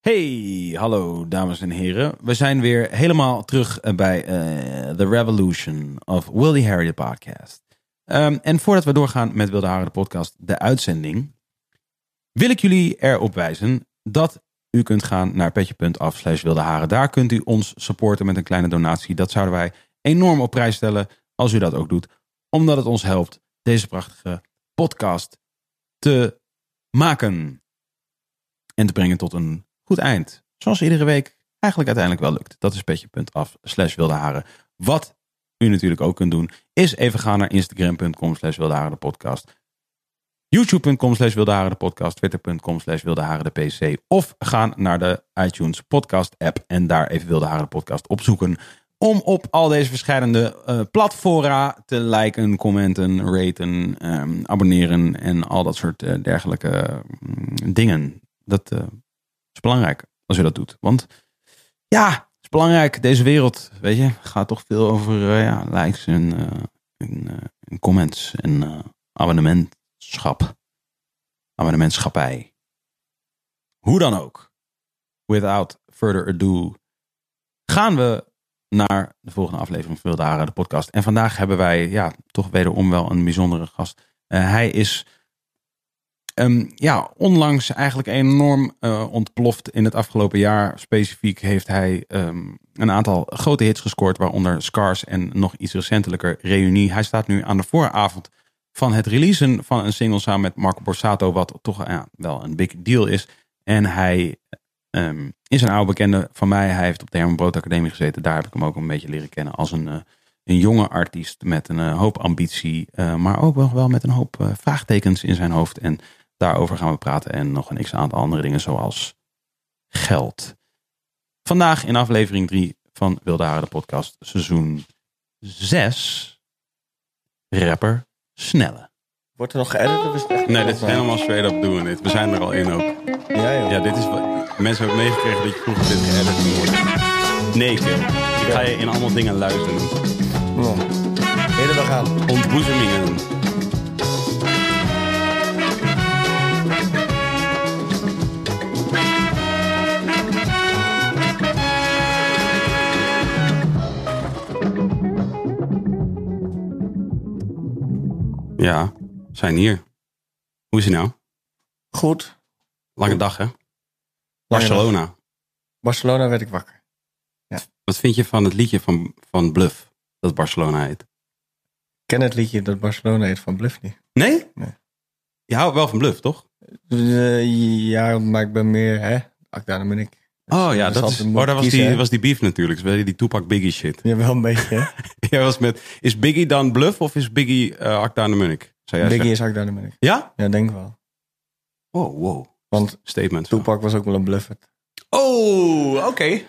Hey, hallo dames en heren. We zijn weer helemaal terug eh, bij eh, The Revolution of Wildy Harry de podcast. Ehm, en voordat we doorgaan met Wilde Haren de podcast, de uitzending, wil ik jullie erop wijzen dat u kunt gaan naar petje.af slash Wilde Haren. Daar kunt u ons supporten met een kleine donatie. Dat zouden wij enorm op prijs stellen als u dat ook doet, omdat het ons helpt deze prachtige podcast te maken en te brengen tot een goed eind. Zoals iedere week eigenlijk uiteindelijk wel lukt. Dat is petje.af slash wildeharen. Wat u natuurlijk ook kunt doen, is even gaan naar instagram.com slash wildeharen de podcast. YouTube.com slash wildeharen de podcast. Twitter.com slash wildeharen de pc. Of gaan naar de iTunes podcast app en daar even wildeharen de podcast opzoeken. Om op al deze verschillende eh, platfora te liken, commenten, raten, ehm, abonneren en al dat soort eh, dergelijke mm, dingen. Dat eh, is belangrijk als je dat doet. Want ja, het is belangrijk. Deze wereld, weet je, gaat toch veel over eh, ja, likes en, eh, en, eh, en comments en eh abonnementschap. Abonnementschappij. Hoe dan ook. Without further ado gaan we naar de volgende aflevering van Wilde Haren, de podcast. En vandaag hebben wij ja, toch wederom wel een bijzondere gast. Eh, hij is Ehm, ja, onlangs eigenlijk enorm eh, ontploft in het afgelopen jaar. Specifiek heeft hij ehm, een aantal grote hits gescoord, waaronder Scars en nog iets recentelijker Reunie. Hij staat nu aan de vooravond van het releasen van een single samen met Marco Borsato, wat toch ja, wel een big deal is. En hij ehm, is een oude bekende van mij. Hij heeft op de Herman Brood Academie gezeten. Daar heb ik hem ook een beetje leren kennen als een, eh, een jonge artiest met een eh, hoop ambitie, eh, maar ook wel, wel met een hoop eh, vraagtekens in zijn hoofd. En Daarover gaan we praten en nog een x aantal andere dingen zoals geld. Vandaag in aflevering 3 van Wilde Haren de podcast seizoen 6 rapper Snelle. Wordt er nog geëdit of is het echt Nee, dit is helemaal straight up doen dit. We zijn er al in ook. Ja, joh. Ja, dit is wat mensen hebben meegekregen dat je vroeger dit geëdit moet worden. Nee, Kim. Ik ga je in allemaal dingen luisteren. Nou, Hele dag aan. Ontboezemingen. Ja, we zijn hier. Hoe is het nou? Goed. Lange dag, hè? Barcelona. Barcelona werd ik wakker. Wat vind je van het liedje van, van Bluff, dat Barcelona heet? Ik ken het liedje dat Barcelona heet van Bluff niet. Nee? Nee. Je houdt wel van Bluff, toch? Eh, ja, maar ik ben meer, hè? Akdaan ben ik. Oh ja, dat, Interessant, is, dan moet oh, dat was, kiezen, die, hè? was die beef natuurlijk. Dus Die Tupac Biggie shit. Ja, wel een beetje, hè? Jij was met, is Biggie dan bluff of is Biggie eh Acta aan de Munnik? Zou jij Biggie zeggen? is Akdaan ben ik. Ja? Ja, denk wel. Wow, wow. Want Statement. Tupac was ook wel een bluffert. Oh, oké.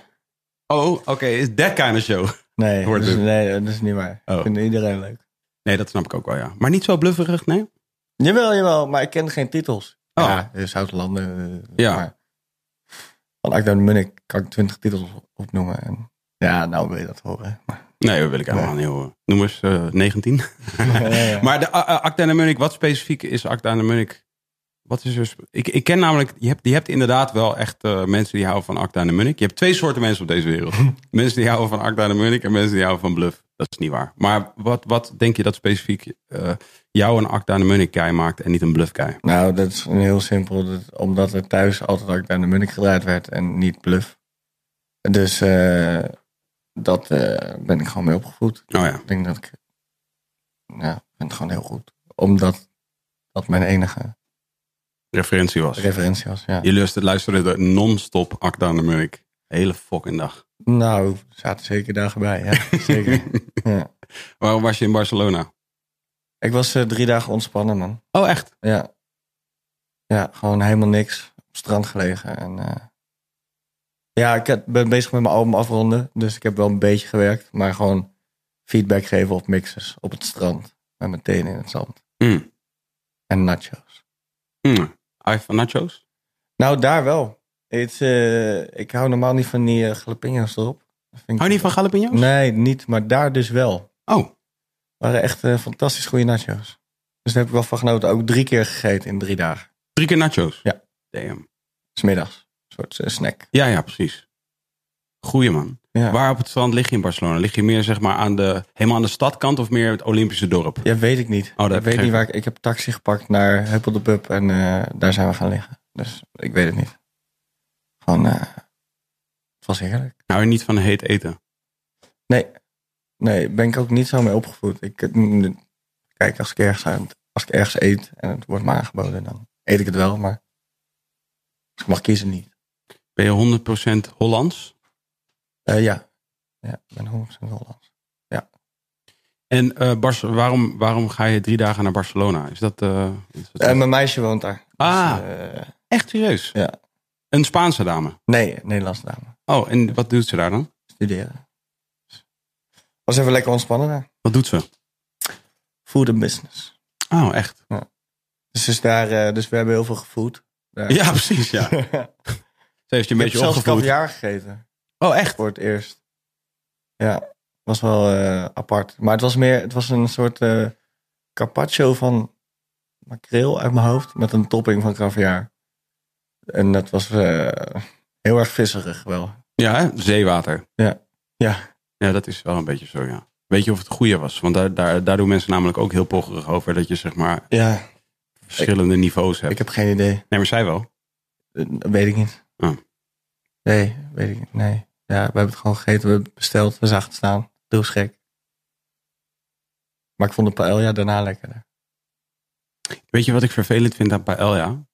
Oh, oké. Is that kind of show? Nee, Hoort dat is, het. nee, dat is niet waar. Oh. Ik vind iedereen leuk. Nee, dat snap ik ook wel, ja. Maar niet zo blufferig, nee? Jawel, jawel, maar ik ken geen titels. Oh. Ja, eh, Zoutlanden. eh, Ja. Maar van Akda de Munnik kan ik twintig titels op- opnoemen. En, ja, nou wil je dat horen. Maar, Nee, dat wil ik helemaal niet horen. Noem eens eh, 19. Maar de eh, eh, Acta aan de Munnik, wat specifiek is Acta aan de Munnik? Wat is er... sp- Ik, ik ken namelijk... Je hebt, je hebt inderdaad wel echt eh, mensen die houden van Acta aan de Munnik. Je hebt twee soorten mensen op deze wereld. mensen die houden van Acta aan de Munnik en mensen die houden van bluff. dat is niet waar. Maar wat, wat denk je dat specifiek eh, jou een Acta de Munnik guy maakt en niet een bluff guy? Nou, dat is een heel simpel. dat- omdat er thuis altijd Acta de Munnik gedraaid werd en niet Bluff. Dus eh, dat eh, ben ik gewoon mee opgevoed. Oh ja. Ik denk dat ik... Ja, ik vind het gewoon heel goed. Omdat dat mijn enige Referentie was. referentie was, ja. Je luisterde, luisterde non-stop Acta de Munnik. Hele fucking dag. Nou, er zaten zeker dagen bij, ja. Zeker. ja. Waarom was je in Barcelona? Ik was eh, drie dagen ontspannen, man. Oh, echt? Ja. Ja, gewoon helemaal niks. Op het strand gelegen. En, eh, Ja, ik heb- ben bezig met mijn album afronden. Dus ik heb wel een beetje gewerkt. Maar gewoon feedback geven op mixes. Op het strand. Met mijn tenen in het zand. Mm. En nachos. Mm. Hou je van nachos? Nou, daar wel. Het, eh, ik hou normaal niet van die eh, jalapenos erop. Dat vind ik- Hou je niet van jalapenos? Nee, niet. Maar daar dus wel. Oh, waren echt eh, fantastisch goede nachos. Dus daar heb ik wel van genoten. Ook drie keer gegeten in drie dagen. drie keer nachos? Ja. Damn. Smiddags. Een soort eh, snack. Ja, ja, precies. Goeie man. Ja. Waar op het strand lig je in Barcelona? Lig je meer zeg maar aan de, helemaal aan de stadkant of meer het Olympische dorp? Ja, weet ik niet. dat ik weet geeft- niet waar ik... Ik Oh, heb taxi gepakt naar Huppel de Pub en eh, daar zijn we gaan liggen. Dus ik weet het niet. Gewoon, eh, het was heerlijk. Nou, niet van heet eten. Nee, nee, ben ik ook niet zo mee opgevoed. Ik, eh, kijk, als ik, ergens, aan- als ik ergens eet en het wordt me aangeboden, dan eet ik het wel. Maar als ik mag kiezen, niet. Ben je 100% Hollands? Eh, ja. ja, ik ben 100% Hollands. En eh, Barce- waarom, waarom ga je drie dagen naar Barcelona? Is dat... eh, is dat- Eh, mijn meisje woont daar. Dus, Ah. eh, Echt serieus? Ja. Een Spaanse dame? nee, Nederlandse dame. Oh, en wat doet ze daar dan? Studeren. Was even lekker ontspannen daar. Wat doet ze? Food and business. Oh, echt? Dus, is daar, eh, dus we hebben heel veel gevoed. Daar. Ja, precies, ja. Ik Ze heeft je een heb beetje zelfs opgevoed. kaviaar gegeten. Oh, echt? Voor het eerst. Ja, was wel eh, apart. Maar het was meer, het was een soort eh carpaccio van makreel uit mijn hoofd. Met een topping van kaviaar. En dat was eh, heel erg visserig wel. Ja, hè? zeewater. Ja. Ja. Ja, dat is wel een beetje zo, ja. Weet je of het goede was? Want daar, daar, daar doen mensen namelijk ook heel pocherig over. Dat je zeg maar Ja, verschillende niveaus ik hebt. heb geen idee. Nee, maar zij wel. Eh, Weet ik niet. Oh. Nee, weet ik niet. Nee. Ja, we hebben het gewoon gegeten, we hebben het besteld, we zagen het staan. Doe gek. Maar ik vond de paella daarna lekkerder. Weet je wat ik vervelend vind aan Paella?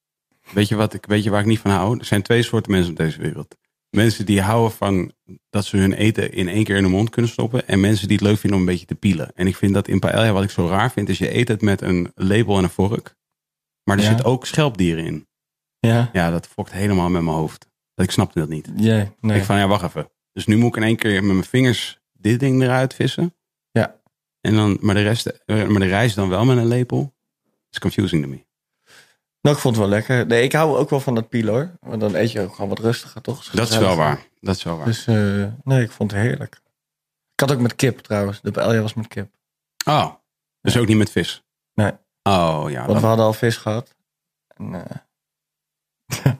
Weet je, wat ik, weet je waar ik niet van hou? Er zijn twee soorten mensen op deze wereld. Mensen die houden van dat ze hun eten in één keer in hun mond kunnen stoppen. En mensen die het leuk vinden om een beetje te pielen. En ik vind dat in Paella, wat ik zo raar vind, is je eet het met een label en een vork. Maar er Ja. zit ook schelpdieren in. Ja? Ja, dat fokt helemaal met mijn hoofd. Ik snapte dat niet. Jee, nee. Ik van, ja, wacht even. Dus nu moet ik in één keer met mijn vingers dit ding eruit vissen. Ja. En dan, maar de rest, eh, maar de rijst dan wel met een lepel. It's confusing to me. Nou, ik vond het wel lekker. Nee, ik hou ook wel van dat pielen hoor. Want dan eet je ook gewoon wat rustiger, toch? Dat is wel waar. Dat is wel waar. Dus eh, nee, ik vond het heerlijk. Ik had ook met kip trouwens. De paella was met kip. Oh, dus ook niet met vis? Nee. Oh ja, Want dat- we hadden al vis gehad. En, eh,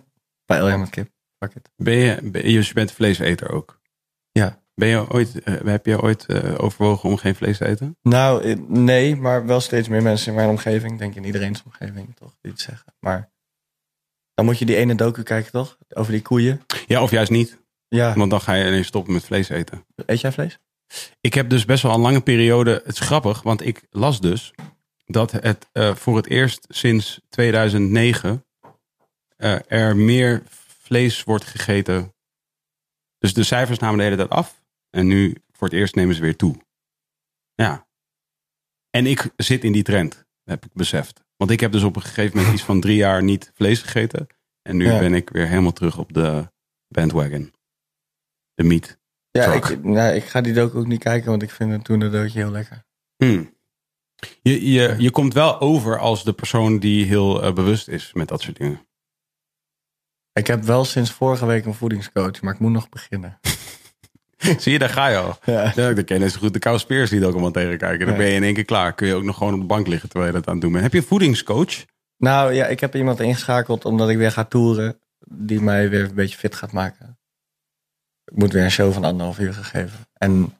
paella met kip. Fuck it. ben je, ben, je bent vleeseter ook? Ja. Ben je ooit, eh, heb je ooit eh, overwogen om geen vlees te eten? Nou, eh, nee, maar wel steeds meer mensen in mijn omgeving. Ik Denk in iedereen's omgeving, toch? Die het zeggen. Maar dan moet je die ene docu kijken, toch? Over die koeien. Ja, of juist niet. Ja. Want dan ga je ineens stoppen met vlees eten. Eet jij vlees? Ik heb dus best wel een lange periode. Het is grappig, want ik las dus dat het eh, voor het eerst sinds 2009 eh, er meer vlees wordt gegeten. Dus de cijfers namen de hele tijd af. En nu voor het eerst nemen ze weer toe. Ja. En ik zit in die trend, heb ik beseft. Want ik heb dus op een gegeven moment iets van drie jaar niet vlees gegeten. En nu Ja. ben ik weer helemaal terug op de bandwagon. De meat. Ja, Fuck. ik, nou, ik ga die docu ook niet kijken, want ik vind het toen de doodje heel lekker. Hmm. Je, je, je komt wel over als de persoon die heel eh, bewust is met dat soort dingen. Ik heb wel sinds vorige week een voedingscoach, maar ik moet nog beginnen. Zie je, daar ga je al. Ja. Ja, dan ken je net zo goed de Kouw Spears die documentaire kijken. Dan Ja. ben je in één keer klaar. Kun je ook nog gewoon op de bank liggen terwijl je dat aan het doen bent. Heb je een voedingscoach? Nou ja, ik heb iemand ingeschakeld omdat ik weer ga toeren, die mij weer een beetje fit gaat maken. Ik moet weer een show van anderhalf uur gaan geven. En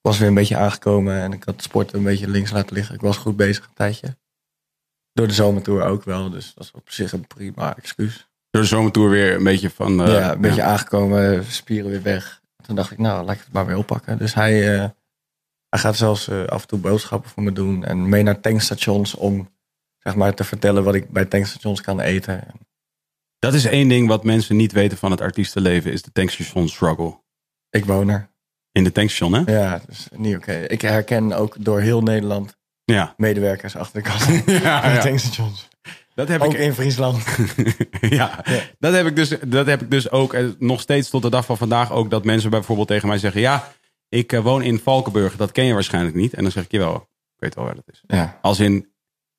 was weer een beetje aangekomen en ik had sport een beetje links laten liggen. Ik was goed bezig een tijdje. Door de zomertour ook wel, dus dat was op zich een prima excuus. Door de zomertoer weer een beetje van... eh, ja, een beetje aangekomen, spieren weer weg. Toen dacht ik, nou, laat ik het maar weer oppakken. Dus hij, eh, hij gaat zelfs eh, af en toe boodschappen voor me doen en mee naar tankstations om zeg maar, te vertellen wat ik bij tankstations kan eten. Dat is één ding wat mensen niet weten van het artiestenleven, is de tankstation struggle. Ik woon er. In de tankstation, hè? Ja, dus niet oké. Ik herken ook door heel Nederland Ja. medewerkers achter de kassa. van Ja, de ja. tankstations. Dat heb Ook ik. in Friesland. ja, Ja. Dat, heb ik dus, dat heb ik dus ook eh, nog steeds tot de dag van vandaag ook dat mensen bijvoorbeeld tegen mij zeggen: Ja, ik eh, woon in Valkenburg, dat ken je waarschijnlijk niet. En dan zeg ik: Jawel, ik weet wel waar dat is. Ja. Als in,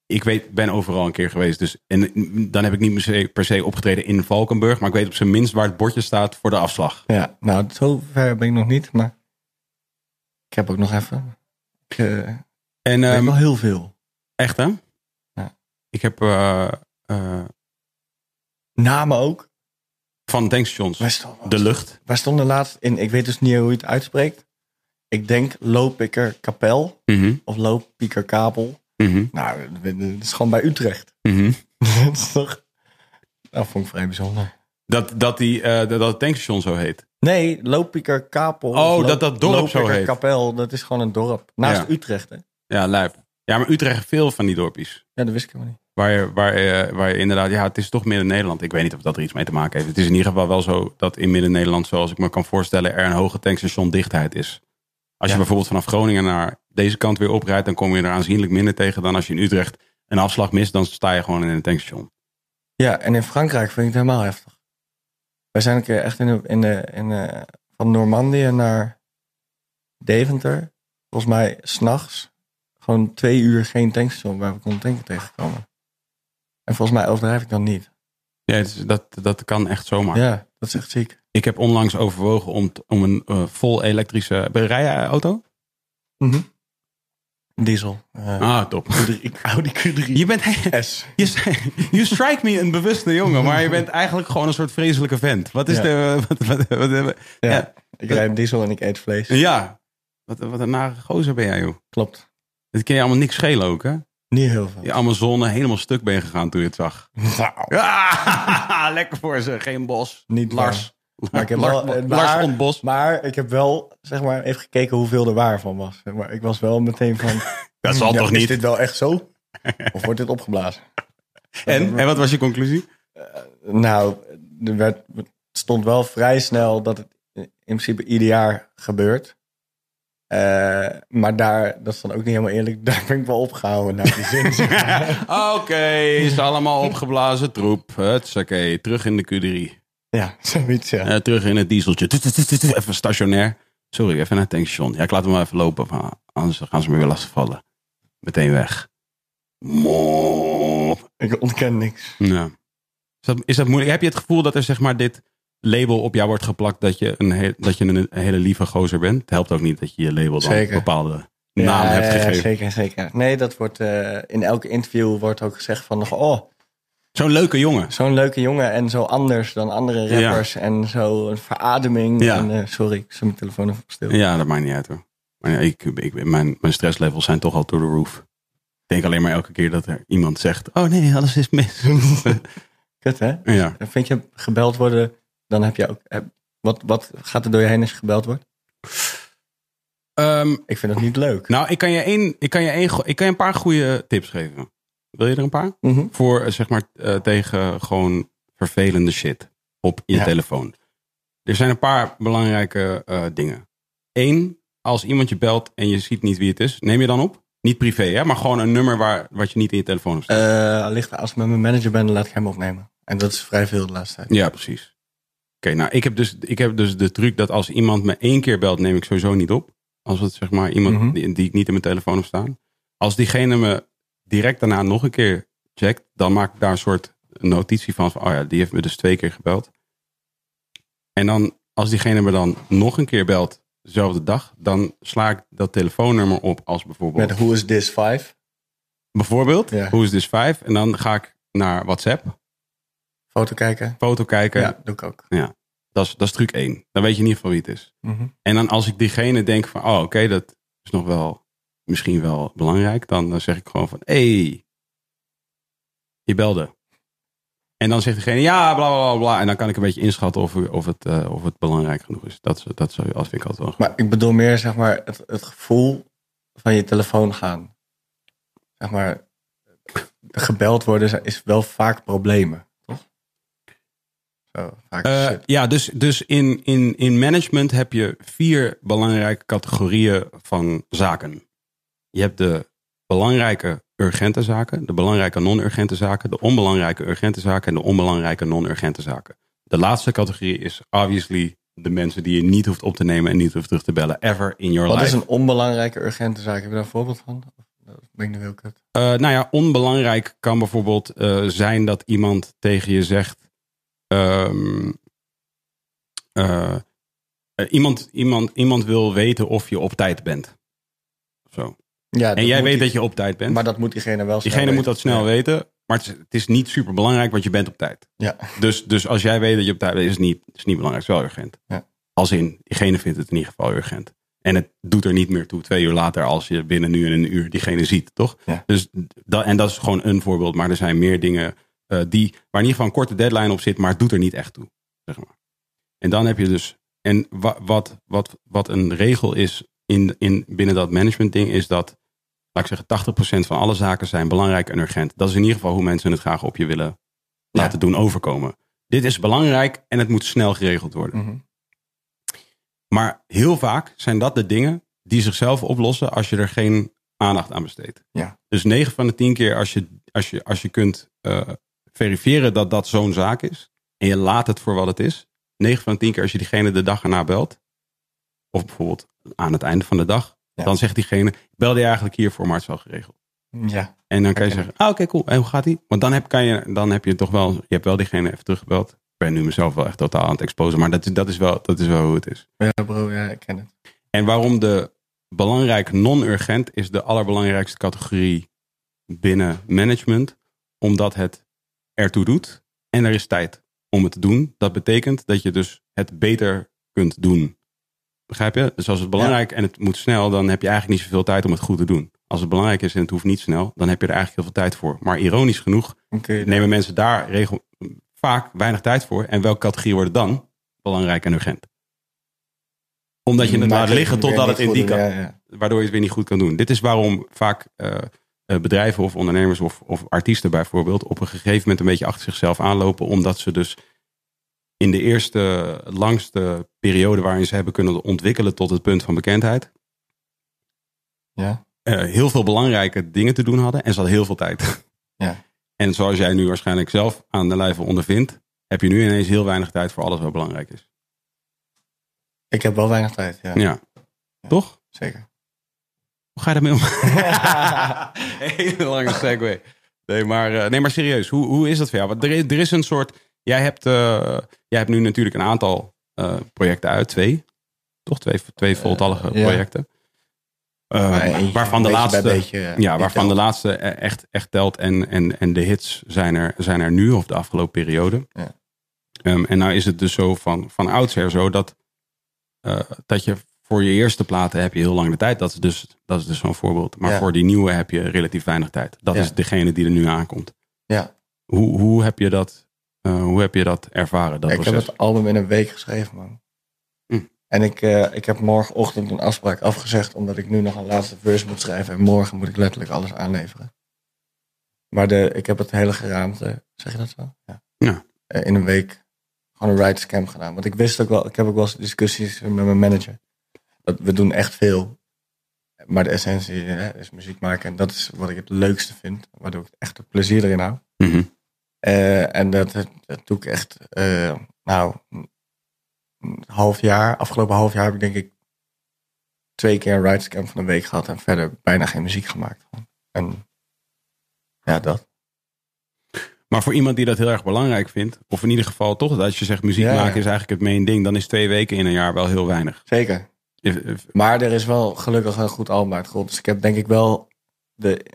ik weet, ben overal een keer geweest. Dus, en mm, dan heb ik niet per se, per se opgetreden in Valkenburg, maar ik weet op zijn minst waar het bordje staat voor de afslag. ja, nou, zo ver ben ik nog niet, maar ik heb ook nog even. Ik eh, En weet ehm, wel heel veel. echt, hè? Ja. Ik heb eh, eh, Namen ook. van tankstations Wij stonden, de lucht. wij stonden laatst in, ik weet dus niet hoe je het uitspreekt. Ik denk Loopikker Kapel Mhm, of Loopikker Kabel. mhm, Nou, dat is gewoon bij Utrecht. mhm. dat is toch... Nou, Dat vond ik vrij bijzonder. Dat, dat, die, eh, dat dat het tankstation zo heet. Nee, Lopieker Kapel. Oh, Of Lo- dat dat dorp zo Lopieker heet. Kapel, dat is gewoon een dorp. Naast Ja. Utrecht, hè? Ja, lijp. Ja, maar Utrecht heeft veel van die dorpjes. Ja, dat wist ik helemaal niet. Waar je, waar, je- waar je inderdaad, ja, het is toch Midden-Nederland. Ik weet niet of dat er iets mee te maken heeft. Het is in ieder geval wel zo dat in Midden-Nederland, zoals ik me kan voorstellen, er een hoge tankstation dichtheid is. Als je Ja. bijvoorbeeld vanaf Groningen naar deze kant weer oprijdt, dan kom je er aanzienlijk minder tegen dan als je in Utrecht een afslag mist, dan sta je gewoon in een tankstation. Ja, en in Frankrijk vind ik het helemaal heftig. Wij zijn een keer echt in, de- in, de- in, eh, van Normandië naar Deventer. Volgens mij s'nachts gewoon twee uur geen tankstation waar we konden tanken tegenkomen. En volgens mij overdrijf ik dan niet. Ja, het is- dat, dat kan echt zomaar. Ja, dat is echt ziek. Ik heb onlangs overwogen om, t- om een eh, vol elektrische berijauto. Diesel. Eh, Mhm. Ah, top. Q3, Audi Q3. Je bent, S. je, you strike me een bewuste jongen, maar je bent eigenlijk gewoon een soort vreselijke vent. Wat is Ja. de... Wat, wat, wat, wat- Ja, ja. Ik rijd diesel en ik eet vlees. Ja. Wat, wat een nare gozer ben jij, joh. Klopt. Dat kan je allemaal niks schelen ook, hè? Niet heel veel. Je Amazone helemaal stuk ben gegaan toen je het zag. Nou. Ah, lekker voor ze. Geen bos. Niet Lars. Maar ik heb Lars, wel- eh, Lars maar- ontbos. Maar ik heb wel, zeg maar, even gekeken hoeveel er waar van was. Zeg maar ik was wel meteen van... hmm, Dat zal ja, toch Is niet? dit wel echt zo? Of wordt dit opgeblazen? En, en wat was je conclusie? Nou, er werd, het stond wel vrij snel dat het in principe ieder jaar gebeurt. Eh, maar daar, dat is dan ook niet helemaal eerlijk, daar ben ik wel opgehouden naar die zin. zeg maar. Oké, is allemaal opgeblazen troep. Het oké. Terug in de Q3. ja, zoiets ja. Eh, terug in het dieseltje. Tut, tut, tut, tut, Even stationair. Sorry, even naar het tankstation. Ja, ik laat hem wel even lopen. van, Anders gaan ze me weer lastigvallen. Meteen weg. Mop. Ik ontken niks. Ja. Is dat, is dat moeilijk? Heb je het gevoel dat er zeg maar dit label op jou wordt geplakt dat je een, heel- dat je een hele lieve gozer bent? Het helpt ook niet dat je je label dan Zeker. een bepaalde naam Ja, hebt ja, ja, gegeven. zeker, zeker. Nee, dat wordt eh, in elke interview wordt ook gezegd van... Oh, Zo'n leuke jongen. Zo'n leuke jongen en zo anders dan andere Ja. rappers. En zo een verademing. Ja. En, eh, sorry, ik zet mijn telefoon even op stil. Ja, dat maakt niet uit hoor. Maar ja, ik, ik, mijn, mijn stresslevels zijn toch al door de roof. Ik denk alleen maar elke keer dat er iemand zegt: Oh nee, alles is mis. Kut hè? ja. En Vind je gebeld worden, dan heb je ook... heb- wat, wat gaat er door je heen als je gebeld wordt? Ehm, Ik vind dat niet leuk. nou, ik kan, je één, ik, kan je één, go- ik kan je een paar goede tips geven. Wil je er een paar? Mhm. voor eh, zeg maar eh, tegen gewoon vervelende shit op je Ja. telefoon. Er zijn een paar belangrijke eh, dingen. Eén, als iemand je belt en je ziet niet wie het is, neem je dan op? Niet privé, hè? maar gewoon een nummer waar, wat je niet in je telefoon hebt staan. Eh, ligt er- als ik met mijn manager ben, dan laat ik hem opnemen. En dat is vrij veel de laatste tijd. Ja, precies. Oké, nou, ik heb, dus, ik heb dus de truc dat als iemand me één keer belt, neem ik sowieso niet op. Als het zeg maar iemand Mhm. die, die ik niet in mijn telefoon heb staan. Als diegene me direct daarna nog een keer checkt, dan maak ik daar een soort notitie van. van oh ja, die heeft me dus twee keer gebeld. En dan, als diegene me dan nog een keer belt, dezelfde dag, dan sla ik dat telefoonnummer op als bijvoorbeeld. Met Who is this 5? Bijvoorbeeld, Ja. hoe is dus 5? En dan ga ik naar WhatsApp, Foto kijken. foto kijken. Ja, doe ik ook. Dat is, dat is truc één. Dan weet je in ieder geval wie het is. Mhm. En dan als ik diegene denk van, oh oké, dat is nog wel misschien wel belangrijk, dan, dan zeg ik gewoon van, hé, hey, je belde. En dan zegt diegene, ja, bla bla bla, bla. En dan kan ik een beetje inschatten of, of, het, eh, of het belangrijk genoeg is. Dat, is- dat zou, dat vind ik altijd wel. goed. Maar ik bedoel meer zeg maar het, het gevoel van je telefoon gaan. Zeg maar, gebeld worden is- is wel vaak problemen, toch? Zo, vaak Eh, shit. ja, dus, dus in, in, in management heb je vier belangrijke categorieën van zaken. Je hebt de belangrijke urgente zaken, de belangrijke non-urgente zaken, de onbelangrijke urgente zaken en de onbelangrijke non-urgente zaken. De laatste categorie is obviously de mensen die je niet hoeft op te nemen en niet hoeft terug te bellen ever in your Wat life. is een onbelangrijke urgente zaak? Heb je daar een voorbeeld van? Dat ben ik nu heel kut. Eh, nou ja, onbelangrijk kan bijvoorbeeld eh, zijn dat iemand tegen je zegt. ehm, eh, eh, iemand, iemand, iemand wil weten of je op tijd bent. Zo. Ja, En jij weet dat je op tijd bent. Maar dat moet diegene wel snel Diegene moet weten. dat snel Ja. weten. Maar het is, het is niet super belangrijk, want je bent op tijd. Ja. Dus, dus als jij weet dat je op tijd bent, is het niet, is het niet belangrijk. Het is wel urgent. Ja. Als in, diegene vindt het in ieder geval urgent. En het doet er niet meer toe twee uur later als je binnen nu en een uur diegene ziet, toch? Ja. Dus dat, en dat is gewoon een voorbeeld. Maar er zijn meer dingen eh, die, waar in ieder geval een korte deadline op zit, maar het doet er niet echt toe. Zeg maar. En dan heb je dus, en wa- wat, wat, wat een regel is in, in, binnen dat management ding, is dat laat ik zeggen, 80% van alle zaken zijn belangrijk en urgent. Dat is in ieder geval hoe mensen het graag op je willen laten doen overkomen. Dit is belangrijk en het moet snel geregeld worden. Mhm. Maar heel vaak zijn dat de dingen die zichzelf oplossen als je er geen aandacht aan besteedt. Ja. Dus 9 van de 10 keer als je, als je, als je kunt eh, verifiëren dat dat zo'n zaak is en je laat het voor wat het is. 9 van de 10 keer als je diegene de dag erna belt, of bijvoorbeeld aan het einde van de dag, Ja. dan zegt diegene, ik belde je eigenlijk hiervoor, maar het is wel geregeld. Ja. En dan kan je Oké. zeggen, ah, oké, cool. En hoe gaat die? Want dan heb, kan je, dan heb je toch wel, je hebt wel diegene even teruggebeld. Ik ben nu mezelf wel echt totaal aan het exposen, maar dat, is- dat, is, wel, dat is wel hoe het is. ja, bro, ja, ik ken het. En waarom de belangrijk non-urgent is de allerbelangrijkste categorie binnen management, omdat het ertoe doet en er is tijd om het te doen. Dat betekent dat je dus het beter kunt doen. Begrijp je? Dus als het belangrijk en het moet snel, dan heb je eigenlijk niet zoveel tijd om het goed te doen. Als het belangrijk is en het hoeft niet snel, dan heb je er eigenlijk heel veel tijd voor. Maar ironisch genoeg Dan kun je- nemen mensen daar regel, vaak weinig tijd voor. En welke categorie worden dan belangrijk en urgent? Omdat je het Maar laat kun je liggen weer totdat het niet in die goed doen, kan, ja, ja. waardoor je het weer niet goed kan doen. Dit is waarom vaak eh, eh, bedrijven of ondernemers of, of artiesten bijvoorbeeld op een gegeven moment een beetje achter zichzelf aanlopen, omdat ze dus in de eerste langste periode waarin ze hebben kunnen ontwikkelen tot het punt van bekendheid, Ja. eh, heel veel belangrijke dingen te doen hadden en ze hadden heel veel tijd. Ja. En zoals jij nu waarschijnlijk zelf aan de lijve ondervindt, heb je nu ineens heel weinig tijd voor alles wat belangrijk is. Ik heb wel weinig tijd, ja. Ja. Toch? Zeker. Hoe ga je daarmee om? Hele lange segue. Nee, maar, eh, nee, maar serieus, hoe, hoe is dat voor jou? Want er, is- er is een soort. Jij hebt, eh, jij hebt nu natuurlijk een aantal eh, projecten uit, twee. Toch? Twee, twee voltallige Eh, ja. projecten. Eh, waarvan de laatste. eh, Ja, waarvan de laatste e- echt, echt telt. En, en, en de hits zijn er, zijn er nu of de afgelopen periode. Ja. Ehm, en nou is het dus zo van, van oudsher zo dat, eh, dat je voor je eerste platen heb je heel lang de tijd. Dat is dus, dat is dus zo'n voorbeeld. Maar Ja. voor die nieuwe heb je relatief weinig tijd. Dat Ja. is degene die er nu aankomt. Ja. Hoe, hoe, heb je dat, eh, hoe heb je dat ervaren, dat ik heb proces? het album in een week geschreven, man. Hm. En ik, eh, ik heb morgenochtend een afspraak afgezegd, omdat ik nu nog een laatste verse moet schrijven. En morgen moet ik letterlijk alles aanleveren. Maar de, ik heb het hele geraamte, zeg je dat zo? Ja. Ja. Eh, in een week gewoon een writer's camp gedaan. Want ik wist ook wel, ik heb ook wel eens discussies met mijn manager. Dat we doen echt veel. Maar de essentie hè, is muziek maken. En dat is wat ik het leukste vind. Waardoor ik echt het plezier erin hou. Mhm. Eh, en dat, dat, dat doe ik echt, eh, nou, een half jaar, afgelopen half jaar heb ik denk ik twee keer een writers camp van de week gehad en verder bijna geen muziek gemaakt. En ja, dat. Maar voor iemand die dat heel erg belangrijk vindt, of in ieder geval toch, dat als je zegt muziek Ja. maken is eigenlijk het main ding, dan is twee weken in een jaar wel heel weinig. Zeker. Maar er is wel gelukkig een goed album uitgerold. Dus ik heb denk ik wel, de,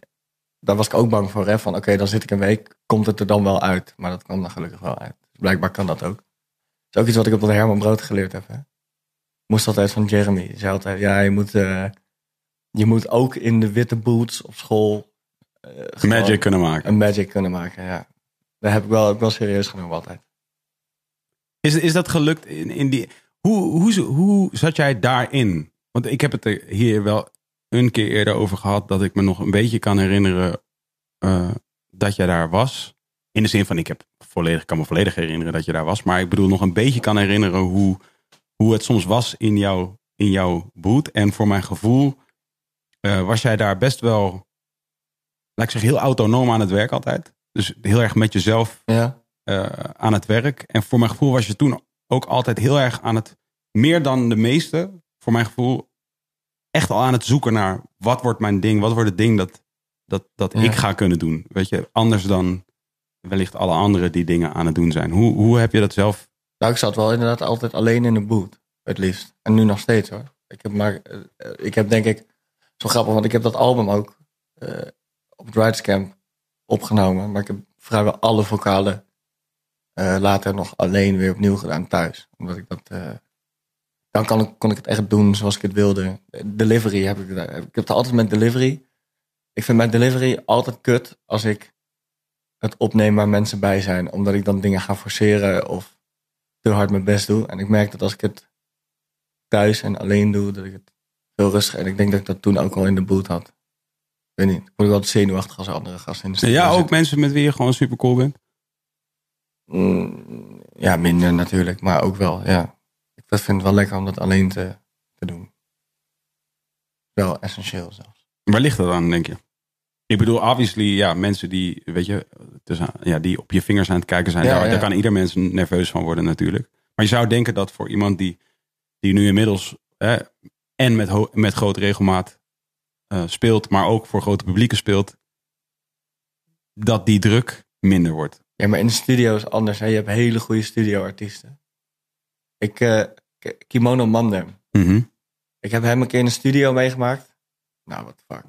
daar was ik ook bang voor, hè, van oké, dan zit ik een week, komt het er dan wel uit? Maar dat kwam er gelukkig wel uit. Dus blijkbaar kan dat ook. is ook iets wat ik op dat Herman Brood geleerd heb. Hè? Ik moest altijd van Jeremy. Die zei altijd, ja, je moet, eh, je moet ook in de witte boots op school... eh, gewoon Magic kunnen maken. Een magic kunnen maken, ja. Daar heb ik wel, heb ik wel serieus genomen altijd. Is, is dat gelukt in, in die. Hoe, hoe, hoe zat jij daarin? Want ik heb het er hier wel een keer eerder over gehad. Dat ik me nog een beetje kan herinneren eh, dat jij daar was. In de zin van, ik heb volledig, kan me volledig herinneren dat je daar was. Maar ik bedoel, nog een beetje kan herinneren hoe, hoe het soms was in jouw, in jouw boot. En voor mijn gevoel eh, was jij daar best wel, laat ik zeggen, heel autonoom aan het werk altijd. Dus heel erg met jezelf Ja, eh, aan het werk. En voor mijn gevoel was je toen ook altijd heel erg aan het, meer dan de meeste, voor mijn gevoel, echt al aan het zoeken naar wat wordt mijn ding, wat wordt het ding dat, dat, dat Ja. ik ga kunnen doen. Weet je, anders dan wellicht alle anderen die dingen aan het doen zijn. Hoe, hoe heb je dat zelf? nou ik zat wel inderdaad altijd alleen in de boot, het liefst. En nu nog steeds hoor. Ik heb, maar, eh, eh, ik heb denk ik, zo grappig, want ik heb dat album ook eh, op het Writers Camp opgenomen. Maar ik heb vrijwel alle vocalen eh, later nog alleen weer opnieuw gedaan thuis. Omdat ik dat, eh, dan kan ik, kon ik het echt doen zoals ik het wilde. Delivery heb ik, daar- ik heb het altijd met delivery. Ik vind mijn delivery altijd kut als ik het opneem waar mensen bij zijn. Omdat ik dan dingen ga forceren of te hard mijn best doe. En ik merk dat als ik het thuis en alleen doe, dat ik het veel rustiger... En ik denk dat ik dat toen ook al in de boot had. Ik weet niet. Ik word wel zenuwachtig als er andere gasten in de studio Ja, zitten. ook mensen met wie je gewoon super cool bent. Mm, Ja, minder natuurlijk, maar ook wel, ja. Ik vind het wel lekker om dat alleen te, te doen. Wel essentieel zelfs. Waar ligt dat aan, denk je? Ik bedoel, obviously, ja, mensen die, weet je, tussen- ja, die op je vingers aan het kijken zijn, Ja, daar, ja. daar kan ieder mens nerveus van worden natuurlijk. Maar je zou denken dat voor iemand die, die nu inmiddels hè, en met, ho- met grote regelmaat eh, speelt, maar ook voor grote publieken speelt, dat die druk minder wordt. Ja, maar in de studio is anders. Hè? Je hebt hele goede studioartiesten. Ik, eh, K- Kimono Mandem. Ik heb hem een keer in de studio meegemaakt. Nou, wat fuck.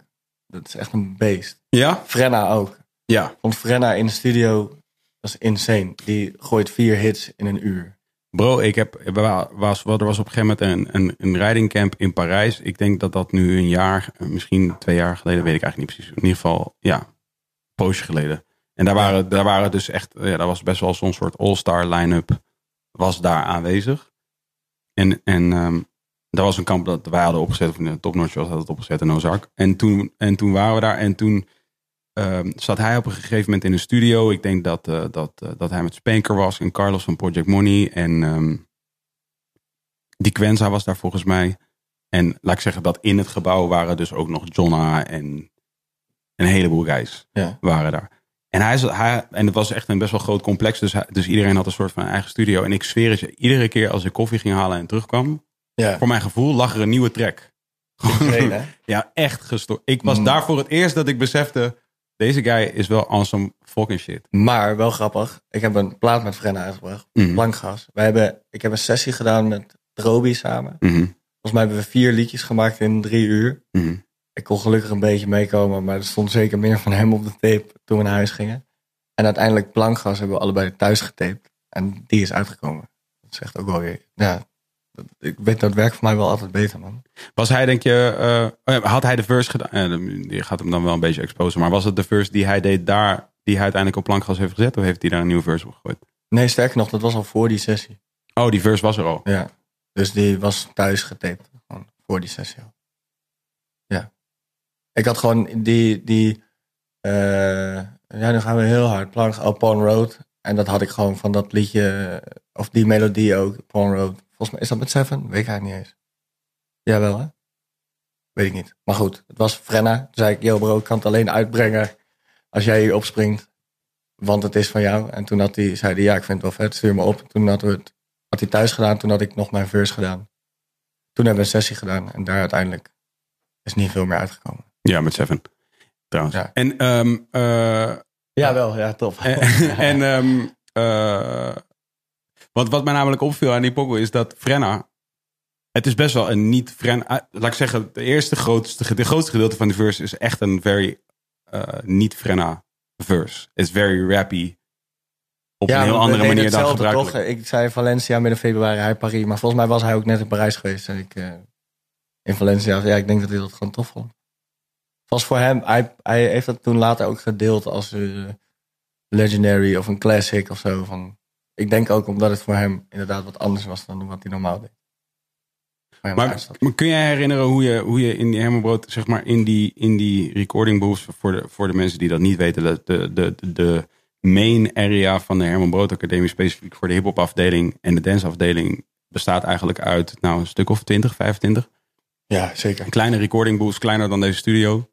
Dat is echt een beest. Ja? Frenna ook. Ja. Vond Frenna in de studio, dat is insane. Die gooit vier hits in een uur. Bro, ik heb, wa- was, wa- er was op een gegeven moment een, een, een ridingcamp in Parijs. Ik denk dat dat nu een jaar, eh, misschien twee jaar geleden, weet ik eigenlijk niet precies. In ieder geval, ja, een poosje geleden. En daar waren, daar waren dus echt, ja, daar was best wel zo'n soort all-star line-up was daar aanwezig. En, en ehm dat was een kamp dat wij hadden opgezet, of een topnotch was dat opgezet in Ozark. En toen, en toen waren we daar en toen ehm, zat hij op een gegeven moment in een studio. Ik denk dat, eh, dat, eh, dat hij met Spanker was en Carlos van Project Money. En ehm, die Quenza was daar volgens mij. En laat ik zeggen dat in het gebouw waren dus ook nog Jonna en een heleboel guys Ja. waren daar. En, hij, zat- hij, en het was echt een best wel groot complex. Dus, hij- dus iedereen had een soort van eigen studio. En ik zweer het je, iedere keer als ik koffie ging halen en terugkwam... Ja. voor mijn gevoel lag er een nieuwe track. Great, hè? Ja, echt gestoord. Ik was Mm. daar voor het eerst dat ik besefte... deze guy is wel on some fucking shit. Maar wel grappig. Ik heb een plaat met Frenna uitgebracht. Mhm. Blankgas. Wij hebben, ik heb een sessie gedaan met Roby samen. Volgens mij hebben we vier liedjes gemaakt in drie uur. Mhm. Ik kon gelukkig een beetje meekomen, maar er stond zeker meer van hem op de tape toen we naar huis gingen. En uiteindelijk Blankgas hebben we allebei thuis getaped. En die is uitgekomen. Dat zegt ook wel weer. Ja, dat- ik weet dat werkt voor mij wel altijd beter, man. Was hij, denk je, eh, oh ja, had hij de verse gedaan? eh, je gaat hem dan wel een beetje exposen. Maar was het de verse die hij deed daar, die hij uiteindelijk op plankgas heeft gezet? Of heeft hij daar een nieuwe verse op gegooid? Nee, sterker nog, dat was al voor die sessie. Oh, die verse was er al. Ja. Dus die was thuis getaped. Gewoon voor die sessie al. Ja. Ik had gewoon die. die eh, ja, nu gaan we heel hard. Plank Upon Road. En dat had ik gewoon van dat liedje. Of die melodie ook. Upon Road. Volgens mij is dat met Seven? Weet ik eigenlijk niet eens. Jawel, hè? Weet ik niet. Maar goed, het was Frenna. Toen zei ik: Yo, bro, ik kan het alleen uitbrengen. Als jij hier opspringt. Want het is van jou. En toen had hij, zei hij: Ja, ik vind het wel vet. Stuur me op. Toen hadden we het had hij thuis gedaan, toen had ik nog mijn verse gedaan. Toen hebben we een sessie gedaan en daar uiteindelijk is niet veel meer uitgekomen. Ja, met Seven. Trouwens. Ja. En, ehm, eh, Jawel, ja, top. en, en, ehm, eh, want wat mij namelijk opviel aan die pokoe is dat Frenna... Het is best wel een niet Frenna... ah, Laat ik zeggen, de eerste grootste, de grootste gedeelte van die verse is echt een very eh, niet Frenna verse. It's very rappy. op een heel want we andere deden manier dan hetzelfde, gebruikelijk. Toch? Ik zei Valencia midden februari, hij Parijs. Maar volgens mij was hij ook net in Parijs geweest. En ik, eh, in Valencia, ja, ik denk dat hij dat gewoon tof vond. Vast voor hem, hij, hij heeft dat toen later ook gedeeld als eh, legendary of een classic of zo. Van, ik denk ook omdat het voor hem inderdaad wat anders was dan wat hij normaal deed. Maar, ja, Maar, maar kun jij herinneren hoe je, hoe je in die Hermanbrood, zeg maar, in die, in die recording booths, voor de, voor de mensen die dat niet weten, de, de, de, de main area van de Herman Brood Academie, specifiek voor de hip-hop afdeling en de dance afdeling, bestaat eigenlijk uit, nou, een stuk of 20, 25. ja, zeker. Kleine recording booths, kleiner dan deze studio.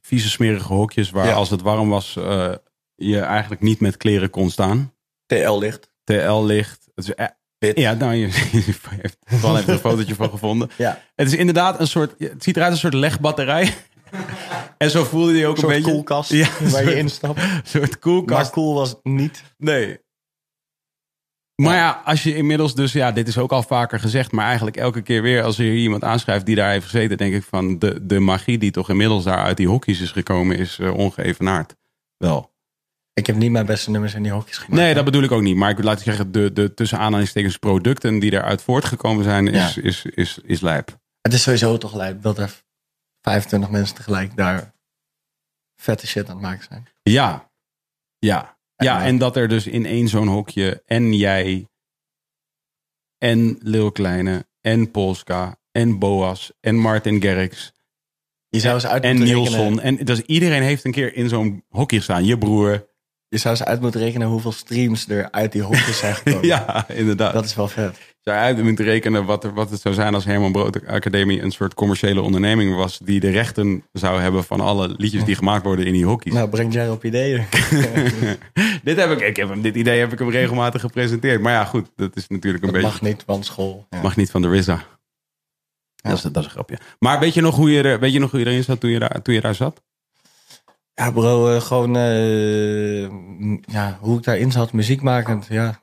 Vieze smerige hokjes waar Ja. als het warm was, eh, je eigenlijk niet met kleren kon staan. TL-licht. TL-licht. Het is e- Wit. ja, nou, je, je heeft Paul heeft er een fotootje van gevonden. Ja. Het is inderdaad een soort, het ziet eruit als een soort legbatterij. en zo voelde je ook Een soort een beetje. koelkast Ja, een waar soort- je instapt. Een soort koelkast. Maar cool was het niet. Nee. Maar ja, als je inmiddels dus, ja, dit is ook al vaker gezegd, maar eigenlijk elke keer weer als er hier iemand aanschrijft die daar heeft gezeten, denk ik van de, de magie die toch inmiddels daar uit die hokjes is gekomen, is eh, ongeëvenaard. Wel. Ik heb niet mijn beste nummers in die hokjes gemaakt. Nee, dat bedoel ik ook niet. Maar ik laat ik zeggen, de, de tussen aanhalingstekens producten die daaruit voortgekomen zijn, is, is, is, is, lijp. Het is sowieso toch lijp dat er 25 mensen tegelijk daar vette shit aan het maken zijn. Ja. Ja. Ja, Ja. en dat er dus in één zo'n hokje en jij en Lil Kleine en Polska en Boas en Martin Gerricks Je zou eens uit en moeten Nielsen. rekenen. En dus iedereen heeft een keer in zo'n hokje staan. Je broer. Je zou eens uit moeten rekenen hoeveel streams er uit die hokjes zijn gekomen. Ja, inderdaad. Oh. Dat is wel vet. Zou je uit moeten rekenen wat, er, wat het zou zijn als Herman Brood Academie een soort commerciële onderneming was. Die de rechten zou hebben van alle liedjes die gemaakt worden in die hokjes. Nou, breng jij op ideeën. dit, heb ik, ik heb hem, dit idee heb ik hem regelmatig gepresenteerd. Maar ja, goed. Dat is natuurlijk een Dat beetje... mag niet, want school. Ja. Mag niet van de RZA. Dat, is, dat is een grapje. Maar weet je nog hoe je, er, weet je nog hoe je erin zat toen je daar, toen je daar zat? Ja, bro, eh, gewoon eh, m- ja, hoe ik daarin zat, muziekmakend. Ja.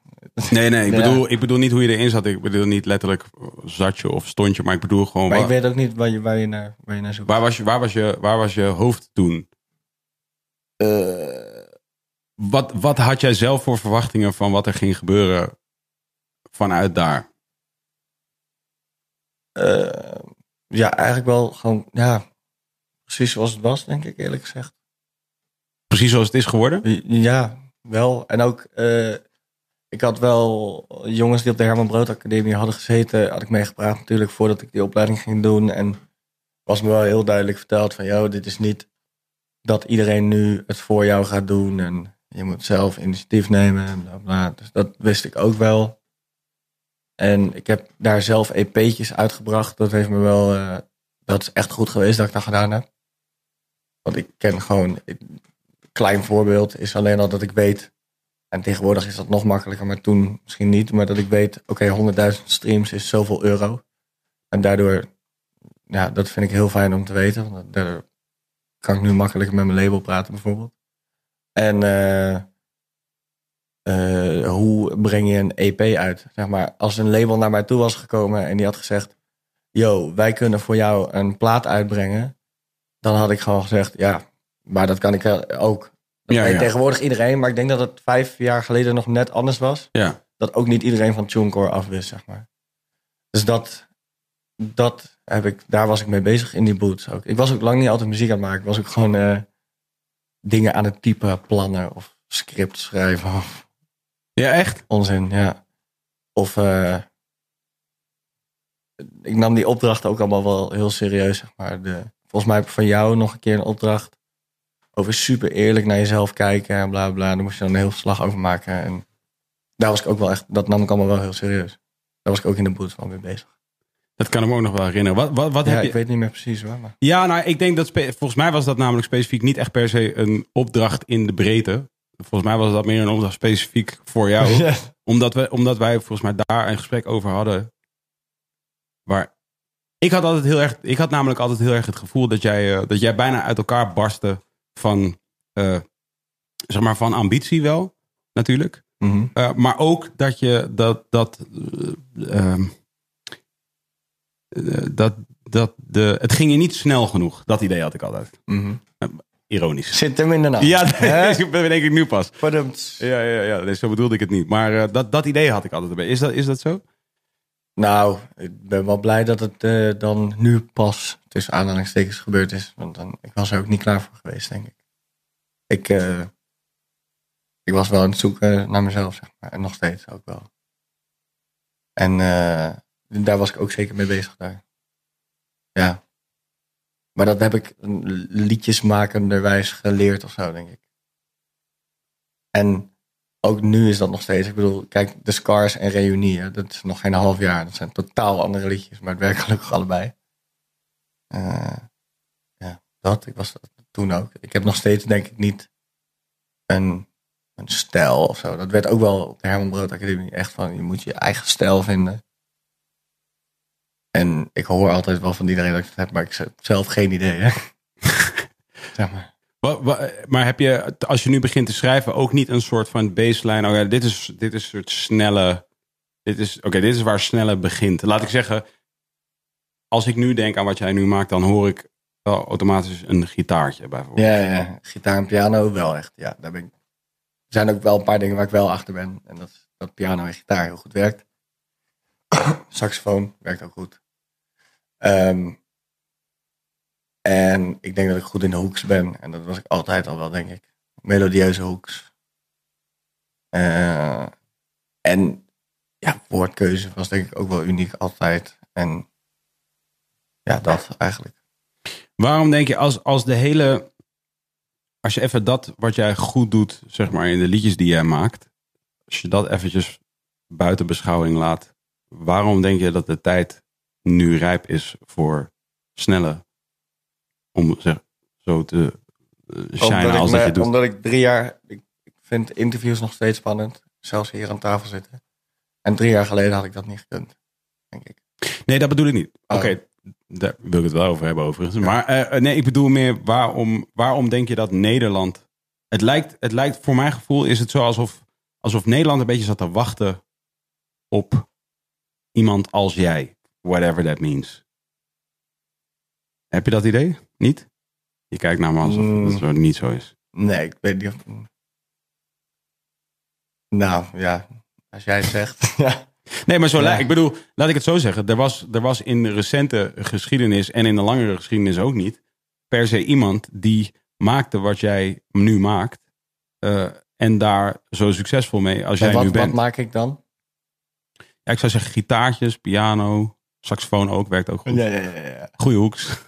Nee, nee. Ik, Ja. bedoel, ik bedoel niet hoe je erin zat. Ik bedoel niet letterlijk zat je of stond je. Maar ik bedoel gewoon... Maar wa- ik weet ook niet waar je, waar je, naar, waar je naar zoekt. waar, was je, waar, was je, waar was je hoofd toen? Eh, Wat, wat had jij zelf voor verwachtingen van wat er ging gebeuren vanuit daar? Eh, ja, eigenlijk wel gewoon, ja, precies zoals het was, denk ik eerlijk gezegd. Precies zoals het is geworden? Ja, wel. En ook, eh, ik had wel jongens die op de Herman Brood Academie hadden gezeten, had ik mee gepraat natuurlijk voordat ik die opleiding ging doen. En was me wel heel duidelijk verteld van, joh, dit is niet dat iedereen nu het voor jou gaat doen en je moet zelf initiatief nemen en bla bla. Dus dat wist ik ook wel. En ik heb daar zelf EP'tjes uitgebracht. Dat heeft me wel, eh, dat is echt goed geweest dat ik dat gedaan heb. Want ik ken gewoon, ik- klein voorbeeld is alleen al dat ik weet. En tegenwoordig is dat nog makkelijker, maar toen misschien niet. Maar dat ik weet, oké, 100.000 streams is zoveel euro. En daardoor, ja, dat vind ik heel fijn om te weten. Want daardoor kan ik nu makkelijker met mijn label praten bijvoorbeeld. En eh, eh, hoe breng je een EP uit? Zeg maar, als een label naar mij toe was gekomen en die had gezegd... Yo, wij kunnen voor jou een plaat uitbrengen. Dan had ik gewoon gezegd, ja, maar dat kan ik wel ook. Dat Ja, weet ja. tegenwoordig iedereen. Maar ik denk dat het vijf jaar geleden nog net anders was. Ja. Dat ook niet iedereen van TuneCore af wist, zeg maar. Dus dat, dat heb ik, daar was ik mee bezig in die boots ook. Ik was ook lang niet altijd muziek aan het maken. Ik was ook gewoon... eh, dingen aan het typen, plannen of script schrijven of Ja, echt? onzin, ja. Of eh, ik nam die opdrachten ook allemaal wel heel serieus, zeg maar. De, volgens mij heb ik van jou nog een keer een opdracht over super eerlijk naar jezelf kijken en bla bla. Daar moest je dan een heel verslag over maken. En daar was ik ook wel echt, dat nam ik allemaal wel heel serieus. Daar was ik ook in de boot van mee bezig. Dat kan ik me ook nog wel herinneren. Wat, wat, wat Ja, heb je... ik weet niet meer precies hoor, maar Ja, nou, ik denk dat... spe- Volgens mij was dat namelijk specifiek niet echt per se een opdracht in de breedte. Volgens mij was dat meer een opdracht specifiek voor jou. Ja. Omdat, we, omdat wij volgens mij daar een gesprek over hadden. Waar ik had altijd heel erg. Ik had namelijk altijd heel erg het gevoel dat jij, eh, dat jij bijna uit elkaar barstte van. eh, zeg maar van ambitie wel, natuurlijk. Mhm. Eh, maar ook dat je dat. dat eh, ehm, eh, dat, dat de, het ging je niet snel genoeg. Dat idee had ik altijd. Mhm. ironisch. Zit hem in de naam. Ja, Hè? dat bedenk ik nu pas. Verdomd. Ja, ja, ja. Nee, zo bedoelde ik het niet. Maar eh, dat, dat idee had ik altijd erbij. Is dat, is dat zo? Nou, ik ben wel blij dat het eh, dan nu pas tussen aanhalingstekens gebeurd is. Want dan, ik was er ook niet klaar voor geweest, denk ik. Ik, eh, ik was wel aan het zoeken naar mezelf, zeg maar. En nog steeds ook wel. En eh, daar was ik ook zeker mee bezig daar. Ja. Maar dat heb ik een liedjesmakenderwijs geleerd of zo, denk ik. En ook nu is dat nog steeds. Ik bedoel, kijk, The Scars en Reunie, hè, dat is nog geen half jaar. Dat zijn totaal andere liedjes, maar het werkt gelukkig allebei. Eh, ja, dat. Ik was dat toen ook. Ik heb nog steeds, denk ik, niet een, een stijl of zo. Dat werd ook wel op de Herman Brood Academie echt van, je moet je eigen stijl vinden. En ik hoor altijd wel van iedereen dat ik het heb, maar ik heb zelf geen idee. Hè? zeg maar. Wa- wa- Maar heb je, als je nu begint te schrijven, ook niet een soort van baseline? Oh ja, dit is, dit is een soort snelle. Dit is, oké, dit is waar snelle begint. Laat ik zeggen, als ik nu denk aan wat jij nu maakt, dan hoor ik wel automatisch een gitaartje bijvoorbeeld. Ja, ja, ja. gitaar en piano wel echt. Ja, daar ben ik. Er zijn ook wel een paar dingen waar ik wel achter ben. En dat is dat piano en gitaar heel goed werkt. Saxofoon werkt ook goed. Ehm, en ik denk dat ik goed in de hoeks ben. En dat was ik altijd al wel, denk ik. Melodieuze hoeks. Eh, en ja, woordkeuze was denk ik ook wel uniek altijd. En ja, dat eigenlijk. Waarom denk je, als, als de hele. Als je even dat wat jij goed doet, zeg maar in de liedjes die jij maakt. Als je dat eventjes buiten beschouwing laat. Waarom denk je dat de tijd nu rijp is voor snelle. Om zeg, zo te eh, shinen ik als dat me- je doet. Omdat ik drie jaar... Ik, ik vind interviews nog steeds spannend. Zelfs hier aan tafel zitten. En drie jaar geleden had ik dat niet gekund. Denk ik. Nee, dat bedoel ik niet. Oké, Oh. daar wil ik het wel over hebben overigens. Maar eh, nee, ik bedoel meer waarom, waarom denk je dat Nederland... Het lijkt, het lijkt, voor mijn gevoel is het zo alsof, alsof Nederland een beetje zat te wachten op iemand als jij. Whatever that means. Heb je dat idee? Niet? Je kijkt naar me alsof Mm. dat zo niet zo is. Nee, ik weet niet of... Nou, ja. Als jij het zegt. ja. Nee, maar zo, Ja. lijkt- ik bedoel, laat ik het zo zeggen. Er was, er was in de recente geschiedenis en in de langere geschiedenis ook niet per se iemand die maakte wat jij nu maakt. eh, en daar zo succesvol mee als En jij nu wat, wat bent. maak ik dan? Ja, ik zou zeggen gitaartjes, piano, saxofoon ook, werkt ook goed. Ja, ja, ja. ja. Goeie hoeks.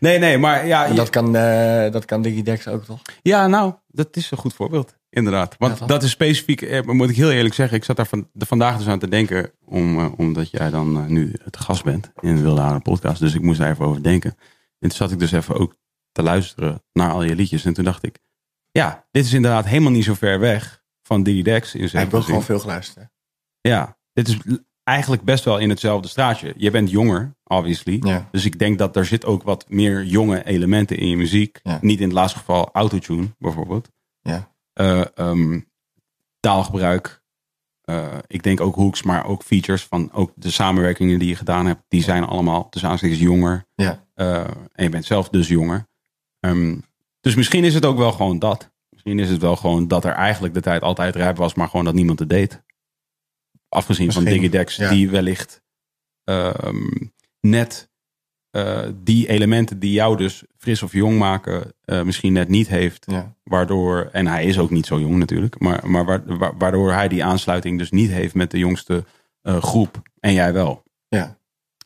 Nee, nee, maar ja, En dat kan, eh dat kan Digidex ook, toch? ja, nou, dat is een goed voorbeeld. Inderdaad. Want Ja, toch? dat is specifiek, eh, moet ik heel eerlijk zeggen, ik zat daar van, de- vandaag dus aan te denken, om, eh, omdat jij dan eh, nu te gast bent in de Wilde Haren podcast. Dus ik moest daar even over denken. En toen zat ik dus even ook te luisteren naar al je liedjes. En toen dacht ik, ja, dit is inderdaad helemaal niet zo ver weg van Digidex. In Ik heb zekere ook zin. gewoon veel geluisterd. Ja, dit is l- eigenlijk best wel in hetzelfde straatje. Je bent jonger, obviously. Ja. Dus ik denk dat er zit ook wat meer jonge elementen in je muziek. Ja. Niet in het laatste geval autotune, bijvoorbeeld. Ja. Eh, ehm, taalgebruik. Eh, ik denk ook hooks, maar ook features van ook de samenwerkingen die je gedaan hebt. Die zijn allemaal tussen aanstekens jonger. Ja. Eh, en je bent zelf dus jonger. Ehm, dus misschien is het ook wel gewoon dat. Misschien is het wel gewoon dat er eigenlijk de tijd altijd rijp was, maar gewoon dat niemand het deed. Afgezien van Misschien, Digidex, ja. die wellicht ehm, net eh, die elementen die jou dus fris of jong maken, eh, misschien net niet heeft. ja. Waardoor, en hij is ook niet zo jong natuurlijk, maar, maar wa- wa- waardoor hij die aansluiting dus niet heeft met de jongste eh, groep. En jij wel. Ja.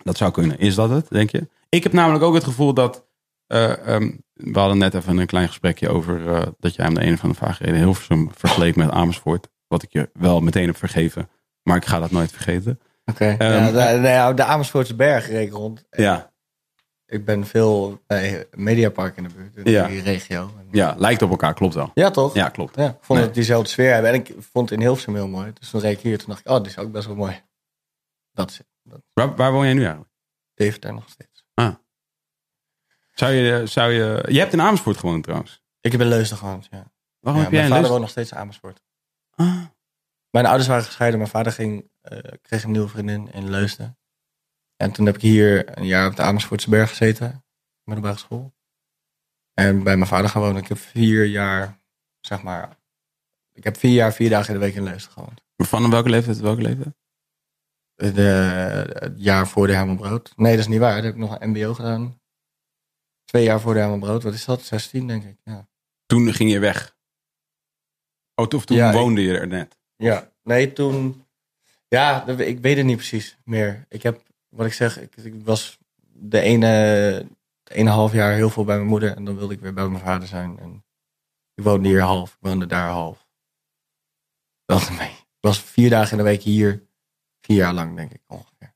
Dat zou kunnen. Is dat het, denk je? Ik heb namelijk ook het gevoel dat. eh, ehm, we hadden net even een klein gesprekje over eh, dat jij hem de een of andere vraag reden Hilversum vergeleek met Amersfoort. Wat ik je wel meteen heb vergeven, maar ik ga dat nooit vergeten. Oké. Ehm, ja, de, de, de Amersfoortse berg reek rond. Ja, Ik ben veel bij Mediapark in de buurt. In Ja. die regio. En- ja lijkt op elkaar, klopt wel. Ja, toch? Ja, klopt. Ja, ik vond Nee. het diezelfde sfeer hebben. En ik vond het in Hilversum heel mooi. Dus toen reed ik hier, toen dacht ik, oh, dit is ook best wel mooi. Dat is Waar, waar woon jij nu eigenlijk? Deventer nog steeds. Zou je, zou je, je hebt in Amersfoort gewoond trouwens. Ik heb in Leusden gewoond, ja. Waarom Ja, heb jij in mijn vader Leusden- woont nog steeds in Amersfoort. Ah. Mijn ouders waren gescheiden. Mijn vader ging, eh, kreeg een nieuwe vriendin in Leusden. En toen heb ik hier een jaar op de Amersfoortse berg gezeten. Middelbare school. En bij mijn vader gaan wonen. Ik heb vier jaar, zeg maar. Ik heb vier jaar, vier dagen in de week in Leusden gewoond. Ah. Van welke leeftijd tot welke leeftijd? Eh, De, het jaar voor de Herman Brood. Nee, dat is niet waar. Daar heb ik nog een MBO gedaan. Twee jaar voor de Herman Brood. Wat is dat? 16, denk ik. Ja. Toen ging je weg. Oh, to- of toen Ja, ik- woonde je er net. Ja, nee, toen. Ja, dat we- ik weet het niet precies meer. Ik heb, wat ik zeg, ik, ik was de ene, het ene half jaar heel veel bij mijn moeder. En dan wilde ik weer bij mijn vader zijn. En ik woonde hier half, ik woonde daar half. Dat was mee. Ik was vier dagen in de week hier. Vier jaar lang, denk ik ongeveer.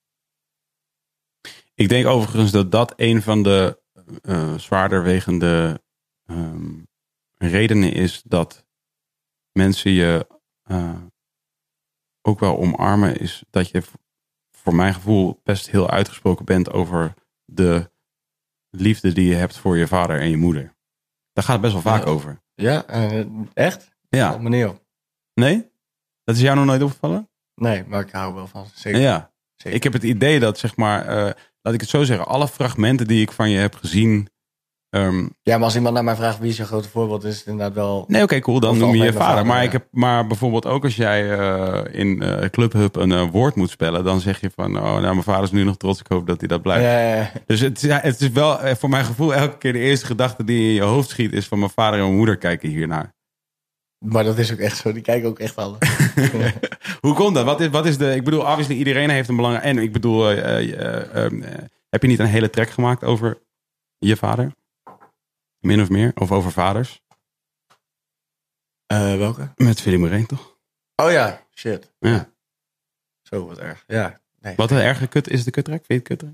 Ik denk overigens dat dat een van de eh zwaarder wegende ehm, redenen is dat mensen je eh, ook wel omarmen. Is dat je v- voor mijn gevoel best heel uitgesproken bent over de liefde die je hebt voor je vader en je moeder. Daar gaat het best wel vaak Ja. over. Ja, eh, echt? Ja. Valt me niet op. Nee? Dat is jou nog nooit opgevallen? Nee, maar ik hou wel van. ze. Zeker. Ja. zeker. Ik heb het idee dat, zeg maar, eh, laat ik het zo zeggen, alle fragmenten die ik van je heb gezien. ehm, Ja, maar als iemand naar mij vraagt wie is je grote voorbeeld, is het inderdaad wel. nee, oké, cool, dan Of noem je je algemeen vader. vader, maar, ja. ik heb, maar bijvoorbeeld ook als jij eh, in eh Clubhub een eh, woord moet spellen, dan zeg je van, oh, nou, mijn vader is nu nog trots, ik hoop dat hij dat blijft. Eh, Dus het, ja, het is wel, eh, voor mijn gevoel, elke keer de eerste gedachte die in je hoofd schiet is van, mijn vader en mijn moeder kijken hiernaar. maar dat is ook echt zo. Die kijken ook echt alle. Hoe komt dat? Wat is, wat is de, ik bedoel, obviously iedereen heeft een belangrijk, en ik bedoel, eh, eh, eh, ehm, eh, heb je niet een hele track gemaakt over je vader? Min of meer? Of over vaders? Eh, welke? Met Philly Moreen, toch? Oh ja, shit. Ja. Zo wat erg. Ja. Nee. Wat een erge kut is de kuttrek? Vind je het kuttrek?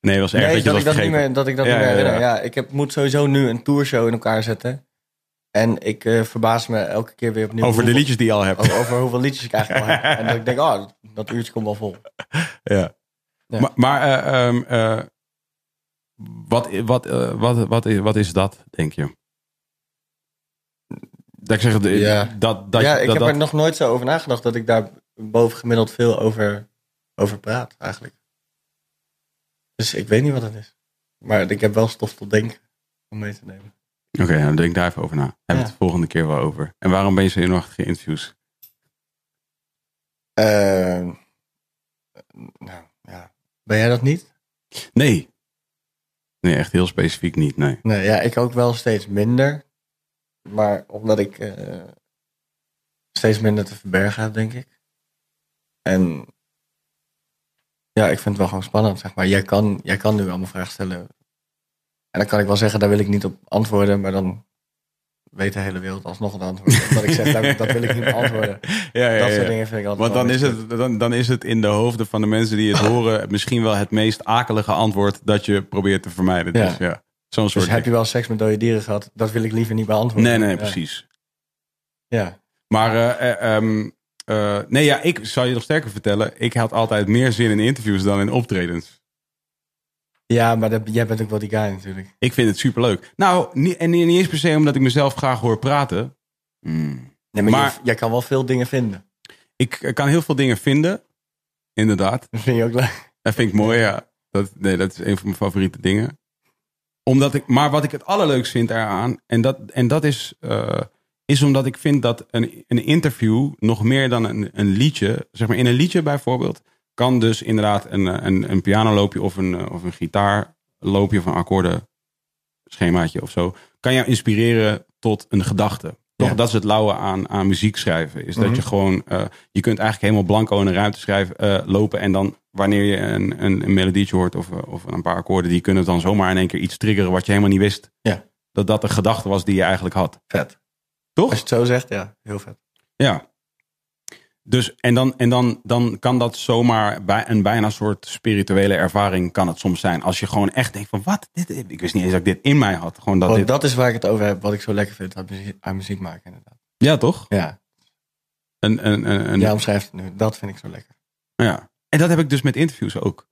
Nee, was erg Nee, dat je dat, dat ik dat, niet vergeten. meer, dat ik dat Ja, niet meer ja, ja. herinner. Ja, ik heb, moet sowieso nu een tourshow in elkaar zetten. En ik eh, verbaas me elke keer weer opnieuw. Over de hoeveel- liedjes die je al hebt. o- Over hoeveel liedjes ik eigenlijk al heb. En dat ik denk, oh, dat, dat uurtje komt wel vol. Ja. Ja. Maar, maar eh, ehm, eh, wat, wat, eh, wat, wat, is- wat is dat, denk je? Dat ik zeg, de- Ja. dat, dat, ja, dat, ik heb dat- er nog nooit zo over nagedacht dat ik daar bovengemiddeld veel over, over praat eigenlijk. Dus ik weet niet wat het is. Maar ik heb wel stof tot denken om mee te nemen. Oké, dan denk daar even over na. Hebben we Ja. het de volgende keer wel over. En waarom ben je zo zenuwachtige interviews? Eh, nou, ja. Ben jij dat niet? Nee. Nee, echt heel specifiek niet, nee. Nee, ja, ik ook wel steeds minder. Maar omdat ik eh, steeds minder te verbergen heb, denk ik. En ja, ik vind het wel gewoon spannend, zeg maar. Jij kan, jij kan nu allemaal vragen stellen. En dan kan ik wel zeggen, daar wil ik niet op antwoorden. Maar dan weet de hele wereld alsnog een antwoord. Omdat ik zeg, daar- dat wil ik niet beantwoorden. Ja, ja, Dat ja. soort dingen vind ik Want altijd wel dan is, een het, dan, dan is het in de hoofden van de mensen die het horen misschien wel het meest akelige antwoord dat je probeert te vermijden. Ja. Dus ja, zo'n soort. Dus heb je ding. wel seks met dode dieren gehad? Dat wil ik liever niet beantwoorden. Nee, nee, Ja. precies. Ja. Maar eh, eh, ehm, eh, nee, ja, ik zal je nog sterker vertellen. Ik had altijd meer zin in interviews dan in optredens. Ja, maar dat, jij bent ook wel die guy natuurlijk. Ik vind het superleuk. Nou, niet, en niet eens per se omdat ik mezelf graag hoor praten. Nee, maar, Maar- je- jij kan wel veel dingen vinden. Ik eh, kan heel veel dingen vinden. Inderdaad. Dat vind je ook leuk. Dat vind ik mooi, ja. Dat, nee, dat is een van mijn favoriete dingen. Omdat ik, maar wat ik het allerleukst vind eraan, en dat, en dat is, eh, is omdat ik vind dat een, een interview nog meer dan een, een liedje, zeg maar in een liedje bijvoorbeeld, kan dus inderdaad een, eh, een, een pianoloopje of een, eh, of een gitaarloopje of een akkoordenschemaatje of zo, kan jou inspireren tot een gedachte. Toch, Ja. dat is het lauwe aan, aan muziek schrijven. Is dat Mhm. je gewoon, eh, je kunt eigenlijk helemaal blanco in een ruimte schrijven, eh, lopen. En dan wanneer je een, een, een melodietje hoort of, eh, of een paar akkoorden, die kunnen dan zomaar in één keer iets triggeren wat je helemaal niet wist. Ja. Dat dat een gedachte was die je eigenlijk had. Vet. Toch? Als je het zo zegt, ja, heel vet. Ja. Dus, en dan, en dan, dan kan dat zomaar bij een bijna soort spirituele ervaring kan het soms zijn. Als je gewoon echt denkt van, wat? Dit, ik wist niet eens dat ik dit in mij had. Gewoon dat Want dit, Oh, dat is waar ik het over heb, wat ik zo lekker vind aan muziek, aan muziek maken, inderdaad. ja, toch? Ja, Een, een, een, een, jij omschrijft het nu. Dat vind ik zo lekker. Ja. En dat heb ik dus met interviews ook.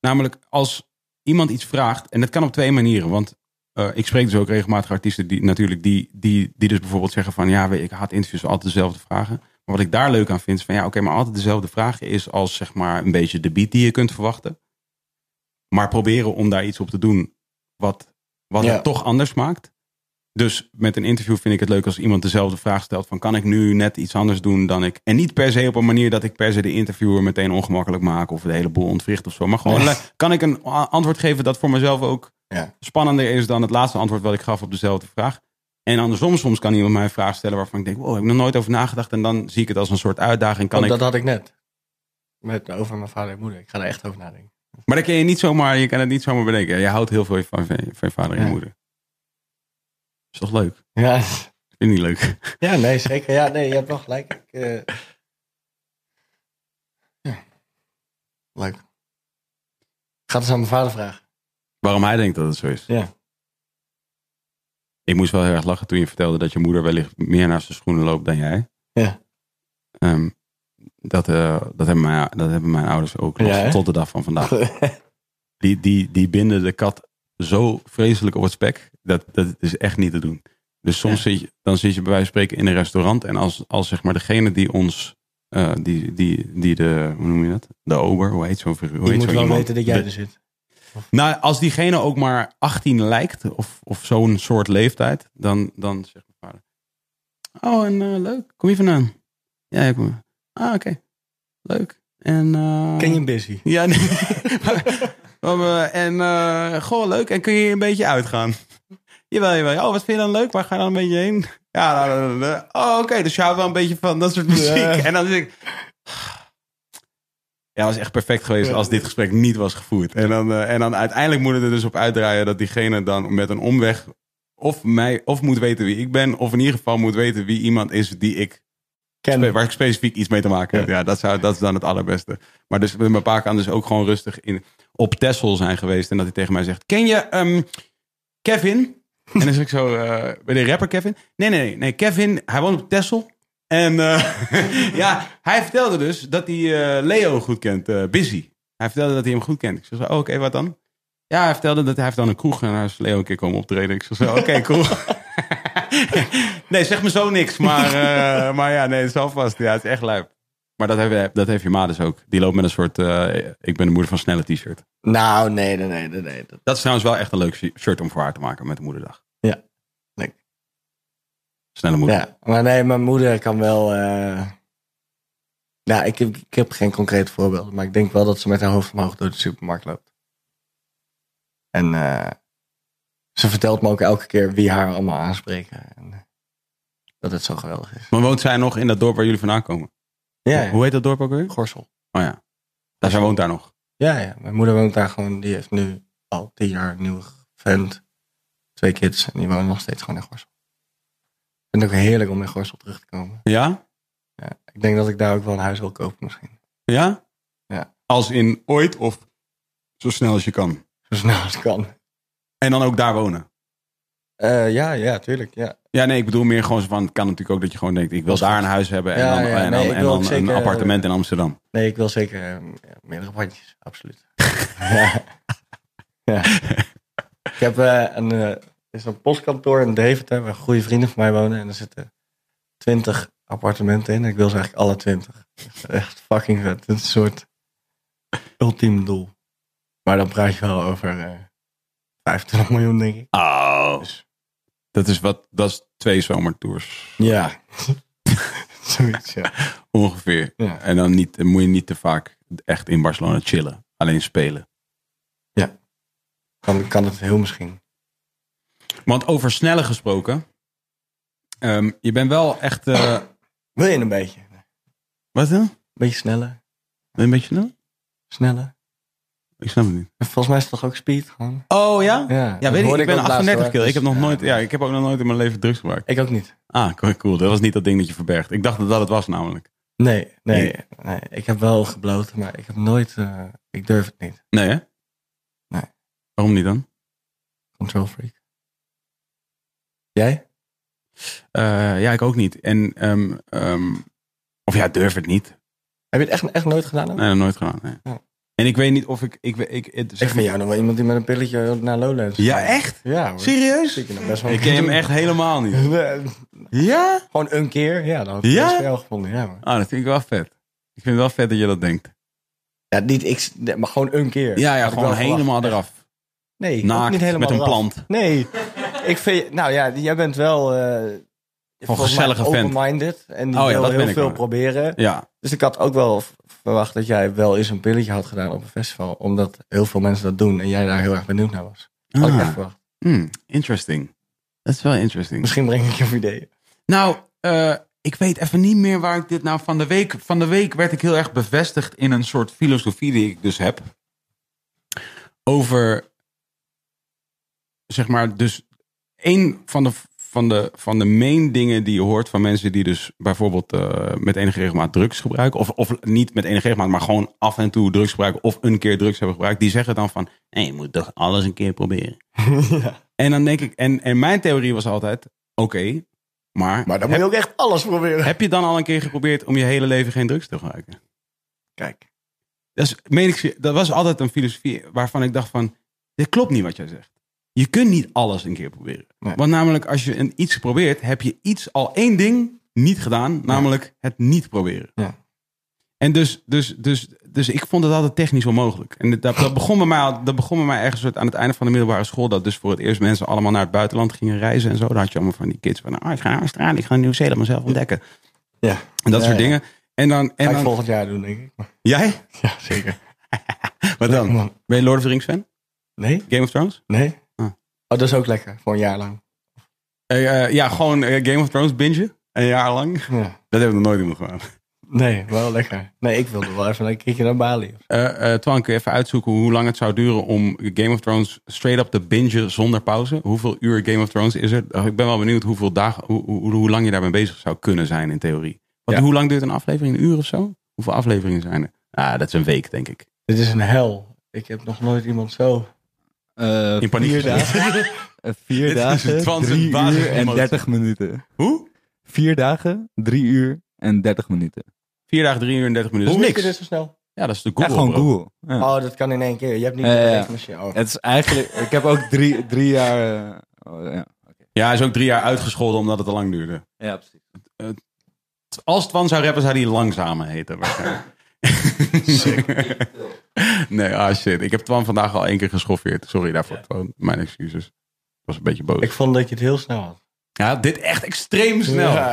Namelijk als iemand iets vraagt, en dat kan op twee manieren. Want eh, ik spreek dus ook regelmatig artiesten die natuurlijk die, die, die dus bijvoorbeeld zeggen van ja, weet je, ik haat interviews altijd dezelfde vragen. Maar wat ik daar leuk aan vind is van ja, oké, maar altijd dezelfde vraag is als zeg maar een beetje de beat die je kunt verwachten. Maar proberen om daar iets op te doen wat, wat Ja. het toch anders maakt. Dus met een interview vind ik het leuk als iemand dezelfde vraag stelt van kan ik nu net iets anders doen dan ik. En niet per se op een manier dat ik per se de interviewer meteen ongemakkelijk maak of de hele boel ontwricht of zo. Maar gewoon Nee. le- kan ik een a- antwoord geven dat voor mezelf ook Ja. spannender is dan het laatste antwoord wat ik gaf op dezelfde vraag. En andersom, soms kan iemand mij een vraag stellen waarvan ik denk, wow, heb ik nog nooit over nagedacht. En dan zie ik het als een soort uitdaging. Kan Want ik Oh, dat had ik net. Met, over mijn vader en moeder. Ik ga er echt over nadenken. Maar dat kun je niet zomaar, je kan het niet zomaar bedenken. Je houdt heel veel van, van, van je vader en je Ja. moeder. Is toch leuk? Ja, Vind je niet leuk? ja nee, zeker. Ja, nee, je hebt wel gelijk. Ik, eh, ja. Leuk. Ik ga het eens aan mijn vader vragen. Waarom hij denkt dat het zo is. Ja. Ik moest wel heel erg lachen toen je vertelde dat je moeder wellicht meer naar zijn schoenen loopt dan jij. Ja. Ehm, dat, eh, dat, hebben mijn, dat hebben mijn ouders ook nog Ja, hè? tot de dag van vandaag. Die, die, die binden de kat zo vreselijk op het spek. Dat, dat is echt niet te doen. Dus soms zit je, dan zit je bij wijze van spreken in een restaurant. En als, als zeg maar degene die ons, eh, die, die, die de, hoe noem je dat? De ober, hoe heet zo'n figuur? Hoe Je heet moet zo wel iemand? weten dat jij De- er zit. nou, als diegene ook maar 18 lijkt, of, of zo'n soort leeftijd, dan, dan zegt mijn vader: Oh, en eh, leuk, kom je vandaan? Ja, ik kom. Ah, oké. Leuk. En, eh, Ken je hem busy? Ja, nee. Maar, eh, en eh, goh, leuk. En kun je hier een beetje uitgaan? Jawel, jawel. Oh, wat vind je dan leuk? Waar ga je dan een beetje heen? Ja, nou, nou, nou, nou. oh, oké. Dus je houdt wel een beetje van dat soort muziek. Ja. En dan denk ik... Ja, was echt perfect geweest als dit gesprek niet was gevoerd. En dan, eh, en dan uiteindelijk moet het er dus op uitdraaien dat diegene dan met een omweg of mij of moet weten wie ik ben, of in ieder geval moet weten wie iemand is die ik Spe- Ken waar ik specifiek iets mee te maken heb. Ja, dat, zou, dat is dan het allerbeste. Maar dus mijn pa kan dus ook gewoon rustig in, op Tessel zijn geweest. En dat hij tegen mij zegt: Ken je ehm, Kevin? En dan zeg ik zo: eh Ben je de rapper Kevin? Nee, nee, nee, nee. Kevin, hij woont op Tessel. En eh, ja, hij vertelde dus dat hij eh, Leo goed kent, eh, Busy. Hij vertelde dat hij hem goed kent. Ik zei: zo, oh, Oké, wat dan? Ja, hij vertelde dat hij heeft dan een kroeg en daar is Leo een keer komen optreden. Ik zei zo, oké, cool. nee, zeg me zo niks. Maar, eh, maar ja, nee, het is alvast. Ja, het is echt lui. Maar dat heeft, dat heeft je ma dus ook. Die loopt met een soort, eh, ik ben de moeder van snelle t-shirt. Nou, nee, nee, nee, nee. nee. Dat Dat is trouwens wel echt een leuk shi- shirt om voor haar te maken met moederdag. Ja. Nee. Snelle moeder. Ja, maar nee, mijn moeder kan wel. eh, Nou, ik heb, ik heb geen concreet voorbeeld, maar ik denk wel dat ze met haar hoofd omhoog door de supermarkt loopt. En eh, ze vertelt me ook elke keer wie haar allemaal aanspreken. En, eh, dat het zo geweldig is. Maar woont zij nog in dat dorp waar jullie vandaan komen? Ja, ja. Hoe heet dat dorp ook weer? Gorsel. Oh ja. Daar, zij woont daar nog. Ja, ja, mijn moeder woont daar gewoon. Die heeft nu al tien jaar een nieuwe vent, twee kids en die wonen nog steeds gewoon in Gorsel. Ik vind het ook heerlijk om in Gorsel terug te komen. Ja? Ja, ik denk dat ik daar ook wel een huis wil kopen misschien. Ja? Ja. Als in ooit of zo snel als je kan. Zo snel als het kan. En dan ook daar wonen. Eh, ja, ja, tuurlijk. Ja. Ja, nee, ik bedoel meer gewoon zo van, het kan natuurlijk ook dat je gewoon denkt, ik wil daar een huis hebben en Ja, dan, ja, en dan, nee, ik en wil dan ook een zeker- appartement in Amsterdam. Nee, ik wil zeker eh, ja, meerdere bandjes, absoluut. ja. ja. Ik heb eh, een, eh, er is een postkantoor in Deventer waar goede vrienden van mij wonen. En er zitten twintig appartementen in. En ik wil ze eigenlijk alle twintig. Echt fucking vet. Het is een soort ultiem doel. Maar dan praat je wel over eh 25 miljoen, denk ik. Oh. Dat is wat, dat is twee zomertours Ja. Zoiets, ja. ongeveer. Ja. En dan niet, dan moet je niet te vaak echt in Barcelona chillen, alleen spelen. Dan kan het heel misschien. Want over snelle gesproken, ehm, je bent wel echt, eh, Wil je een beetje? Een wat dan? Ben beetje sneller. je een beetje snel? Sneller. Ik snap het niet. Volgens mij is het toch ook speed gewoon? Oh ja? Ja, Ja, dat weet ik, hoorde ik ben ook laatst, 38 hoor. kilo. Ik heb nog Dus, nooit, eh, ja, ik heb ook nog nooit in mijn leven drugs gebruikt. Ik ook niet. Ah, cool, cool. Dat was niet dat ding dat je verbergt. Ik dacht dat dat het was namelijk. Nee, nee, nee. Ik heb wel gebloten, maar ik heb nooit... eh, ik durf het niet. Nee, hè? Nee. Waarom niet dan? Control freak. Jij? Eh, ja, ik ook niet. En, ehm, ehm, of ja, durf het niet. Heb je het echt, echt nooit gedaan? ook? Nee, dat nooit gedaan. nee. Ja. En ik weet niet of ik... ik, ik, het- Ik vind jou nog wel iemand die met een pilletje naar Lowlands Ja, gaat. echt? Ja, hoor. Serieus? Ik, ken hem best wel Ik ken hem echt helemaal niet. Ja? gewoon een keer. Ja, dan had ik Ja? het wel gevonden. Ja, maar. Ah, dat vind ik wel vet. Ik vind het wel vet dat je dat denkt. ja niet, ik, nee, maar gewoon een keer. Ja, ja, Had ik gewoon wel verwacht. helemaal eraf. Nee, ik ook Naakt, niet helemaal met een eraf. plant. Nee, ik vind, nou ja, jij bent wel... eh volgens mij gezellige vent. Open-minded. En die Oh ja, wil dat ben heel ik veel wel. proberen. Ja, Dus ik had ook wel v- verwacht dat jij wel eens een pilletje had gedaan op een festival. Omdat heel veel mensen dat doen en jij daar heel erg benieuwd naar was. Had ik Ah, echt verwacht. hmm, interesting. Dat is wel interesting. Misschien breng ik je op ideeën. Nou, Eh, ik weet even niet meer waar ik dit nou van de week. Van de week werd ik heel erg bevestigd in een soort filosofie die ik dus heb. over, zeg maar, dus een van de, van de, van de main dingen die je hoort van mensen die dus bijvoorbeeld eh, met enige regelmaat drugs gebruiken, of, of niet met enige regelmaat, maar gewoon af en toe drugs gebruiken, of een keer drugs hebben gebruikt, die zeggen dan van, nee, je moet toch alles een keer proberen. ja. En dan denk ik, en, en mijn theorie was altijd, oké, maar, Maar dan moet heb, je ook echt alles proberen. heb je dan al een keer geprobeerd om je hele leven geen drugs te gebruiken? Kijk. Dat, is, meen ik serieus, dat was altijd een filosofie waarvan ik dacht van... Dit klopt niet wat jij zegt. Je kunt niet alles een keer proberen. Nee. Want namelijk als je een iets probeert... heb je iets al één ding niet gedaan. Namelijk het niet proberen. Ja. En dus, dus, dus, dus ik vond het altijd technisch onmogelijk. En dat, dat, begon bij mij, al- dat begon bij mij ergens soort aan het einde van de middelbare school... dat dus voor het eerst mensen allemaal naar het buitenland gingen reizen en zo. Dan had je allemaal van die kids van... ah ik ga naar Australië, ik ga naar Nieuw-Zeeland mezelf ontdekken. Ja. En dat Ja, soort ja. dingen. En dan... En Ga ik dan volgend jaar doen, denk ik. jij? Ja, zeker. Wat dan? Ben je Lord of the Rings fan? Nee? Game of Thrones? Nee? Ah. Oh, dat is ook lekker. Voor een jaar lang. Eh, eh, ja, gewoon eh, Game of Thrones bingen. Een jaar lang. Ja. Dat hebben we nog nooit iemand gedaan. Nee, wel lekker. Nee, ik wilde wel even een keertje naar Bali. Eh eh Twan, kun je even uitzoeken hoe lang het zou duren om Game of Thrones straight up te bingen zonder pauze? Hoeveel uur Game of Thrones is er? Eh, ik ben wel benieuwd hoeveel dagen, hoe, hoe, hoe lang je daarmee bezig zou kunnen zijn in theorie. Want Ja. hoe lang duurt een aflevering? Een uur of zo? Hoeveel afleveringen zijn er? Ah, dat is een week, denk ik. Dit is een hel. Ik heb nog nooit iemand zo... Eh, In paniek Vier gezet. dagen, Eh, vier Dit is een dagen trans- drie basis uur en emotie. 30 minuten. Hoe? Vier dagen, drie uur en 30 minuten. Vier dagen, drie uur en dertig minuten. Hoe Dat is weet je dit niks. zo snel? Ja, dat is de Ja, Google. gewoon bro. Google. Ja. Oh, dat kan in één keer. Je hebt niet Ja, ja, een ja. rekenmachine. Oh. Het is eigenlijk, ik heb ook drie, drie jaar. eh, oh, ja. Ja, is ook drie jaar uitgescholden omdat het te lang duurde. ja, precies. Als Twan zou rappen, zou hij langzamer heten. waarschijnlijk. nee, ah shit. Ik heb Twan vandaag al één keer geschoffeerd. Sorry daarvoor, Twan. Mijn excuses. Ik was een beetje boos. Oh. Ik vond dat je het heel snel had. Ja, dit echt extreem snel.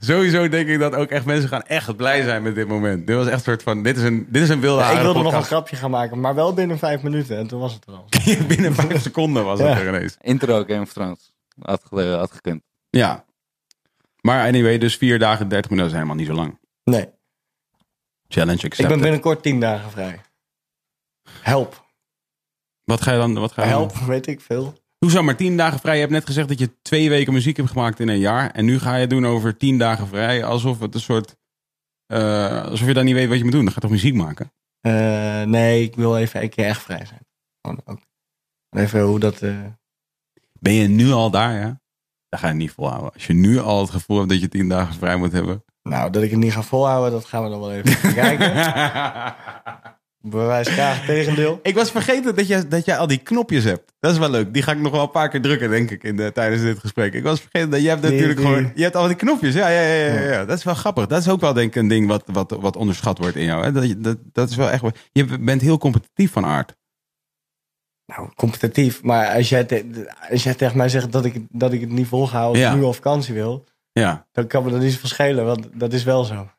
Sowieso denk ik dat ook echt mensen gaan echt blij zijn met dit moment. Dit was echt een soort van, dit is een, dit is een wilde Ja, ik haren wilde nog een podcast. grapje gaan maken, maar wel binnen vijf minuten. En toen was het er al. Binnen vijf seconden was het Ja. er ineens. Intro Game of Thrones. Had, ge- had gekund. Ja. Maar anyway, dus vier dagen, dertig minuten is helemaal niet zo lang. Nee, Challenge ik ben accepted. binnenkort tien dagen vrij. Help. Wat ga je dan, wat ga je dan- Help, weet ik veel. Hoezo maar tien dagen vrij? Je hebt net gezegd dat je twee weken muziek hebt gemaakt in een jaar. En nu ga je het doen over tien dagen vrij. Alsof het een soort... eh, alsof je dan niet weet wat je moet doen. Dan ga je toch muziek maken? Eh, nee, ik wil even een keer echt vrij zijn. Gewoon ook. Even hoe dat... eh, Ben je nu al daar, ja? Dan ga je het niet volhouden. Als je nu al het gevoel hebt dat je tien dagen vrij moet hebben. nou, dat ik het niet ga volhouden, dat gaan we dan wel even bekijken. Bewijs graag het tegendeel. ik was vergeten dat jij, dat jij al die knopjes hebt. Dat is wel leuk. Die ga ik nog wel een paar keer drukken, denk ik, in de, tijdens dit gesprek. Ik was vergeten dat jij hebt Die- natuurlijk die- gewoon... Je hebt al die knopjes. Ja, ja, ja, ja, ja. Dat is wel grappig. Dat is ook wel, denk ik, een ding wat, wat, wat onderschat wordt in jou. Hè? Dat, je- dat, dat is wel echt... Je bent heel competitief van aard. Nou, competitief. Maar als jij, te- als jij tegen mij zegt dat ik, dat ik het niet volga, of Ja. nu op vakantie wil, Ja. dan kan me dat niet zoveel schelen, want dat is wel zo.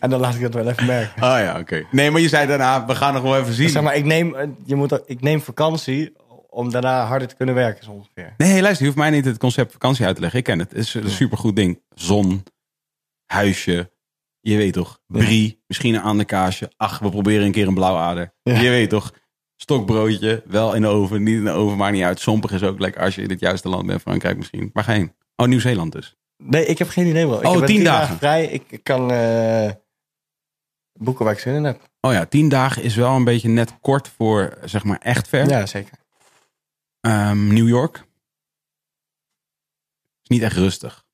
en dan laat ik dat wel even merken. Ah ja, oké. Nee, maar je zei daarna, we gaan nog wel even zien. Zeg maar, ik neem, eh, je moet, ook- ik neem vakantie om daarna harder te kunnen werken, zo ongeveer. Nee, luister, je hoeft mij niet het concept vakantie uit te leggen. Ik ken het. Het is een supergoed ding. Zon, huisje, je weet toch. Brie, misschien een ander kaasje. Ach, we proberen een keer een blauwader. Ja. Je weet toch. Stokbroodje, wel in de oven, niet in de oven, maakt niet uit. Sompig is ook lekker als je in het juiste land bent. Frankrijk misschien. Waar ga je heen? Oh, Nieuw-Zeeland dus. Nee, ik heb geen idee wel. Ik Oh, heb tien dagen. vrij. Ik ik kan eh, boeken waar ik zin in heb. Oh ja, tien dagen is wel een beetje net kort voor, zeg maar, echt ver. Ja, zeker. Ehm, New York. Is niet echt rustig.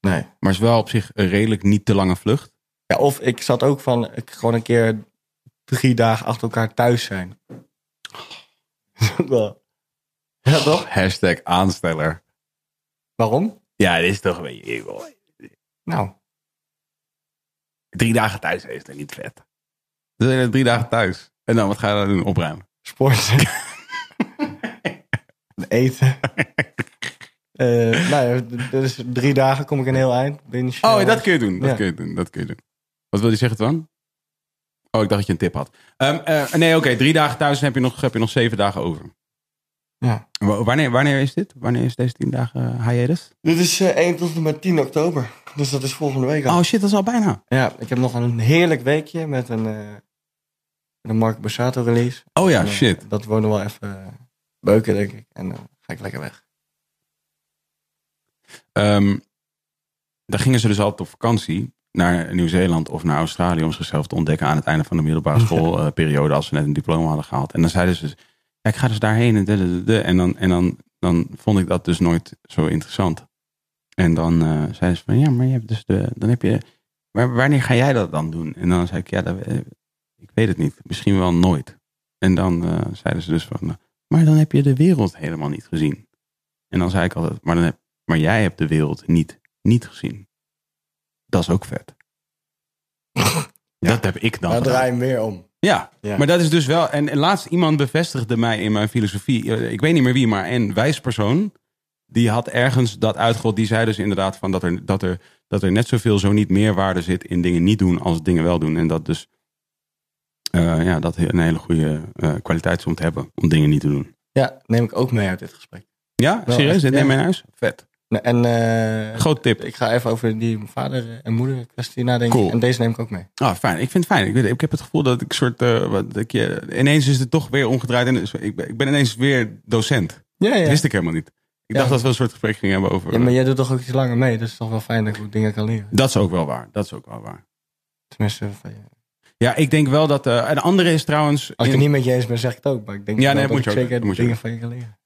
Nee. Maar is wel op zich een redelijk niet te lange vlucht. Ja, of ik zat ook van, ik gewoon een keer drie dagen achter elkaar thuis zijn. Dat is ook wel- ja, toch? Hashtag aansteller. Waarom? Ja, dit is toch een beetje eeuw. Nou, Drie dagen thuis is toch niet vet? Dan zijn er Oh, drie dagen thuis. En dan, wat ga je dan doen? Opruimen. sport. eten. Eh, nou ja, d- dus drie dagen kom ik een heel eind. Binge, Oh, eh, dat kun je doen. Dat Ja. kun je doen. Dat kun je doen. Wat wil je zeggen, Twan? Oh, ik dacht dat je een tip had. Ehm, eh, nee, oké. drie dagen thuis en heb je nog, heb je nog zeven dagen over. Ja. Wa- Wanneer, wanneer is dit? Wanneer is deze tien dagen eh, hiatus? Dit is eh 1 tot en met 10 oktober. Dus dat is volgende week al. Oh shit, dat is al bijna. Ja, ik heb nog een heerlijk weekje met een, eh, met een Mark Borsato release. Oh ja, En, eh, shit. Dat wordt nog wel even eh, beuken, denk ik. En dan ga ik lekker weg. Ehm, daar gingen ze dus altijd op vakantie naar Nieuw-Zeeland of naar Australië om zichzelf te ontdekken aan het einde van de middelbare schoolperiode als ze net een diploma hadden gehaald. En dan zeiden ze, dus, ja, ik ga dus daarheen en, de, de, de, de. en, dan, en dan, dan vond ik dat dus nooit zo interessant. En dan eh, zeiden ze van, ja, maar je hebt dus de, dan heb je, maar wanneer ga jij dat dan doen? En dan zei ik, ja, dat, eh, ik weet het niet, misschien wel nooit. En dan eh, zeiden ze dus van, eh, maar dan heb je de wereld helemaal niet gezien. En dan zei ik altijd, maar dan heb maar jij hebt de wereld niet, niet gezien. Dat is ook vet. Dat heb ik dan. gedaan. Nou, draai hem weer om. Ja, Ja. maar dat is dus wel. En, en laatst iemand bevestigde mij in mijn filosofie. eh, Ik weet niet meer wie, maar een wijs persoon. Die had ergens dat uitgerold. Die zei dus inderdaad van dat, er, dat, er, dat er net zoveel, zo niet meer waarde zit in dingen niet doen als dingen wel doen. En dat dus eh, ja, dat een hele goede eh, kwaliteit is om te hebben. Om dingen niet te doen. Ja, neem ik ook mee uit dit gesprek. Ja, Wel serieus? echt, Dit ja. neem je in huis? Vet. Nou, en eh, Groot tip. ik ga even over die vader en moeder kwestie nadenken. Cool. En deze neem ik ook mee. Ah, fijn. Ik vind het fijn. Ik, weet- ik heb het gevoel dat ik soort. eh, wat, dat ik, je- ineens is het toch weer omgedraaid. En dus ik, ben- ik ben ineens weer docent. Ja, Dat ja. wist ik helemaal niet. Ik dacht dat we een soort gesprek gingen hebben over. eh, ja maar jij doet toch ook iets langer mee. Dus het is toch wel fijn dat ik ook dingen kan leren. Dat is ook wel waar. Dat is ook wel waar. Tenminste, van je- Ja, ik denk wel dat. eh een andere is trouwens. als ik in- het niet met je eens ben, zeg ik het ook. Maar ik denk Ja, wel nee, dat moet ik je ook. zeker Moet je dingen ook. van je kan leren.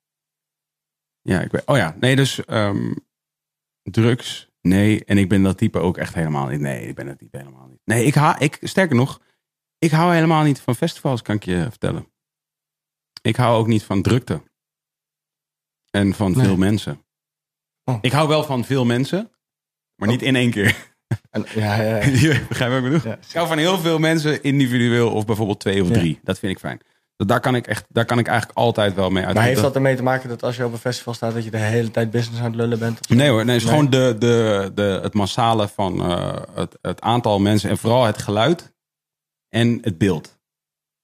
Ja, ik weet. Oh ja, nee, dus. ehm, drugs, nee. En ik ben dat type ook echt helemaal niet. Nee, ik ben dat type helemaal niet. Nee, ik hou. Ik, sterker nog, ik hou helemaal niet van festivals, kan ik je vertellen. Ik hou ook niet van drukte. En van Nee. veel mensen. Oh. Ik hou wel van veel mensen, maar niet in één keer. En, ja, ja, ja. Je Begrijp je wat ik bedoel? ja. Ik hou van heel veel mensen individueel of bijvoorbeeld twee of Ja. drie. Dat vind ik fijn. Dat- Daar kan ik, echt, daar kan ik eigenlijk altijd wel mee uit. Maar heeft Dat- dat ermee te maken dat als je op een festival staat, dat je de hele tijd business aan het lullen bent? of zo? Nee hoor, nee, het is Nee. gewoon de, de, de, het massale van eh, het, het aantal mensen en vooral het geluid en het beeld.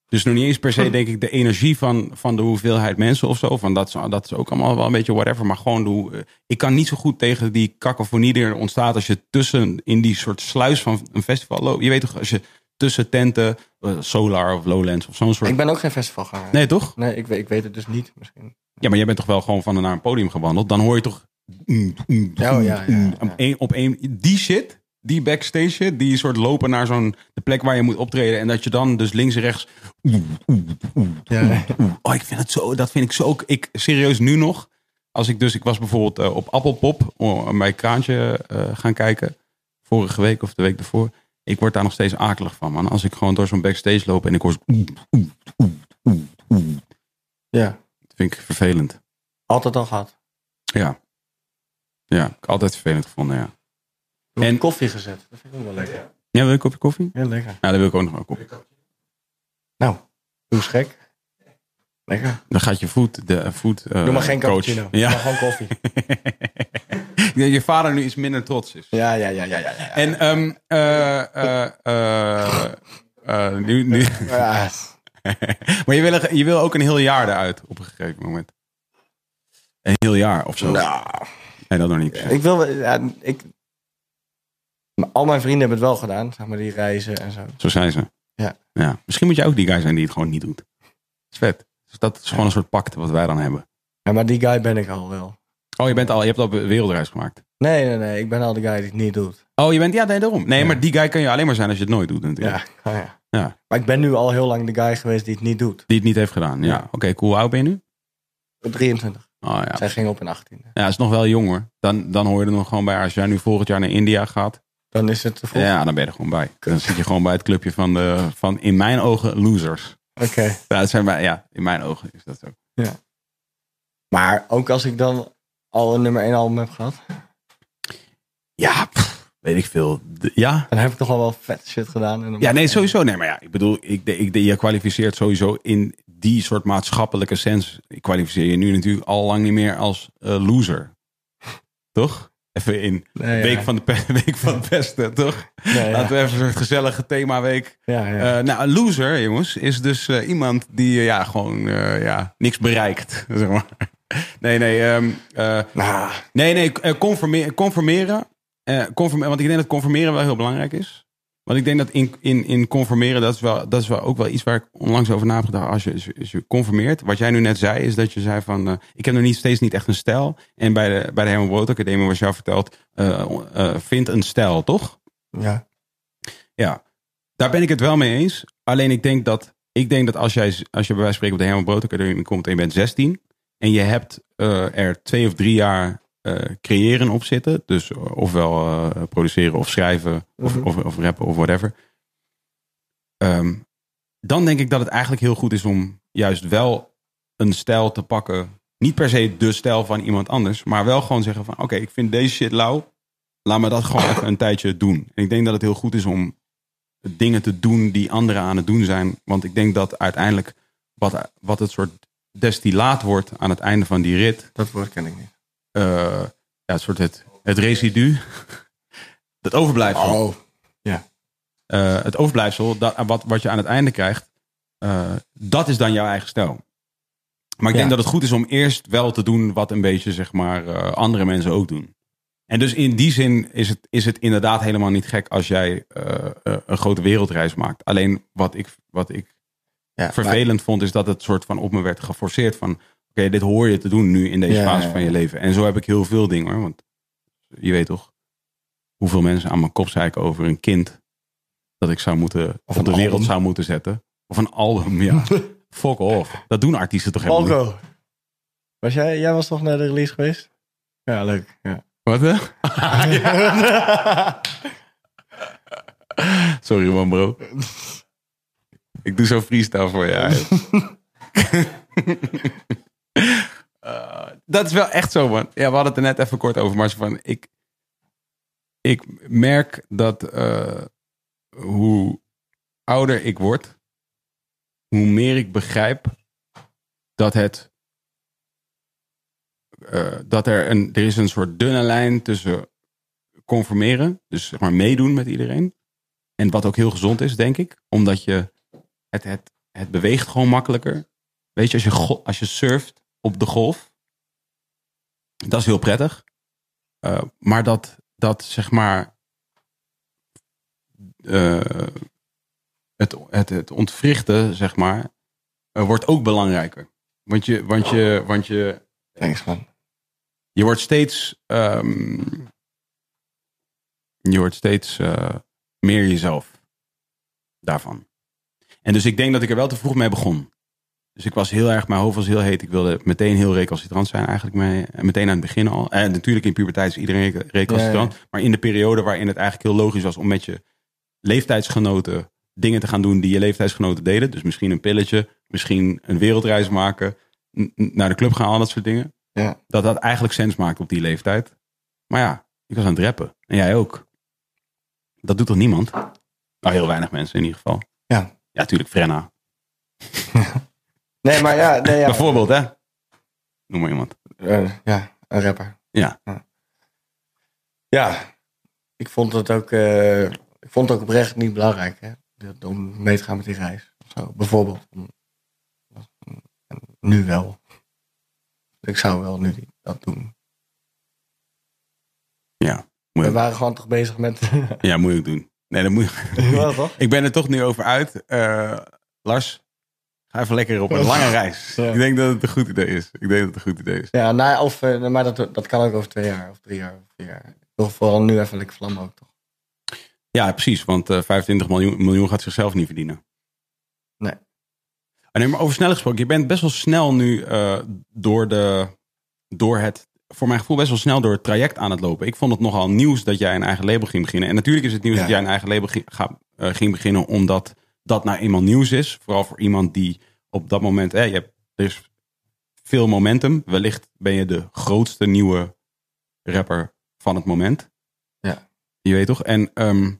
Dus nog niet eens per Hm. se, denk ik, de energie van, van de hoeveelheid mensen of zo. Van dat, is, dat is ook allemaal wel een beetje whatever. Maar gewoon, de, hoe- eh, ik kan niet zo goed tegen die cacophonie die er ontstaat als je tussen in die soort sluis van een festival loopt. Je weet toch, als je tussen tenten, eh, Solar of Lowlands of zo'n soort. Ik ben ook geen festivalganger. Nee, toch? Nee, ik, weet- ik weet het dus niet misschien. Ja, maar jij bent toch wel gewoon van een naar een podium gewandeld. Dan hoor je toch. ja, ja, ja. Op één, op één, die shit, die backstage shit, die soort lopen naar zo'n de plek waar je moet optreden. En dat je dan dus links en rechts. Ja, Oh, ik vind het zo. Dat vind ik zo. ook- Ik serieus nu nog. Als ik dus, ik was bijvoorbeeld eh, op Appelpop oh, mijn kraantje eh, gaan kijken. Vorige week of de week daarvoor. Ik word daar nog steeds akelig van, man. Als ik gewoon door zo'n backstage loop en ik hoor. zo- ja. Dat vind ik vervelend. altijd al gehad. Ja. Ja, ik heb altijd vervelend gevonden, ja. En- En koffie gezet. Dat vind ik ook wel lekker. Ja, wil je een kopje koffie? Heel lekker. Ja, daar wil ik ook nog wel een kopje. Nou, doe eens gek. Lekker. Dan gaat je voet, de voet eh, Doe maar geen coach. cappuccino. Eh, Ja. Maar Ja. gewoon koffie. Ik denk dat je vader nu iets minder trots is. Ja, ja, ja, ja, ja. ja. En ehm eh, eh, eh, eh, nu, nu. Ja, maar je wil, er- je wil ook een heel jaar eruit op een gegeven moment. Een heel jaar of zo. nou, Nee, dat nog niet. ik wil... Ja, ik, maar al mijn vrienden hebben het wel gedaan. Zeg maar die reizen en zo. Zo zijn ze. Ja. ja. Misschien moet je ook die guy zijn die het gewoon niet doet. Dat is vet. Dus dat is gewoon een soort pact wat wij dan hebben. Ja, maar die guy ben ik al wel. Oh, je, bent al, je hebt al wereldreis gemaakt. Nee, nee, nee. Ik ben al de guy die het niet doet. Oh, je bent, ja, nee, daarom. Nee, Ja. maar die guy kan je alleen maar zijn als je het nooit doet natuurlijk. Ja. Oh, ja. Ja. Maar ik ben nu al heel lang de guy geweest die het niet doet. Die het niet heeft gedaan, ja. Ja. Oké, cool. Hoe oud ben je nu? 23. Oh ja. Zij ging op in 18. Ja, is nog wel jong hoor. Dan, dan hoor je er nog gewoon bij. Als jij nu volgend jaar naar India gaat, Dan is het te vroeg. ja, dan ben je er gewoon bij. Dan zit je gewoon bij het clubje van, de, van in mijn ogen, losers. Oké. Ja, dat zijn wij, ja, in mijn ogen is dat zo. Maar ook als ik dan al een nummer 1 album heb gehad, Ja, pff, weet ik veel. De- ja, dan heb ik toch al wel vet shit gedaan. En dan- Ja, nee, sowieso. Nee, maar ja, ik bedoel, ik, de- ik, de- je kwalificeert sowieso in die soort maatschappelijke sens kwalificeer je nu natuurlijk al lang niet meer als eh, loser. toch? Even in Nee, week, ja. van de pe- week van het beste, toch? Nee, ja. Laten we even een gezellige themaweek Ja, ja. eh, nou, een loser, jongens, is dus eh, iemand die eh, ja, gewoon eh, ja, niks bereikt. Zeg maar. Nee, nee. ehm, eh, Nou, nee, nee. eh, Conformeren. conformeren, eh, conforme- want ik denk dat conformeren wel heel belangrijk is. Want ik denk dat in, in, in conformeren, dat is, wel, dat is wel ook wel iets waar ik onlangs over na heb gedacht. Als je, als je- als je conformeert. Wat jij nu net zei, is dat je zei van... eh, ik heb nog niet, steeds niet echt een stijl. En bij de, bij de Herman Brood Academie was jou verteld... eh, eh, vind een stijl, toch? ja. Ja, daar ben ik het wel mee eens. Alleen ik denk dat, ik denk dat als, jij, als je bij wijze van spreken op de Herman Brood Academie komt en je bent 16 en je hebt eh, er twee of drie jaar eh, creëren op zitten, dus eh, ofwel eh, produceren of schrijven of, Mhm. of, of rappen of whatever, Ehm, dan denk ik dat het eigenlijk heel goed is om juist wel een stijl te pakken. Niet per se de stijl van iemand anders, maar wel gewoon zeggen van oké, ik vind deze shit lauw. Laat me dat gewoon even een tijdje doen. En ik denk dat het heel goed is om dingen te doen die anderen aan het doen zijn. Want ik denk dat uiteindelijk wat, wat het soort destillaat wordt aan het einde van die rit. Dat woord ken ik niet. eh, ja, het soort het, het residu. Dat overblijft. Oh. Eh, het overblijfsel, dat, wat, wat je aan het einde krijgt, eh, dat is dan jouw eigen stijl. Maar ik denk Ja. dat het goed is om eerst wel te doen wat een beetje, zeg maar, eh, andere mensen ook doen. En dus in die zin is het, is het inderdaad helemaal niet gek als jij eh, eh, een grote wereldreis maakt. Alleen wat ik, wat ik Ja, maar- vervelend vond, is dat het soort van op me werd geforceerd van, oké, dit hoor je te doen nu in deze Ja, fase ja, van ja. je leven. En zo heb ik heel veel dingen, hoor, want je weet toch hoeveel mensen aan mijn kop zeiken over een kind dat ik zou moeten Of op de een wereld album. zou moeten zetten. Of een album, ja. Fuck off. Dat doen artiesten toch helemaal niet. Balko. Was jij, jij was toch naar de release geweest? Ja, leuk. Ja. Wat hè? Sorry man bro. Ik doe zo freestyle voor je. Eh, dat is wel echt zo, man. Ja, we hadden het er net even kort over, maar zo van, ik, ik merk dat eh, hoe ouder ik word, hoe meer ik begrijp dat het eh, dat er een, er is een soort dunne lijn tussen conformeren, dus zeg maar meedoen met iedereen. En wat ook heel gezond is, denk ik, omdat je het, het, het beweegt gewoon makkelijker. Weet je, als je, go- als je surft op de golf, dat is heel prettig. Eh, maar dat, dat zeg maar eh, het, het, het ontwrichten, zeg maar, eh, wordt ook belangrijker. Want je, want je, want je, Thanks, man. je wordt steeds. ehm, je wordt steeds eh, meer jezelf. Daarvan. En dus ik denk dat ik er wel te vroeg mee begon. Dus ik was heel erg, mijn hoofd was heel heet. Ik wilde meteen heel recalcitrant zijn eigenlijk. Mee, en meteen aan het begin al. En natuurlijk in puberteit is iedereen reca- recalcitrant. Maar in de periode waarin het eigenlijk heel logisch was om met je leeftijdsgenoten dingen te gaan doen die je leeftijdsgenoten deden. Dus misschien een pilletje, misschien een wereldreis maken, n- n- naar de club gaan, al dat soort dingen Ja. dat dat eigenlijk sens maakt op die leeftijd. Maar ja, ik was aan het rappen. En jij ook. Dat doet toch niemand? Nou, heel weinig mensen in ieder geval. Ja. Ja, tuurlijk, Frenna. Nee, maar ja. Nee, ja. Bijvoorbeeld, hè? Noem maar iemand. Eh, ja, een rapper. Ja. ja. Ja, ik vond het ook, eh, ik vond het ook oprecht niet belangrijk hè, dat- om mee te gaan met die reis. Of zo, bijvoorbeeld. En Nu wel. Ik zou wel nu die- dat doen. Ja. Moet We je, waren gewoon toch bezig met. ja, moet je ook doen. Nee, dat moet Wel, toch? Ik ben er toch nu over uit. Eh, Lars, ga even lekker op een lange reis. Ja. Ik denk dat het een goed idee is. Ik denk dat het een goed idee is. Ja, nou, of, eh, maar dat, dat kan ook over twee jaar of drie jaar of vier jaar. Toch vooral nu even lekker vlammen ook toch? Ja, precies. Want eh, 25 miljoen, miljoen gaat zichzelf niet verdienen. Nee. Ah, nee, maar over snel gesproken. Je bent best wel snel nu eh, door, de, door het, voor mijn gevoel, best wel snel door het traject aan het lopen. Ik vond het nogal nieuws dat jij een eigen label ging beginnen. En natuurlijk is het nieuws Ja. dat jij een eigen label ging, ga- eh, ging beginnen, omdat dat nou eenmaal nieuws is. Vooral voor iemand die op dat moment, eh, je hebt, er is veel momentum. Wellicht ben je de grootste nieuwe rapper van het moment. Ja. Je weet toch? En ehm,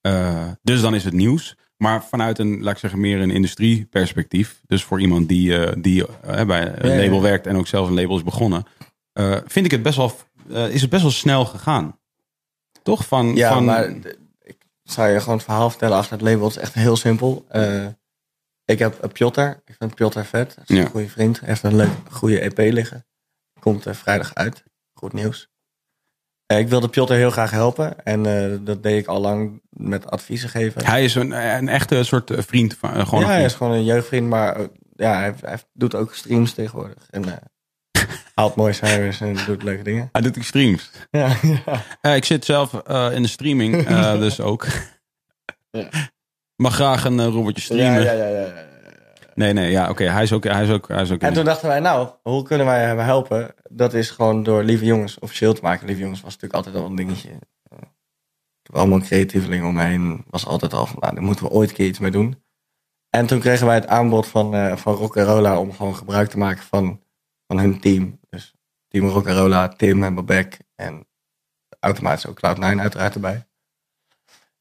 eh, dus dan is het nieuws. Maar vanuit een, laat ik zeggen, meer een industrieperspectief. Dus voor iemand die, eh, die eh, bij een Ja, ja. label werkt en ook zelf een label is begonnen. eh, vind ik het best wel, eh, is het best wel snel gegaan. Toch? Van, Ja, van, maar d- ik zou je gewoon het verhaal vertellen achter het label. Het is echt heel simpel. Eh, ik heb een Piotr. Ik vind Piotr vet. Dat is Ja. een goede vriend. Hij heeft een leuk, goede EP liggen. Komt eh, vrijdag uit. Goed nieuws. Eh, ik wilde Piotr heel graag helpen. En eh, dat deed ik al lang met adviezen geven. Hij is een, een echte soort eh, vriend. Van, eh, gewoon ja, een hij vriend. is gewoon een jeugdvriend, maar eh, ja, hij, hij doet ook streams tegenwoordig. En eh, haalt mooie cijfers en doet leuke dingen. Hij doet die streams. Ja, ja. Eh, ik zit zelf eh, in de streaming, eh, dus ook. Ja. Mag graag een eh, robotje streamen. Ja, ja, ja, ja, ja. Nee, nee, ja, oké. Hij is ook, hij is ook, hij is ook. En toen dachten wij, nou, hoe kunnen wij hem helpen? Dat is gewoon door Lieve Jongens officieel te maken. Lieve Jongens was natuurlijk altijd al een dingetje. Eh, Ik heb allemaal creatievelingen om me heen. Was altijd al van, nou, daar moeten we ooit een keer iets mee doen. En toen kregen wij het aanbod van, eh van Rock'n'Rolla om gewoon gebruik te maken van, van hun team. Dus team Rock'n'Rolla, Tim en Babek en automatisch ook Cloud9 uiteraard erbij.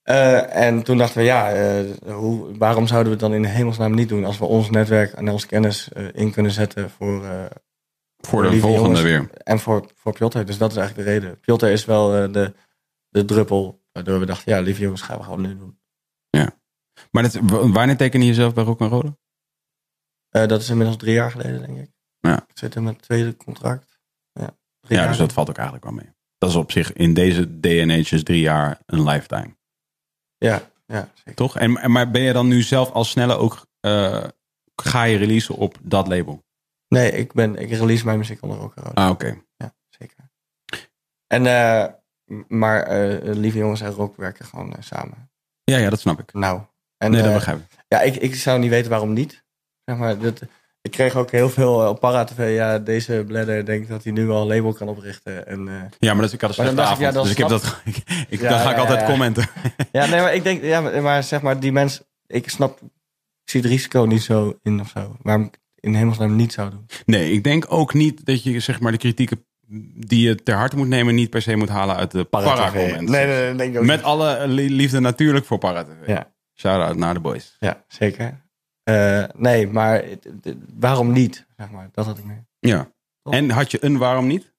Eh, en toen dachten we, ja, eh, hoe, waarom zouden we het dan in de hemelsnaam niet doen als we ons netwerk en onze kennis eh, in kunnen zetten voor, eh, voor de lieve volgende jongens. weer. en voor, voor Piotr. Dus dat is eigenlijk de reden. Piotr is wel eh, de, de druppel waardoor we dachten, ja, lieve jongens, gaan we gewoon nu doen. Maar dat, w- wanneer teken je jezelf bij Rock Rode? Eh, dat is inmiddels drie jaar geleden, denk ik. Ja. Ik zit in mijn tweede contract. Ja, drie Ja, jaar. dus dat valt ook eigenlijk wel mee. Dat is op zich in deze day and age is drie jaar een lifetime, ja, ja zeker. toch? En, en- maar ben je dan nu zelf al sneller ook eh, ga je releasen op dat label? Nee, ik, ben, ik release mijn muziek onder Rock'n'Rolla. Ah, oké. Ja, zeker. En, eh, m- maar eh, lieve jongens en rock werken gewoon eh, samen. Ja, ja, dat snap ik. Nou. En, nee, dat eh, begrijp ik. Ja, ik, ik zou niet weten waarom niet. Zeg maar, dat, ik kreeg ook heel veel eh, op Paratv. Ja, deze bladder denkt dat hij nu al een label kan oprichten. En, eh, Ja, maar dat, ik had een slechte Maar dan dacht ik, avond, ja, dan dus ik heb snap- dat. Ik, ik- Ja, dan ga ik ja, altijd ja, ja. commenten. ja, nee, maar ik denk, ja, maar- maar zeg maar, die mensen, ik snap, ik zie het risico niet zo in of zo. Waarom ik het in hemelsnaam niet zou doen. Nee, ik denk ook niet dat je zeg maar de kritieken die je ter harte moet nemen niet per se moet halen uit de para Nee, nee, nee, denk ik ook Met niet. alle li- liefde natuurlijk voor para Ja. Shout out naar de boys. Ja, zeker. Eh, nee, maar het- het- waarom niet? Zeg maar, dat had ik meer. Ja. Toch? En had je een waarom niet?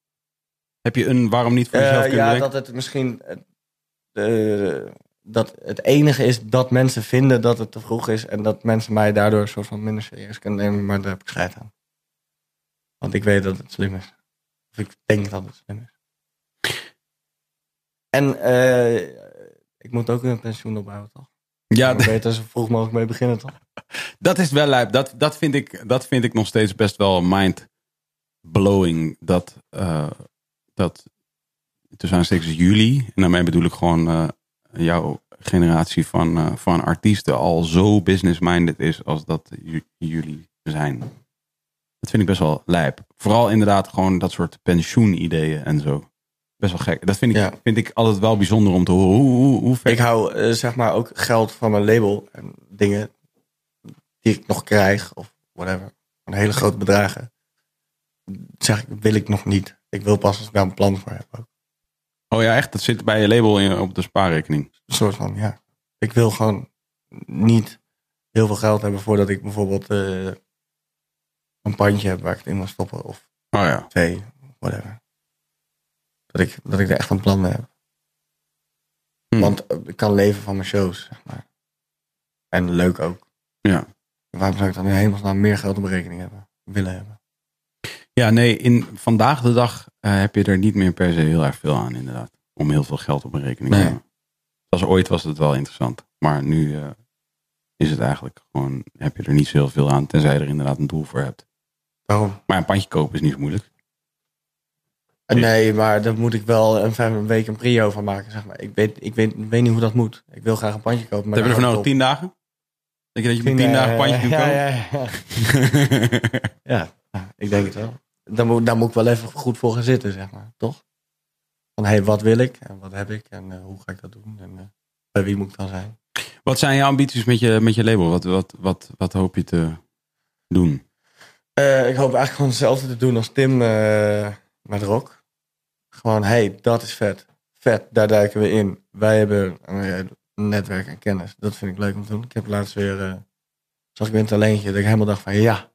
Heb je een waarom niet voor Eh, jezelf kunnen ja, bedenken? dat het misschien. eh, eh, dat het enige is dat mensen vinden dat het te vroeg is. En dat mensen mij daardoor een soort van minder serieus kunnen nemen. Maar daar heb ik scheid aan. Want ik weet dat het slim is. Of ik denk dat het slim is. En eh, ik moet ook een pensioen opbouwen, toch? Ja, Ja, ik weet er zo vroeg mogelijk mee beginnen, toch? Dat is wel lijp. Dat, dat, vind ik, dat vind ik nog steeds best wel mind-blowing. Dat, eh, dat tussen aanstekens jullie, en daarmee bedoel ik gewoon eh, jouw generatie van, eh, van artiesten, al zo business-minded is als dat ju- jullie zijn. Dat vind ik best wel lijp. Vooral inderdaad gewoon dat soort pensioenideeën en zo. Best wel gek. Dat vind ik, Ja. vind ik altijd wel bijzonder om te horen. Hoe, hoe, hoe ver... Ik hou eh, zeg maar ook geld van mijn label en dingen die ik nog krijg of whatever. Van hele grote bedragen. Zeg ik, wil ik nog niet. Ik wil pas als ik daar een plan voor heb. Ook. Oh ja, echt? Dat zit bij je label in, op de spaarrekening. Een soort van, ja. Ik wil gewoon niet heel veel geld hebben voordat ik bijvoorbeeld eh, een pandje heb waar ik het in wil stoppen. Of Oh ja. twee, whatever. Dat ik, dat ik er echt een plan mee heb. Hm. Want eh, ik kan leven van mijn shows, zeg maar. En leuk ook. Ja. Waarom zou ik dan in hemelsnaam meer geld op mijn rekening hebben? Willen hebben. Ja, nee, in vandaag de dag eh, heb je er niet meer per se heel erg veel aan, inderdaad. Om heel veel geld op een rekening te Nee. hebben. Als ooit was het wel interessant. Maar nu eh, is het eigenlijk gewoon, heb je er niet zo heel veel aan, tenzij je er inderdaad een doel voor hebt. Waarom? Maar een pandje kopen is niet zo moeilijk. Eh, Nee, maar daar moet ik wel een, vijf- een week een prio van maken, zeg maar. Ik weet, ik, weet, ik weet niet hoe dat moet. Ik wil graag een pandje kopen. Wat maar heb je daar ervoor houdt nodig? Tien dagen? Denk je dat je met het nou tien dagen op. een eh, pandje kunt kopen? ja, ja, ja. Ja, ja, ik denk het wel. Daar moet, daar moet ik wel even goed voor gaan zitten, zeg maar, toch? Van hé, hey, wat wil ik en wat heb ik en eh, hoe ga ik dat doen en eh, bij wie moet ik dan zijn? Wat zijn je ambities met je, met je label? Wat, wat, wat, wat hoop je te doen? Eh, ik hoop eigenlijk gewoon hetzelfde te doen als Tim eh, met Rock. Gewoon hé, hey, dat is vet. Vet, daar duiken we in. Wij hebben eh, netwerk en kennis. Dat vind ik leuk om te doen. Ik heb laatst weer, eh zag ik weer een talentje, dat ik helemaal dacht van ja,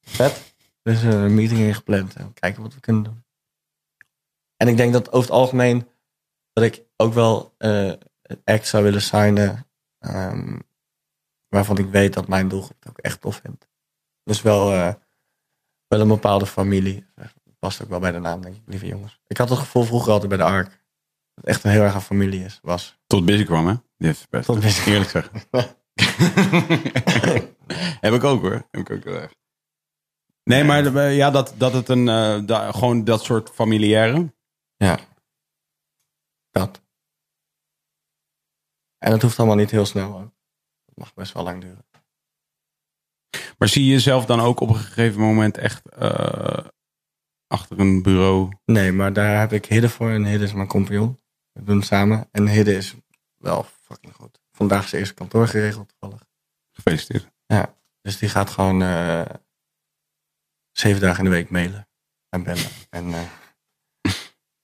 vet. Er is een meeting ingepland en kijken wat we kunnen doen. En ik denk dat over het algemeen dat ik ook wel eh een act zou willen signen ehm, waarvan ik weet dat mijn doelgroep het ook echt tof vindt. Dus wel, eh, wel een bepaalde familie. Past ook wel bij de naam, denk ik, lieve jongens. Ik had het gevoel vroeger altijd bij de ARK. Dat het echt een heel erg een familie is, was. Tot busy kwam, hè? Die heeft het best. Tot Busy. Eerlijk zeggen. heb ik ook hoor. Heb ik ook heel erg. Nee, maar eh, ja, dat, dat het een. eh, da- gewoon dat soort familiaire. Ja. Dat. En dat hoeft allemaal niet heel snel ook. Dat mag best wel lang duren. Maar zie je jezelf dan ook op een gegeven moment echt. eh, achter een bureau. Nee, maar daar heb ik Hidde voor en Hidde is mijn compagnon. We doen het samen. En Hidde is wel fucking goed. Vandaag is zijn eerste kantoor geregeld toevallig. Gefeliciteerd. Dus die gaat gewoon eh, zeven dagen in de week mailen en bellen. En eh,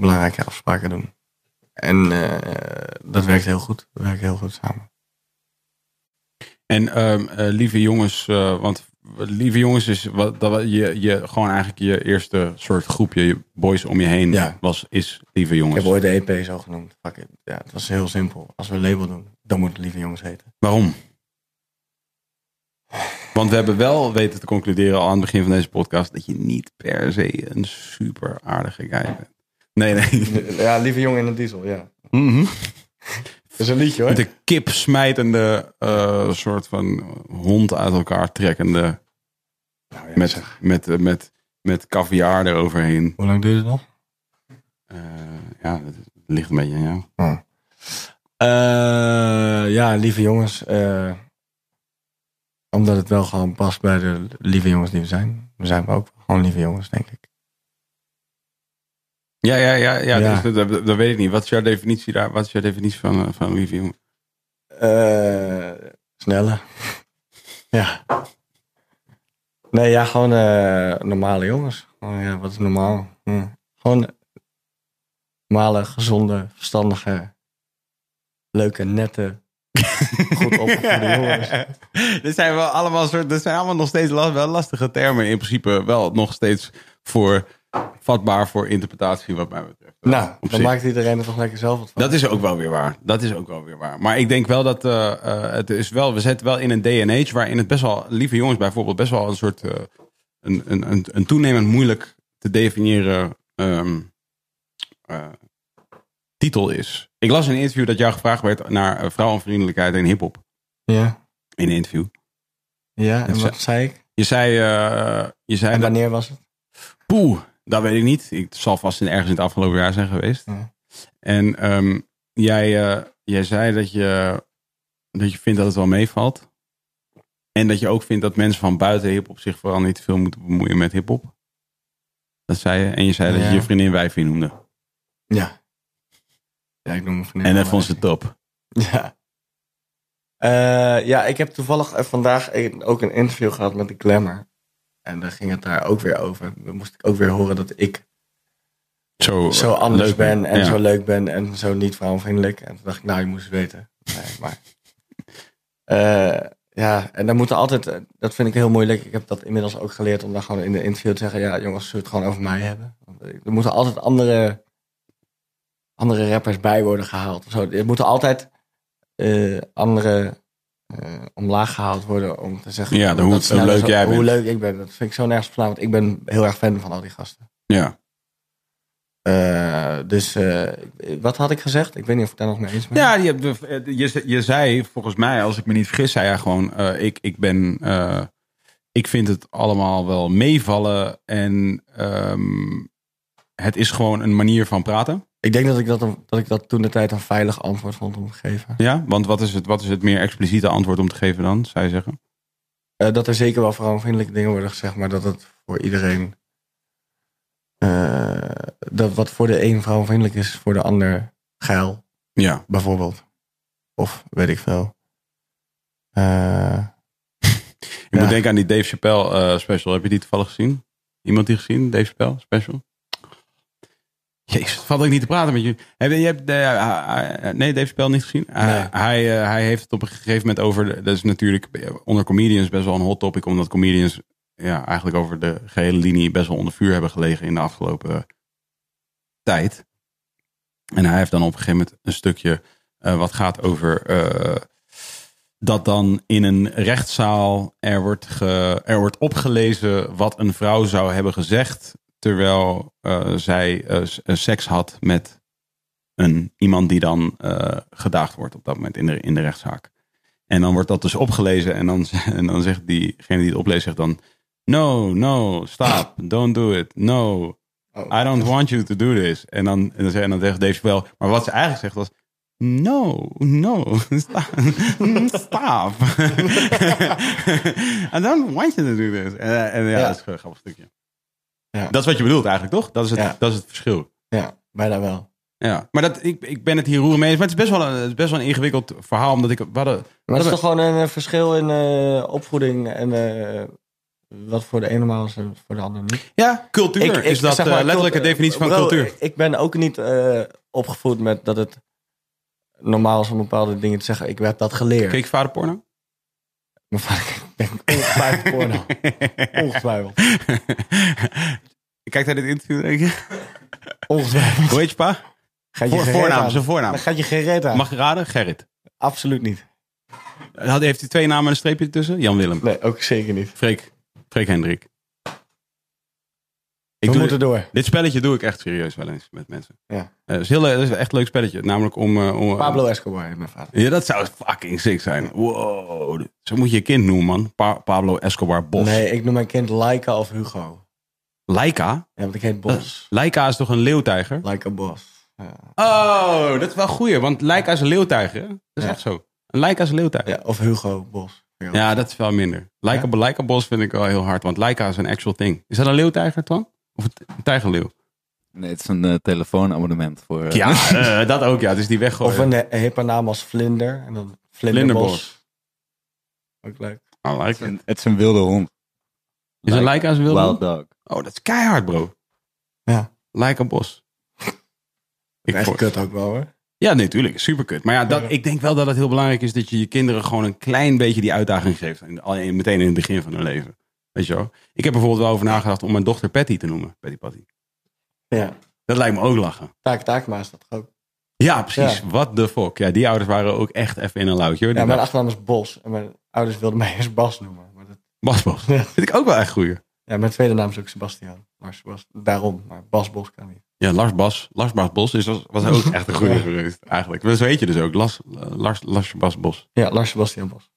belangrijke afspraken doen. En eh, dat werkt heel goed. We werken heel goed samen. En ehm, eh, lieve jongens, eh, want lieve jongens is wat, dat, we- je, je, gewoon eigenlijk je eerste soort groepje, je boys om je heen, Ja. was, is lieve Ik jongens. heb ooit de EP zo genoemd. Fuck it. Ja, het was heel simpel. Als we een label doen, dan moet het Lieve Jongens heten. Waarom? Want we hebben wel weten te concluderen al aan het begin van deze podcast dat je niet per se een super aardige guy bent. Nee, nee. Ja, Lieve Jongen in de Diesel, ja. Mhm. Dat is een liedje hoor. Met een kip smijtende eh, soort van hond uit elkaar trekkende Nou, ja, met, zeg. met, eh, met, met caviar eroverheen. Hoe lang duurde het nog? Eh, ja, dat ligt een beetje aan jou. Eh, ja, Lieve Jongens. eh, omdat het wel gewoon past bij de Lieve Jongens die we zijn. We zijn ook gewoon Lieve Jongens, denk ik. Ja, ja, ja, ja, Ja. dus dat, dat- dat weet ik niet. Wat is jouw definitie daar? Wat is jouw definitie van, eh, van lieve jongen? Eh snelle. ja. Nee, ja, gewoon eh, normale jongens. Gewoon, ja, wat is normaal? Hm. Gewoon normale, gezonde, verstandige, leuke, nette, goed opgevoede jongens. dit zijn wel allemaal soort, dit zijn allemaal nog steeds last, wel lastige termen. In principe wel nog steeds voor vatbaar voor interpretatie wat mij betreft. Nou, Op dan zich. maakt iedereen er toch lekker zelf wat van. Dat is ook wel weer waar. Dat is ook wel weer waar. Maar ik denk wel dat eh, eh, het is wel, we zitten wel in een day and age waarin het best wel, lieve jongens bijvoorbeeld, best wel een soort eh, een, een, een, een toenemend moeilijk te definiëren ehm, eh, titel is. Ik las in een interview dat jou gevraagd werd naar eh, vrouwenvriendelijkheid en hip-hop. Ja, In een interview. ja en Ze- wat zei ik? Je zei, eh, je zei En dat, wanneer was het? poeh, dat weet ik niet. Ik het zal vast in, ergens in het afgelopen jaar zijn geweest. Ja. En ehm, jij, eh, jij zei dat je, dat je vindt dat het wel meevalt. En dat je ook vindt dat mensen van buiten hip-hop zich vooral niet te veel moeten bemoeien met hip-hop. Dat zei je. En je zei dat Ja. je je vriendin wijfie noemde. Ja. Ja, ik noem me en dat vond ze top. Ja. Eh, ja, ik heb toevallig eh, vandaag een- ook een interview gehad met de Glamour. En daar ging het daar ook weer over. Dan moest ik ook weer horen dat ik Zo, zo anders leuk. ben en Ja. zo leuk ben en zo niet vrouwenvriendelijk. En toen dacht ik, nou, je moest het weten. Nee, maar... Eh, ja, en dan moeten altijd, eh, dat vind ik heel moeilijk. Ik heb dat inmiddels ook geleerd om dan gewoon in de interview te zeggen, ja jongens, zullen we het gewoon over mij hebben? Want, eh, Er moeten altijd andere, andere rappers bij worden gehaald. of Zo, er moeten altijd eh, andere eh, omlaag gehaald worden om te zeggen Ja, dan hoe- dat hoe sneller leuk zo- jij hoe bent. leuk ik ben. Dat vind ik zo nergens verslaan, want ik ben heel erg fan van al die gasten. Ja. Eh, dus eh, wat had ik gezegd? Ik weet niet of ik daar nog mee eens ben. Ja, je, hebt- eh, je, ze- je zei volgens mij, als ik me niet vergis, zei hij gewoon: eh, ik, ik ben. eh, ik vind het allemaal wel meevallen. En ehm, het is gewoon een manier van praten. Ik denk dat ik dat, een- dat ik dat toen de tijd een veilig antwoord vond om te geven. Ja, want wat is het, wat is het meer expliciete antwoord om te geven dan, zou je zeggen? Eh, dat er zeker wel vrouwenvriendelijke dingen worden gezegd, maar dat het voor iedereen. eh, dat wat voor de een vrouwenvriendelijk is, is voor de ander geil, Ja. bijvoorbeeld. Of weet ik veel. Eh, Ik Ja. moet denken aan die Dave Chappelle eh, special. Heb je die toevallig gezien? Iemand die gezien? Dave Chappelle special? Jezus, valt ik niet te praten met jullie. Heb je, je hebt, eh, eh, eh, nee, Dave Spel niet gezien. Hij- Hij, eh, hij heeft het op een gegeven moment over. de- Dat is natuurlijk eh, onder comedians best wel een hot topic, omdat comedians ja, eigenlijk over de gehele linie best wel onder vuur hebben gelegen in de afgelopen tijd. En hij heeft dan op een gegeven moment een stukje eh, wat gaat over eh, dat dan in een rechtszaal er wordt, ge, er wordt opgelezen wat een vrouw zou hebben gezegd terwijl eh, zij eh, s- eh, seks had met een, iemand die dan eh, gedaagd wordt op dat moment in de, in de rechtszaak. En dan wordt dat dus opgelezen en dan, z- en dan zegt diegene die het opleest zegt dan no, no, stop, don't do it, no, Oh. I don't want you to do this. En dan, en dan, zegt- en dan zegt Dave wel, maar wat ze eigenlijk zegt was No, no, stop. stop. I don't want you to do this. En, eh, en ja, Ja. dat is een grappig stukje. Ja. Dat is wat je bedoelt eigenlijk, toch? Dat is het, Ja. dat is het verschil. Ja, bijna wel. Ja. Maar dat, ik, ik ben het hier roeren mee eens. Maar het is best wel een, het is best wel een ingewikkeld verhaal. Omdat ik, we hadden, Maar het is we- toch gewoon een eh, verschil in eh, opvoeding en eh, wat voor de ene normaal is en voor de ander niet. ja, cultuur is dat zeg eh, maar, letterlijke cult- definitie van bro, cultuur. ik- Ik ben ook niet eh, opgevoed met dat het normaal is om bepaalde dingen te zeggen. Ik heb dat geleerd. Keek je vader porno? Mijn vader denkt ongetwijfeld porno. Ongetwijfeld. Kijkt hij dit interview? denk je? Ongetwijfeld. Hoe heet je pa? Gaat Voor, geen reet voornaam, aan. zijn voornaam. Dan gaat je geen reet aan. Mag je raden? Gerrit. Absoluut niet. Had- Heeft hij twee namen en een streepje ertussen? Jan Willem. Nee, ook zeker niet. Freek. Freek Hendrik. Ik We doe moeten door. Dit spelletje doe ik echt serieus wel eens met mensen. Ja. Eh, het is, heel, leuk- het is echt een leuk spelletje. Namelijk om... eh, om Pablo Escobar heet mijn vader. Ja, dat zou fucking sick zijn. Wow. Zo moet je je kind noemen, man. Pa- Pablo Escobar Bos. Nee, ik noem mijn kind Laika of Hugo. Laika? Ja, want ik heet Bos. Laika is toch een leeuwtijger? Laika Bos. Ja. Oh, dat is wel een goeie. Want Laika is een leeuwtijger. hè? Dat is Ja. echt zo. Een Laika is een leeuwtijger. Ja, of Hugo Bos. Ja. Ja, dat is wel minder. Laika, Laika Bos vind ik wel heel hard. Want Laika is een actual thing. Is dat een leeuwtijger, Twan? Of een t- een tijgerleeuw? Nee, het is een eh, telefoonabonnement voor... eh, Ja, eh, dat ook, ja. Het is die weggooien. Of een eh, hippe naam als Vlinder. En dan Vlinderbos. Vlinderbos. Ook leuk. Ah, het, is Laika. een, het is een wilde hond. Is een Laika als een wilde Wild hond? dog. Oh, dat is keihard, bro. Ja. Laika Bos. Ik Echt voor- kut ook wel hoor. Ja, natuurlijk. Super kut. Maar ja, dat, ik denk wel dat het heel belangrijk is dat je je kinderen gewoon een klein beetje die uitdaging geeft. In, al in- meteen in het begin van hun leven. Weet je wel? Ik heb bijvoorbeeld wel over nagedacht om mijn dochter Patty te noemen. Patty Patty. Ja. Dat lijkt me ook lachen. Taak Taakma is dat toch ook. Ja, precies. What the fuck. Ja, die ouders waren ook echt even in een luikje. hoor. Ja, Die mijn dachten, achternaam is Bos. En mijn ouders wilden mij eerst Bas noemen. Maar dat, Bas Bos. Ja. Vind ik ook wel echt goeie. ja, mijn tweede naam is ook Sebastian. Maar Sebast daarom. Maar Bas Bos kan niet. Ja, Lars Bas. Lars Bas Bos is, was, was ook echt een goeie Ja. geweest. Eigenlijk. Maar Zo heet je dus ook. Lars, Lars, Lars Bas Bos. Ja, Lars Sebastian Bos.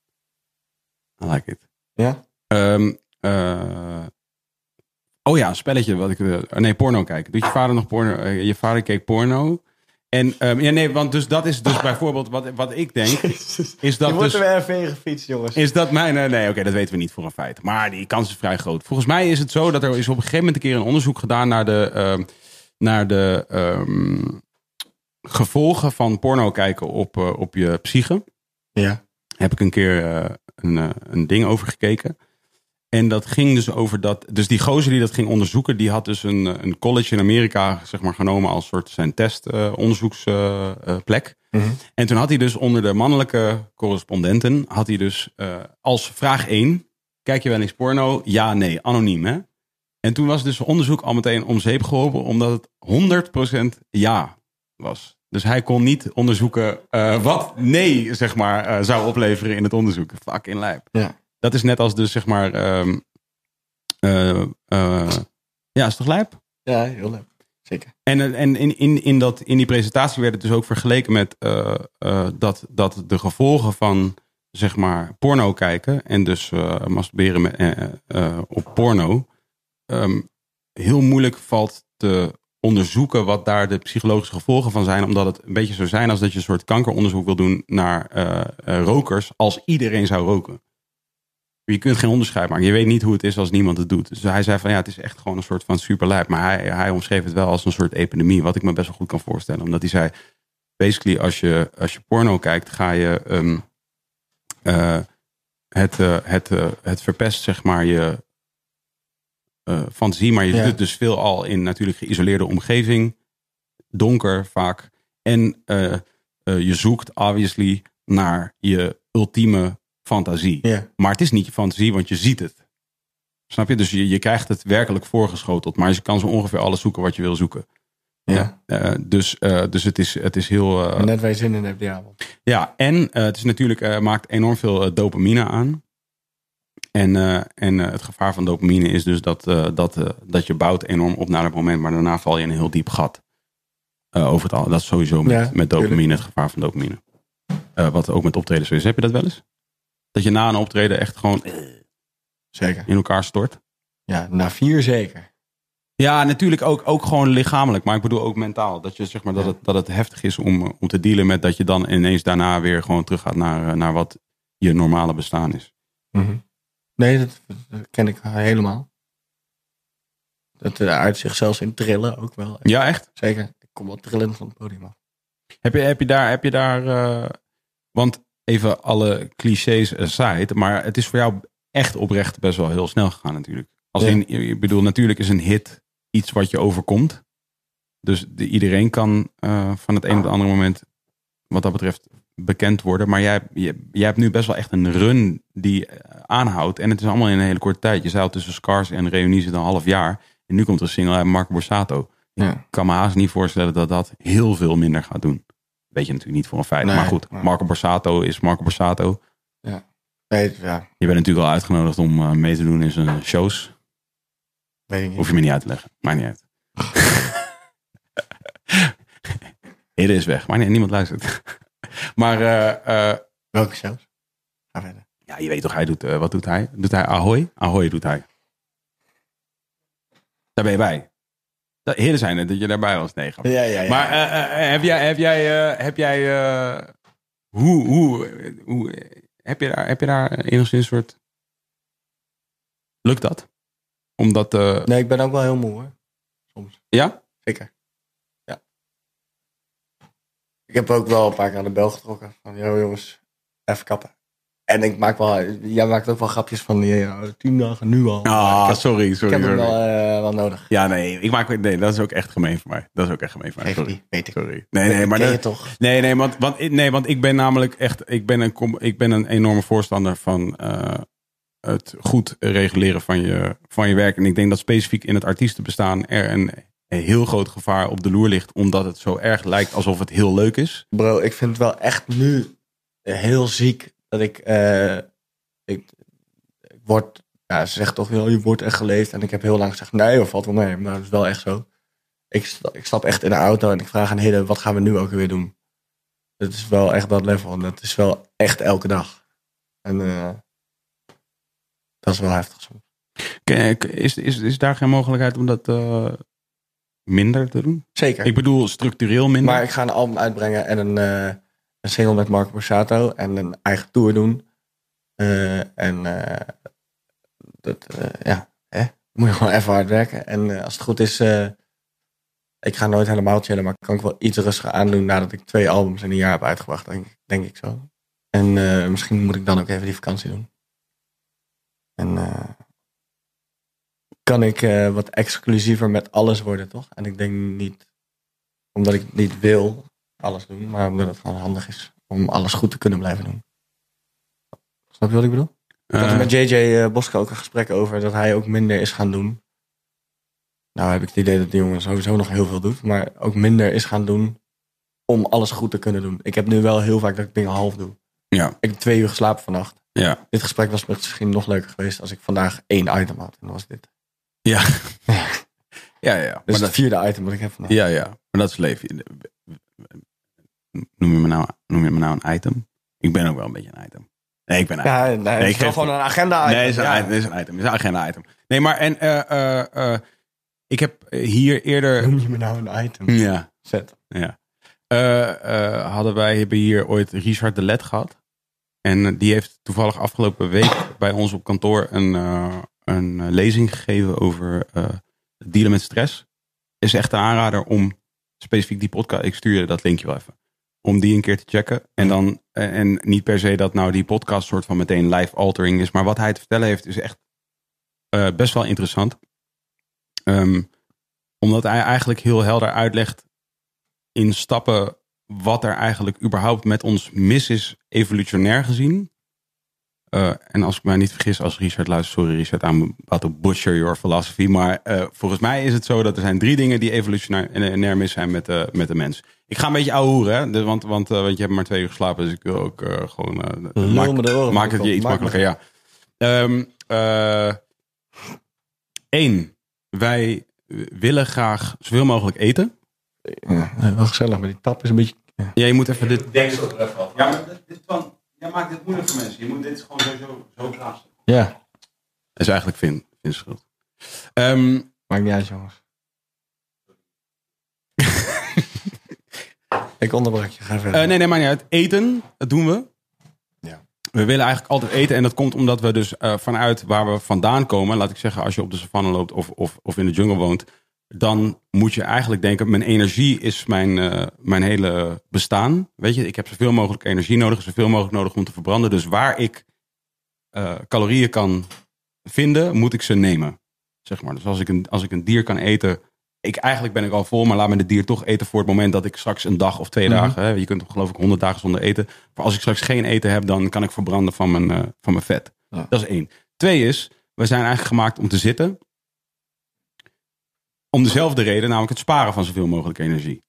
I like it. Ja? Ehm, eh, oh ja, een spelletje wat ik. eh, nee, porno kijken. Doet je vader nog porno? eh, je vader keek porno. En ehm, ja, nee, want dus dat is dus bijvoorbeeld wat, wat ik denk. Is Je dat, wordt dus, er weer even gefietst, jongens. is dat mijn. eh, nee, oké, dat weten we niet voor een feit. Maar die kans is vrij groot. Volgens mij is het zo dat er is op een gegeven moment een keer een onderzoek gedaan naar de. ehm, naar de ehm, gevolgen van porno kijken op, eh, op je psyche Ja. heb ik een keer eh, een, eh, een ding over gekeken. En dat ging dus over dat. Dus die gozer die dat ging onderzoeken, die had dus een, eh, een college in Amerika, zeg maar, genomen als soort zijn testonderzoeksplek. Mhm. En toen had hij dus onder de mannelijke correspondenten, had hij dus eh, als vraag 1: Kijk je wel eens porno? Ja, nee, anoniem hè? En toen was dus onderzoek al meteen om zeep geholpen, omdat het 100% ja was. Dus hij kon niet onderzoeken eh, wat nee, zeg maar, eh, zou opleveren in het onderzoek. Fucking lijp. Ja. Dat is net als dus, zeg maar, ehm, eh, eh, ja, is toch lijp? Ja, heel leuk. Zeker. En, eh, en in, in, in, dat, in die presentatie werd het dus ook vergeleken met eh, eh, dat, dat de gevolgen van zeg maar porno kijken en dus eh, masturberen met, eh, eh, op porno ehm, heel moeilijk valt te onderzoeken wat daar de psychologische gevolgen van zijn. Omdat het een beetje zou zijn als dat je een soort kankeronderzoek wil doen naar eh, eh, rokers als iedereen zou roken. Je kunt geen onderscheid maken. Je weet niet hoe het is als niemand het doet. Dus hij zei van ja, het is echt gewoon een soort van superlijp. Maar hij, hij omschreef het wel als een soort epidemie. Wat ik me best wel goed kan voorstellen. Omdat hij zei, basically als je, als je porno kijkt, ga je ehm, eh, het, eh, het, eh, het verpest zeg maar je eh, fantasie. Maar je Ja. doet het dus veel al in natuurlijk geïsoleerde omgeving. donker vaak. En eh, eh, je zoekt obviously naar je ultieme fantasie. Ja. Maar het is niet je fantasie, want je ziet het. Snap je? Dus je, je krijgt het werkelijk voorgeschoteld. Maar je kan zo ongeveer alles zoeken wat je wil zoeken. Ja. Eh, dus eh, dus het, is, het is heel... eh, Maar Net waar je zin in hebt, die avond. ja, en eh, het is natuurlijk, eh, maakt enorm veel eh, dopamine aan. En, eh, en eh, het gevaar van dopamine is dus dat, eh, dat, eh, dat je bouwt enorm op naar dat moment, maar daarna val je in een heel diep gat. Eh, over het al, dat is sowieso met, Ja, met dopamine, tuurlijk. het gevaar van dopamine. Eh, wat ook met optredens is. Heb je dat wel eens? Dat je na een optreden echt gewoon Zeker. in elkaar stort? Ja, na vier zeker. Ja, natuurlijk ook, ook gewoon lichamelijk, maar ik bedoel ook mentaal. Dat, je, zeg maar, dat, het, dat het heftig is om, eh, om te dealen met dat je dan ineens daarna weer gewoon teruggaat naar, eh, naar wat je normale bestaan is. Mhm. Nee, dat, dat ken ik helemaal. Dat eh, uit zich zelfs in trillen ook wel. Ja, echt? Zeker. Ik kom wel trillend van het podium af. Heb je, heb je daar, heb je daar eh, want even alle clichés aside, maar het is voor jou echt oprecht best wel heel snel gegaan natuurlijk. Als Ja. in, eh, ik bedoel, natuurlijk is een hit iets wat je overkomt. Dus de- iedereen kan eh, van het een op het andere moment, wat dat betreft, bekend worden. Maar jij, jij, jij hebt nu best wel echt een run die eh, aanhoudt. En het is allemaal in een hele korte tijd. Je zei al tussen Scars en Reunie zit een half jaar. En nu komt er een single uit Marco Borsato. Ja. Ik kan me haast niet voorstellen dat dat heel veel minder gaat doen. Weet je natuurlijk niet voor een feit. Nee, maar goed, maar- Marco Borsato is Marco Borsato. Nee, ja, Je bent natuurlijk al uitgenodigd om eh, mee te doen in zijn shows. weet ik niet. Hoef je me niet uit te leggen. Maakt niet uit. Hidde is weg. Maar nee, niemand luistert. maar eh, eh, Welke zelfs? Ga verder. ja, je weet toch, hij doet, eh, wat doet hij? Doet hij Ahoy? Ahoy doet hij. Daar ben je bij. Dat- Hidde zijn het, dat je daarbij was. Nee, grapje. Ja, ja, ja. Maar eh, eh, eh, heb jij, heb jij, eh, heb jij, eh, hoe, hoe, hoe, heb je daar, heb je daar enigszins een soort, lukt dat? Omdat, eh, nee, ik ben ook wel heel moe hoor. ja? Zeker. Ja. Ik heb ook wel een paar keer aan de bel getrokken. Van, yo jongens, even kappen. En ik maak wel, jij maakt ook wel grapjes van, ja, tien dagen nu al. Ah, ik heb, sorry, ik sorry. heb hem sorry. wel, eh, wel nodig. Ja, nee, ik maak, nee, dat is ook echt gemeen voor mij. Dat is ook echt gemeen voor mij. Geef Ah, Sorry. die, weet ik. Sorry. Nee, nee, maar Ken dat- je toch? Nee, nee, want, want, ik- nee, want ik ben namelijk echt, ik ben een, com- ik ben een enorme voorstander van eh, het goed reguleren van je, van je werk. En ik denk dat specifiek in het artiestenbestaan er een, een heel groot gevaar op de loer ligt, omdat het zo erg lijkt alsof het heel leuk is. Bro, ik vind het wel echt nu heel ziek dat ik, eh, ik, ik word, ja, ze zegt toch, joh, je wordt echt geleefd. En ik heb heel lang gezegd, nee, of valt wel mee. Maar dat is wel echt zo. Ik, sta- ik stap echt in de auto en ik vraag aan Hidde, wat gaan we nu ook weer doen? Dat is wel echt dat level. En dat is wel echt elke dag. En eh, dat is wel heftig soms. K- k- Is, is, is daar geen mogelijkheid om dat eh, minder te doen? Zeker. Ik bedoel structureel minder. Maar ik ga een album uitbrengen en een, eh, een single met Marco Borsato en een eigen tour doen. Eh, en eh, dat, eh, ja, hè? moet je gewoon even hard werken. En eh, als het goed is, eh, ik ga nooit helemaal chillen, maar kan ik wel iets rustiger aandoen nadat ik twee albums in een jaar heb uitgebracht, denk, ik- denk ik zo. En eh, misschien moet ik dan ook even die vakantie doen. En eh, kan ik eh, wat exclusiever met alles worden, toch? En ik denk niet omdat ik niet wil alles doen, maar omdat het gewoon handig is om alles goed te kunnen blijven doen. Snap je wat ik bedoel? Ik had er Eh, met JJ eh, Boske ook een gesprek over dat hij ook minder is gaan doen. Nou heb ik het idee dat die jongen sowieso nog heel veel doet, maar ook minder is gaan doen om alles goed te kunnen doen. Ik heb nu wel heel vaak dat ik dingen half doe. Ja. Ik heb twee uur geslapen vannacht. Ja. Dit gesprek was misschien nog leuker geweest als ik vandaag één item had. En dat was dit. Dus ja. ja, ja, ja. Maar het dat- vierde item wat ik heb vandaag. Ja, ja. Maar dat is leven. Noem je me nou, noem je me nou een item? Ik ben ook wel een beetje een item. Nee, ik ben een Ja, nee, het ik is wel geef- gewoon een agenda item. Nee, is een, Ja. item, is een item. Is een agenda item. Nee, maar en eh, eh, eh, ik heb hier eerder... Noem je me nou een item? Ja, Zet. ja. Eh, eh, hadden wij hebben hier ooit Richard de Let gehad. En eh, die heeft toevallig afgelopen week bij ons op kantoor een, eh, een eh, lezing gegeven over eh, het dealen met stress. Is echt een aanrader om specifiek die podcast. Ik stuur je dat linkje wel even. Om die een keer te checken. En, dan, en en niet per se dat nou die podcast soort van meteen life altering is. Maar wat hij te vertellen heeft is echt eh, best wel interessant. Ehm, omdat hij eigenlijk heel helder uitlegt instappen wat er eigenlijk überhaupt met ons mis is, evolutionair gezien. Eh, en als ik mij niet vergis, als Richard luistert, sorry Richard, I'm about to butcher your philosophy. Maar eh, volgens mij is het zo dat er zijn drie dingen die evolutionair mis zijn met, de met de mens. Ik ga een beetje ouwehoeren, hè? de- want, want, eh, want je hebt maar twee uur geslapen, dus ik wil ook eh, gewoon... eh, Lul maak- me de oren Maak het van de je iets kop. Maak makkelijker, ja. Ehm, Eén, wij willen graag zoveel mogelijk eten. Nee, wel gezellig, maar die tap is een beetje... Ja, je moet even dit... Deksel er even af. Ja, maar dit, dit van, jij maakt dit moeilijk voor mensen. Je moet, dit is gewoon sowieso zo klaar. Ja, Dat is eigenlijk Vin, Vin's schuld. Ehm, maakt niet uit jongens. ik onderbrak je, ga verder. Eh, nee, nee, maar niet uit. Eten, dat doen we. Ja. We willen eigenlijk altijd eten. En dat komt omdat we dus eh, vanuit waar we vandaan komen. Laat ik zeggen, als je op de savanne loopt of, of, of in de jungle woont. Dan moet je eigenlijk denken, mijn energie is mijn, eh, mijn hele bestaan. Weet je, ik heb zoveel mogelijk energie nodig. Zoveel mogelijk nodig om te verbranden. Dus waar ik eh, calorieën kan vinden, moet ik ze nemen. Zeg maar. Dus als ik, een, als ik een dier kan eten, ik, eigenlijk ben ik al vol, maar laat me de dier toch eten voor het moment dat ik straks een dag of twee dagen, hè, je kunt geloof ik honderd dagen zonder eten. Maar als ik straks geen eten heb, dan kan ik verbranden van mijn, eh, van mijn vet. Ja. Dat is één. Twee is, we zijn eigenlijk gemaakt om te zitten. Om dezelfde reden, namelijk het sparen van zoveel mogelijk energie.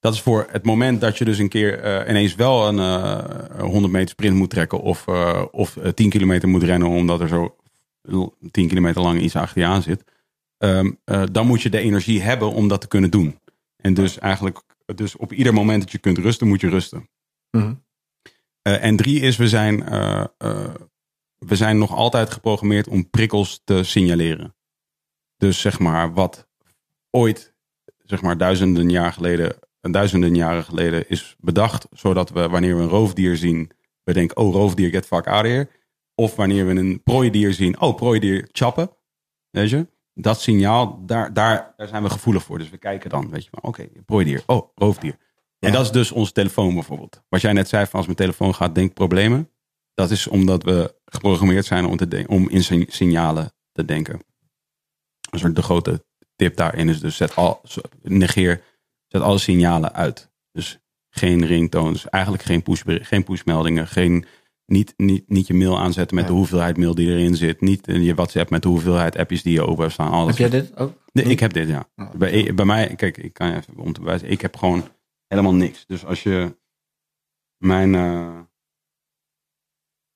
Dat is voor het moment dat je dus een keer eh, ineens wel een eh 100 meter sprint moet trekken of, eh, of eh, 10 kilometer moet rennen omdat er zo l- 10 kilometer lang iets achter je aan zit. Ehm, eh, dan moet je de energie hebben om dat te kunnen doen. En dus eigenlijk, dus op ieder moment dat je kunt rusten, moet je rusten. Mhm. Eh, en drie is, we zijn, eh, eh, we zijn nog altijd geprogrammeerd om prikkels te signaleren. Dus zeg maar, wat ooit, zeg maar duizenden, jaar geleden, eh, duizenden jaren geleden is bedacht, zodat we wanneer we een roofdier zien, we denken, oh roofdier, get fuck out of here. Of wanneer we een prooidier zien, oh prooidier, chappen. Weet je? Dat signaal, daar, daar, daar zijn we gevoelig voor. Dus we kijken dan, weet je wel, oké, prooidier, oh roofdier. En dat is dus onze telefoon bijvoorbeeld. Wat jij net zei, van als mijn telefoon gaat, denk ik problemen. Dat is omdat we geprogrammeerd zijn om, te de- om in sig- signalen te denken. Een soort de grote tip daarin is dus zet al, zo- negeer, zet alle signalen uit. Dus geen ringtoons, eigenlijk geen, push, geen pushmeldingen, geen, niet, niet, niet je mail aanzetten met de hoeveelheid mail die erin zit. Niet eh, je WhatsApp met de hoeveelheid appjes die je open hebt staan. Al dat Heb soort jij dit ook? Nee, ik heb dit, ja. Oh, oké. Bij, E- bij mij, kijk, ik kan je even om te bewijzen. Ik heb gewoon helemaal niks. Dus als je mijn... eh,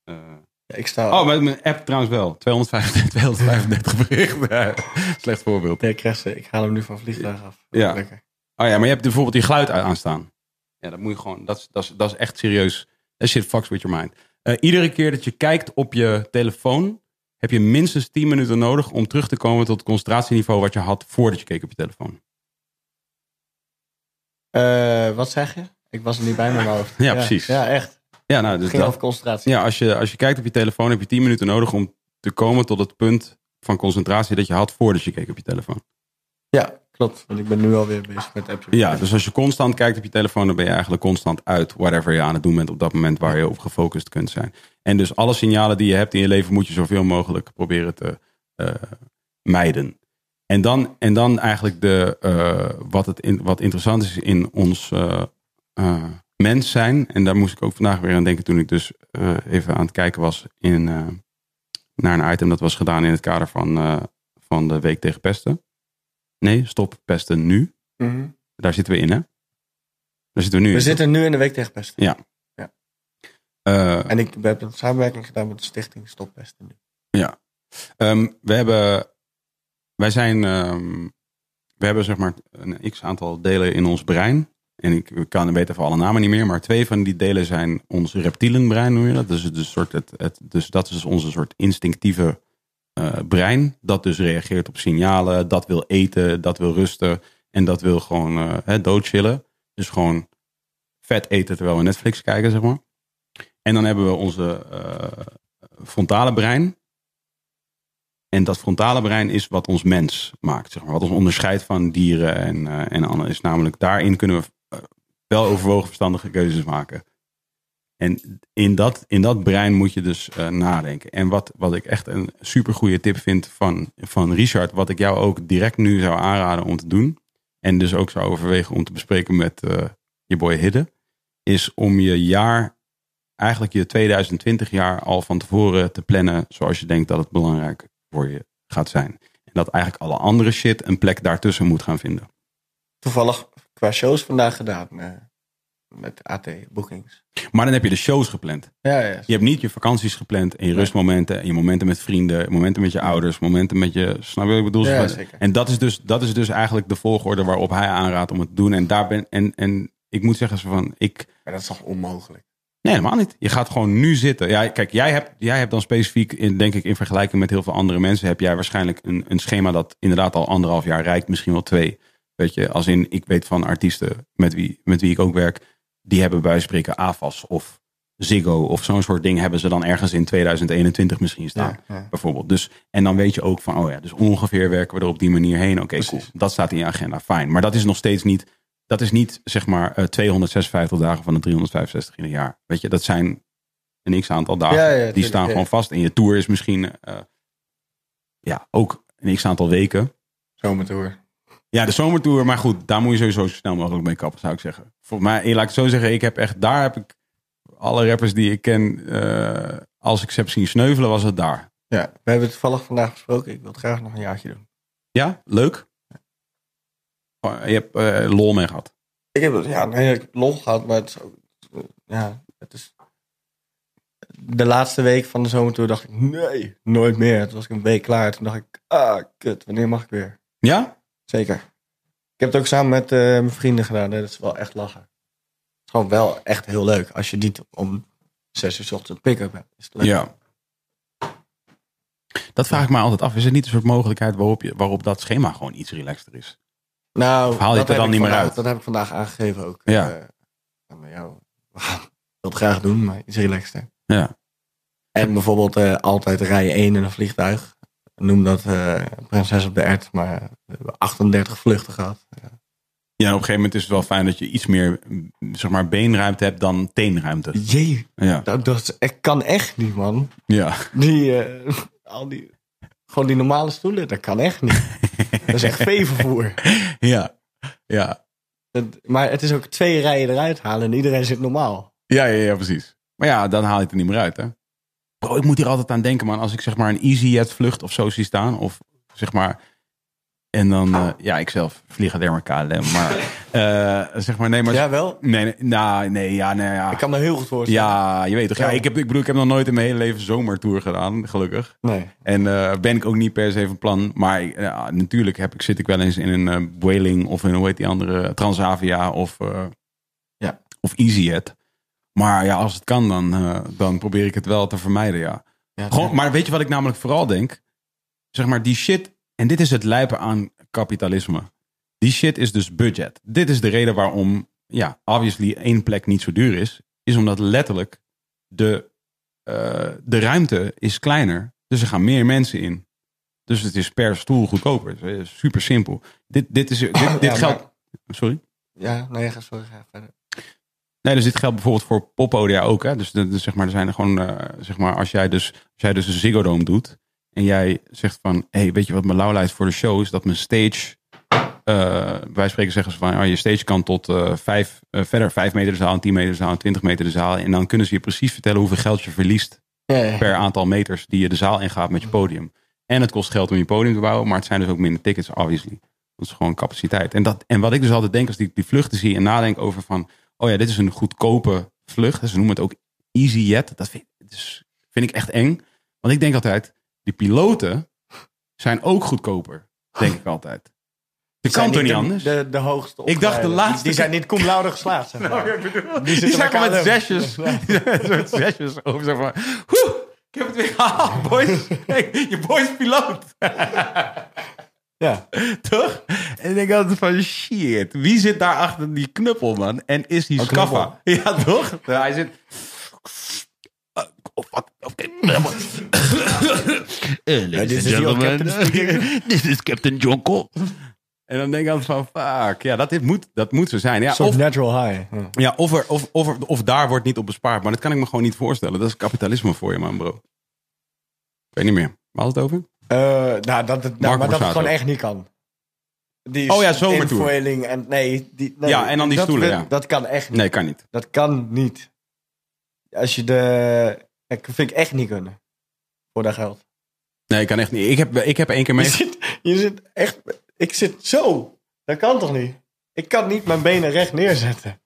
eh, Ja, ik sta... oh, met mijn app trouwens wel. 235, 235 berichten. Slecht voorbeeld. Nee, ik krijg ze. Ik haal hem nu van vliegtuig af. Ja. Lekker. Oh ja, maar je hebt bijvoorbeeld die geluid a- aanstaan. Ja, dat moet je gewoon... Dat is, dat is, dat is echt serieus. That shit fucks with your mind. Eh, iedere keer dat je kijkt op je telefoon... heb je minstens 10 minuten nodig om terug te komen tot het concentratieniveau... wat je had voordat je keek op je telefoon. Eh, wat zeg je? Ik was er niet bij met mijn hoofd. Ja, precies. Ja, echt. Ja, nou, Het dus ging dat, over concentratie. Ja, als je, als je kijkt op je telefoon heb je 10 minuten nodig om te komen tot het punt van concentratie dat je had voordat je keek op je telefoon. Ja, klopt. Want ik ben nu alweer bezig met appje. Ja, dus als je constant kijkt op je telefoon, dan ben je eigenlijk constant uit whatever je aan het doen bent op dat moment waar je op gefocust kunt zijn. En dus alle signalen die je hebt in je leven moet je zoveel mogelijk proberen te eh, mijden. En dan, en dan eigenlijk de, eh, wat, het in, wat interessant is in ons eh, eh, mens zijn. En daar moest ik ook vandaag weer aan denken toen ik dus eh, even aan het kijken was in, eh, naar een item dat was gedaan in het kader van, eh, van de Week tegen Pesten. Nee, stop pesten nu. Mhm. Daar zitten we in, hè? Daar zitten we nu We in. zitten nu in de week tegen pesten. Eh, En ik heb een samenwerking gedaan met de stichting Stop Pesten. nu. ehm, we hebben... Wij zijn... ehm, we hebben zeg maar een x-aantal delen in ons brein. En ik ik kan, weet even alle namen niet meer. Maar twee van die delen zijn ons reptielenbrein, noem je dat. Dus, het, is een soort, het, het, dus dat is dus onze soort instinctieve eh, brein. Dat dus reageert op signalen. Dat wil eten. Dat wil rusten. En dat wil gewoon eh, hè, doodchillen. Dus gewoon vet eten terwijl we Netflix kijken, zeg maar. En dan hebben we onze eh, frontale brein. En dat frontale brein is wat ons mens maakt. Zeg maar. Wat ons onderscheidt van dieren en, eh, en anderen. Is namelijk daarin kunnen we eh, wel overwogen verstandige keuzes maken. En in dat, in dat brein moet je dus eh, nadenken. En wat, wat ik echt een supergoeie tip vind van, van Richard. Wat ik jou ook direct nu zou aanraden om te doen. en dus ook zou overwegen om te bespreken met eh, je boy Hidde, is om je jaar, eigenlijk je 2020 jaar al van tevoren te plannen zoals je denkt dat het belangrijk voor je gaat zijn. En dat eigenlijk alle andere shit een plek daartussen moet gaan vinden. Toevallig qua shows vandaag gedaan. eh, met AT Bookings. Maar dan heb je de shows gepland. Ja, ja. Je hebt niet je vakanties gepland en je rustmomenten en je momenten met vrienden, momenten met je ouders, momenten met je. Snap je wat ik bedoel? Ja, zeker. En dat is, dus, dat is dus eigenlijk de volgorde waarop hij aanraadt om het te doen. En daar ben en, en ik moet zeggen zo van ik. Maar dat is toch onmogelijk? Nee, helemaal niet. Je gaat gewoon nu zitten. Ja, kijk, jij hebt, jij hebt dan specifiek, in, denk ik, in vergelijking met heel veel andere mensen, heb jij waarschijnlijk een, een schema dat inderdaad al anderhalf jaar rijkt, misschien wel twee. Weet je, als in, ik weet van artiesten met wie, met wie ik ook werk, die hebben bij wijze van spreken AFAS of Ziggo of zo'n soort ding hebben ze dan ergens in 2021 misschien staan. Bijvoorbeeld. Dus, en dan weet je ook van, oh ja, dus ongeveer werken we er op die manier heen. Oké, cool. Dat staat in je agenda. Fijn. Maar dat is nog steeds niet, dat is niet zeg maar eh, 256 dagen van de 365 in een jaar. Weet je, dat zijn een x aantal dagen. Ja, ja, die tuurlijk, staan ja. gewoon vast. En je tour is misschien, eh, ja, ook een x aantal weken. Zomertour. Ja, de zomertour. Maar goed, daar moet je sowieso zo snel mogelijk mee kappen, zou ik zeggen. Voor mij, eh, laat ik het zo zeggen, ik heb echt, daar heb ik alle rappers die ik ken, eh, als ik ze heb zien sneuvelen, was het daar. Ja, we hebben het toevallig vandaag besproken. Ik wil het graag nog een jaartje doen. Ja, leuk. Oh, je hebt eh, lol mee gehad. Ik heb ja, nee, ik heb lol gehad, maar het is ook, ja, het is... De laatste week van de zomertour dacht ik, nee, nooit meer. Toen was ik een week klaar. Toen dacht ik, ah, kut, wanneer mag ik weer? Ja? Zeker. Ik heb het ook samen met eh, mijn vrienden gedaan. hè. Dat is wel echt lachen. Het is gewoon wel echt heel leuk. Als je niet om zes uur 's ochtends een pick-up hebt. Is het leuk. Ja. Dat vraag ik me altijd af. Is er niet een soort mogelijkheid waarop, je, waarop dat schema gewoon iets relaxter is? Nou, Haal je het er heb dan ik niet meer vandaag- uit? Dat heb ik vandaag aangegeven ook. Ja. Eh, aan jou. ik wil het graag doen, maar iets relaxter. Ja. En bijvoorbeeld eh, altijd rij 1 in een vliegtuig. Noem dat eh, Prinses op de Ert, maar we hebben 38 vluchten gehad. Ja, op een gegeven moment is het wel fijn dat je iets meer mm, zeg maar, beenruimte hebt dan teenruimte. Jee, Ja. dat, Nou, dat is- ik kan echt niet, man. Ja. Die, eh, al die, gewoon die normale stoelen, dat kan echt niet. Dat is echt veevervoer. Ja. Ja. Dat- maar het is ook twee rijen eruit halen en iedereen zit normaal. Ja, ja, ja, precies. Maar ja, dan haal je het er niet meer uit, hè? Bro, ik moet hier altijd aan denken, man. Als ik zeg maar een EasyJet vlucht of zo zie staan, of zeg maar... En dan, eh, ja, ik zelf vlieg alleen maar KLM, maar eh, zeg maar, nee, maar... Jawel, Nee, nee, nou, nee, ja, nee, ja. ik kan me heel goed voorstellen. Ja, je weet toch. Ja, ik, heb, ik bedoel, ik heb nog nooit in mijn hele leven zomertour gedaan, gelukkig. Nee. En eh, ben ik ook niet per se van plan. Maar ik- ja, natuurlijk heb ik, zit ik wel eens in een eh Whaling of in, hoe heet die andere, Transavia of, eh Ja. of EasyJet. Maar ja, als het kan, dan, eh, dan probeer ik het wel te vermijden, ja. Ja, Gewoon, maar weet je wat ik namelijk vooral denk? Zeg maar, die shit, en dit is het lijpen aan kapitalisme. Die shit is dus budget. Dit is de reden waarom, ja, obviously één plek niet zo duur is. Is omdat letterlijk de, eh, de ruimte is kleiner. Dus er gaan meer mensen in. Dus het is per stoel goedkoper. Het is super simpel. Dit, dit, is, dit, dit Oh, Ja, maar- geldt... Sorry? Ja, nee, ga sorry, ga verder. Nee, dus dit geldt bijvoorbeeld voor poppodia ook. Hè? Dus, de- de- zeg maar, er zijn er gewoon, eh, zeg maar, als jij dus, als jij dus een Ziggo Dome doet en jij zegt van, hé, hey, weet je wat mijn lauwlijst voor de show is? Dat mijn stage, eh, wij spreken zeggen ze van, ah, je stage kan tot eh, vijf, eh, verder vijf meter de zaal, en tien meter de zaal, en twintig meter de zaal. En dan kunnen ze je precies vertellen hoeveel geld je verliest Ja, ja. per aantal meters die je de zaal ingaat met je podium. En het kost geld om je podium te bouwen, maar het zijn dus ook minder tickets, obviously. Dat is gewoon capaciteit. En, dat, en wat ik dus altijd denk als ik die vluchten zie en nadenk over van, oh ja, dit is een goedkope vlucht. Ze noemen het ook EasyJet. Dat vind, dat is- vind ik echt eng. Want ik denk altijd, die piloten zijn ook goedkoper, denk ik altijd. Je kan Zijn toch niet niet de- anders? De, de hoogste Ik dacht de opgeleide. laatste- Nou, Die zijn niet cum laude geslaagd. Zeg maar. Die, zitten zijn gewoon bij met KLM. zesjes. Die zijn met zesjes over. Zo van, "Woe, ik heb het weer gehaald, boys. Hey, je boy is piloot. Ja. Toch? En ik denk altijd van, shit. Wie zit daar achter die knuppel, man? En is die Scaffa? Ja, toch? Ja, hij zit... Oh, fuck. Oké. Eh, dit is Ladies and die old gentlemen. captain This is Captain John Cole. En dan denk ik altijd van, fuck. Ja, dat, dit moet, dat moet zo zijn. Ja, Soort of- natural high. Ja. ja, of, er, of, of, er- of daar wordt niet op bespaard. Maar dat kan ik me gewoon niet voorstellen. Dat is kapitalisme voor je, man, bro. Ik weet niet meer. Waar had het over? Eh, nou, dat, het- nou, maar dat het Borsato. gewoon echt niet kan. Die Oh ja, zit in zomertour. Vueling En, nee, die, nee, Ja, en dan die dat stoelen, wil- ja. Dat kan echt niet. Nee, kan niet. Dat kan niet. Als je de... Dat vind ik echt niet kunnen. Voor dat geld. Nee, kan echt niet. Ik heb, ik heb één keer Je mee. zit, je zit echt... Ik zit zo. Dat kan toch niet? Ik kan niet mijn benen recht neerzetten.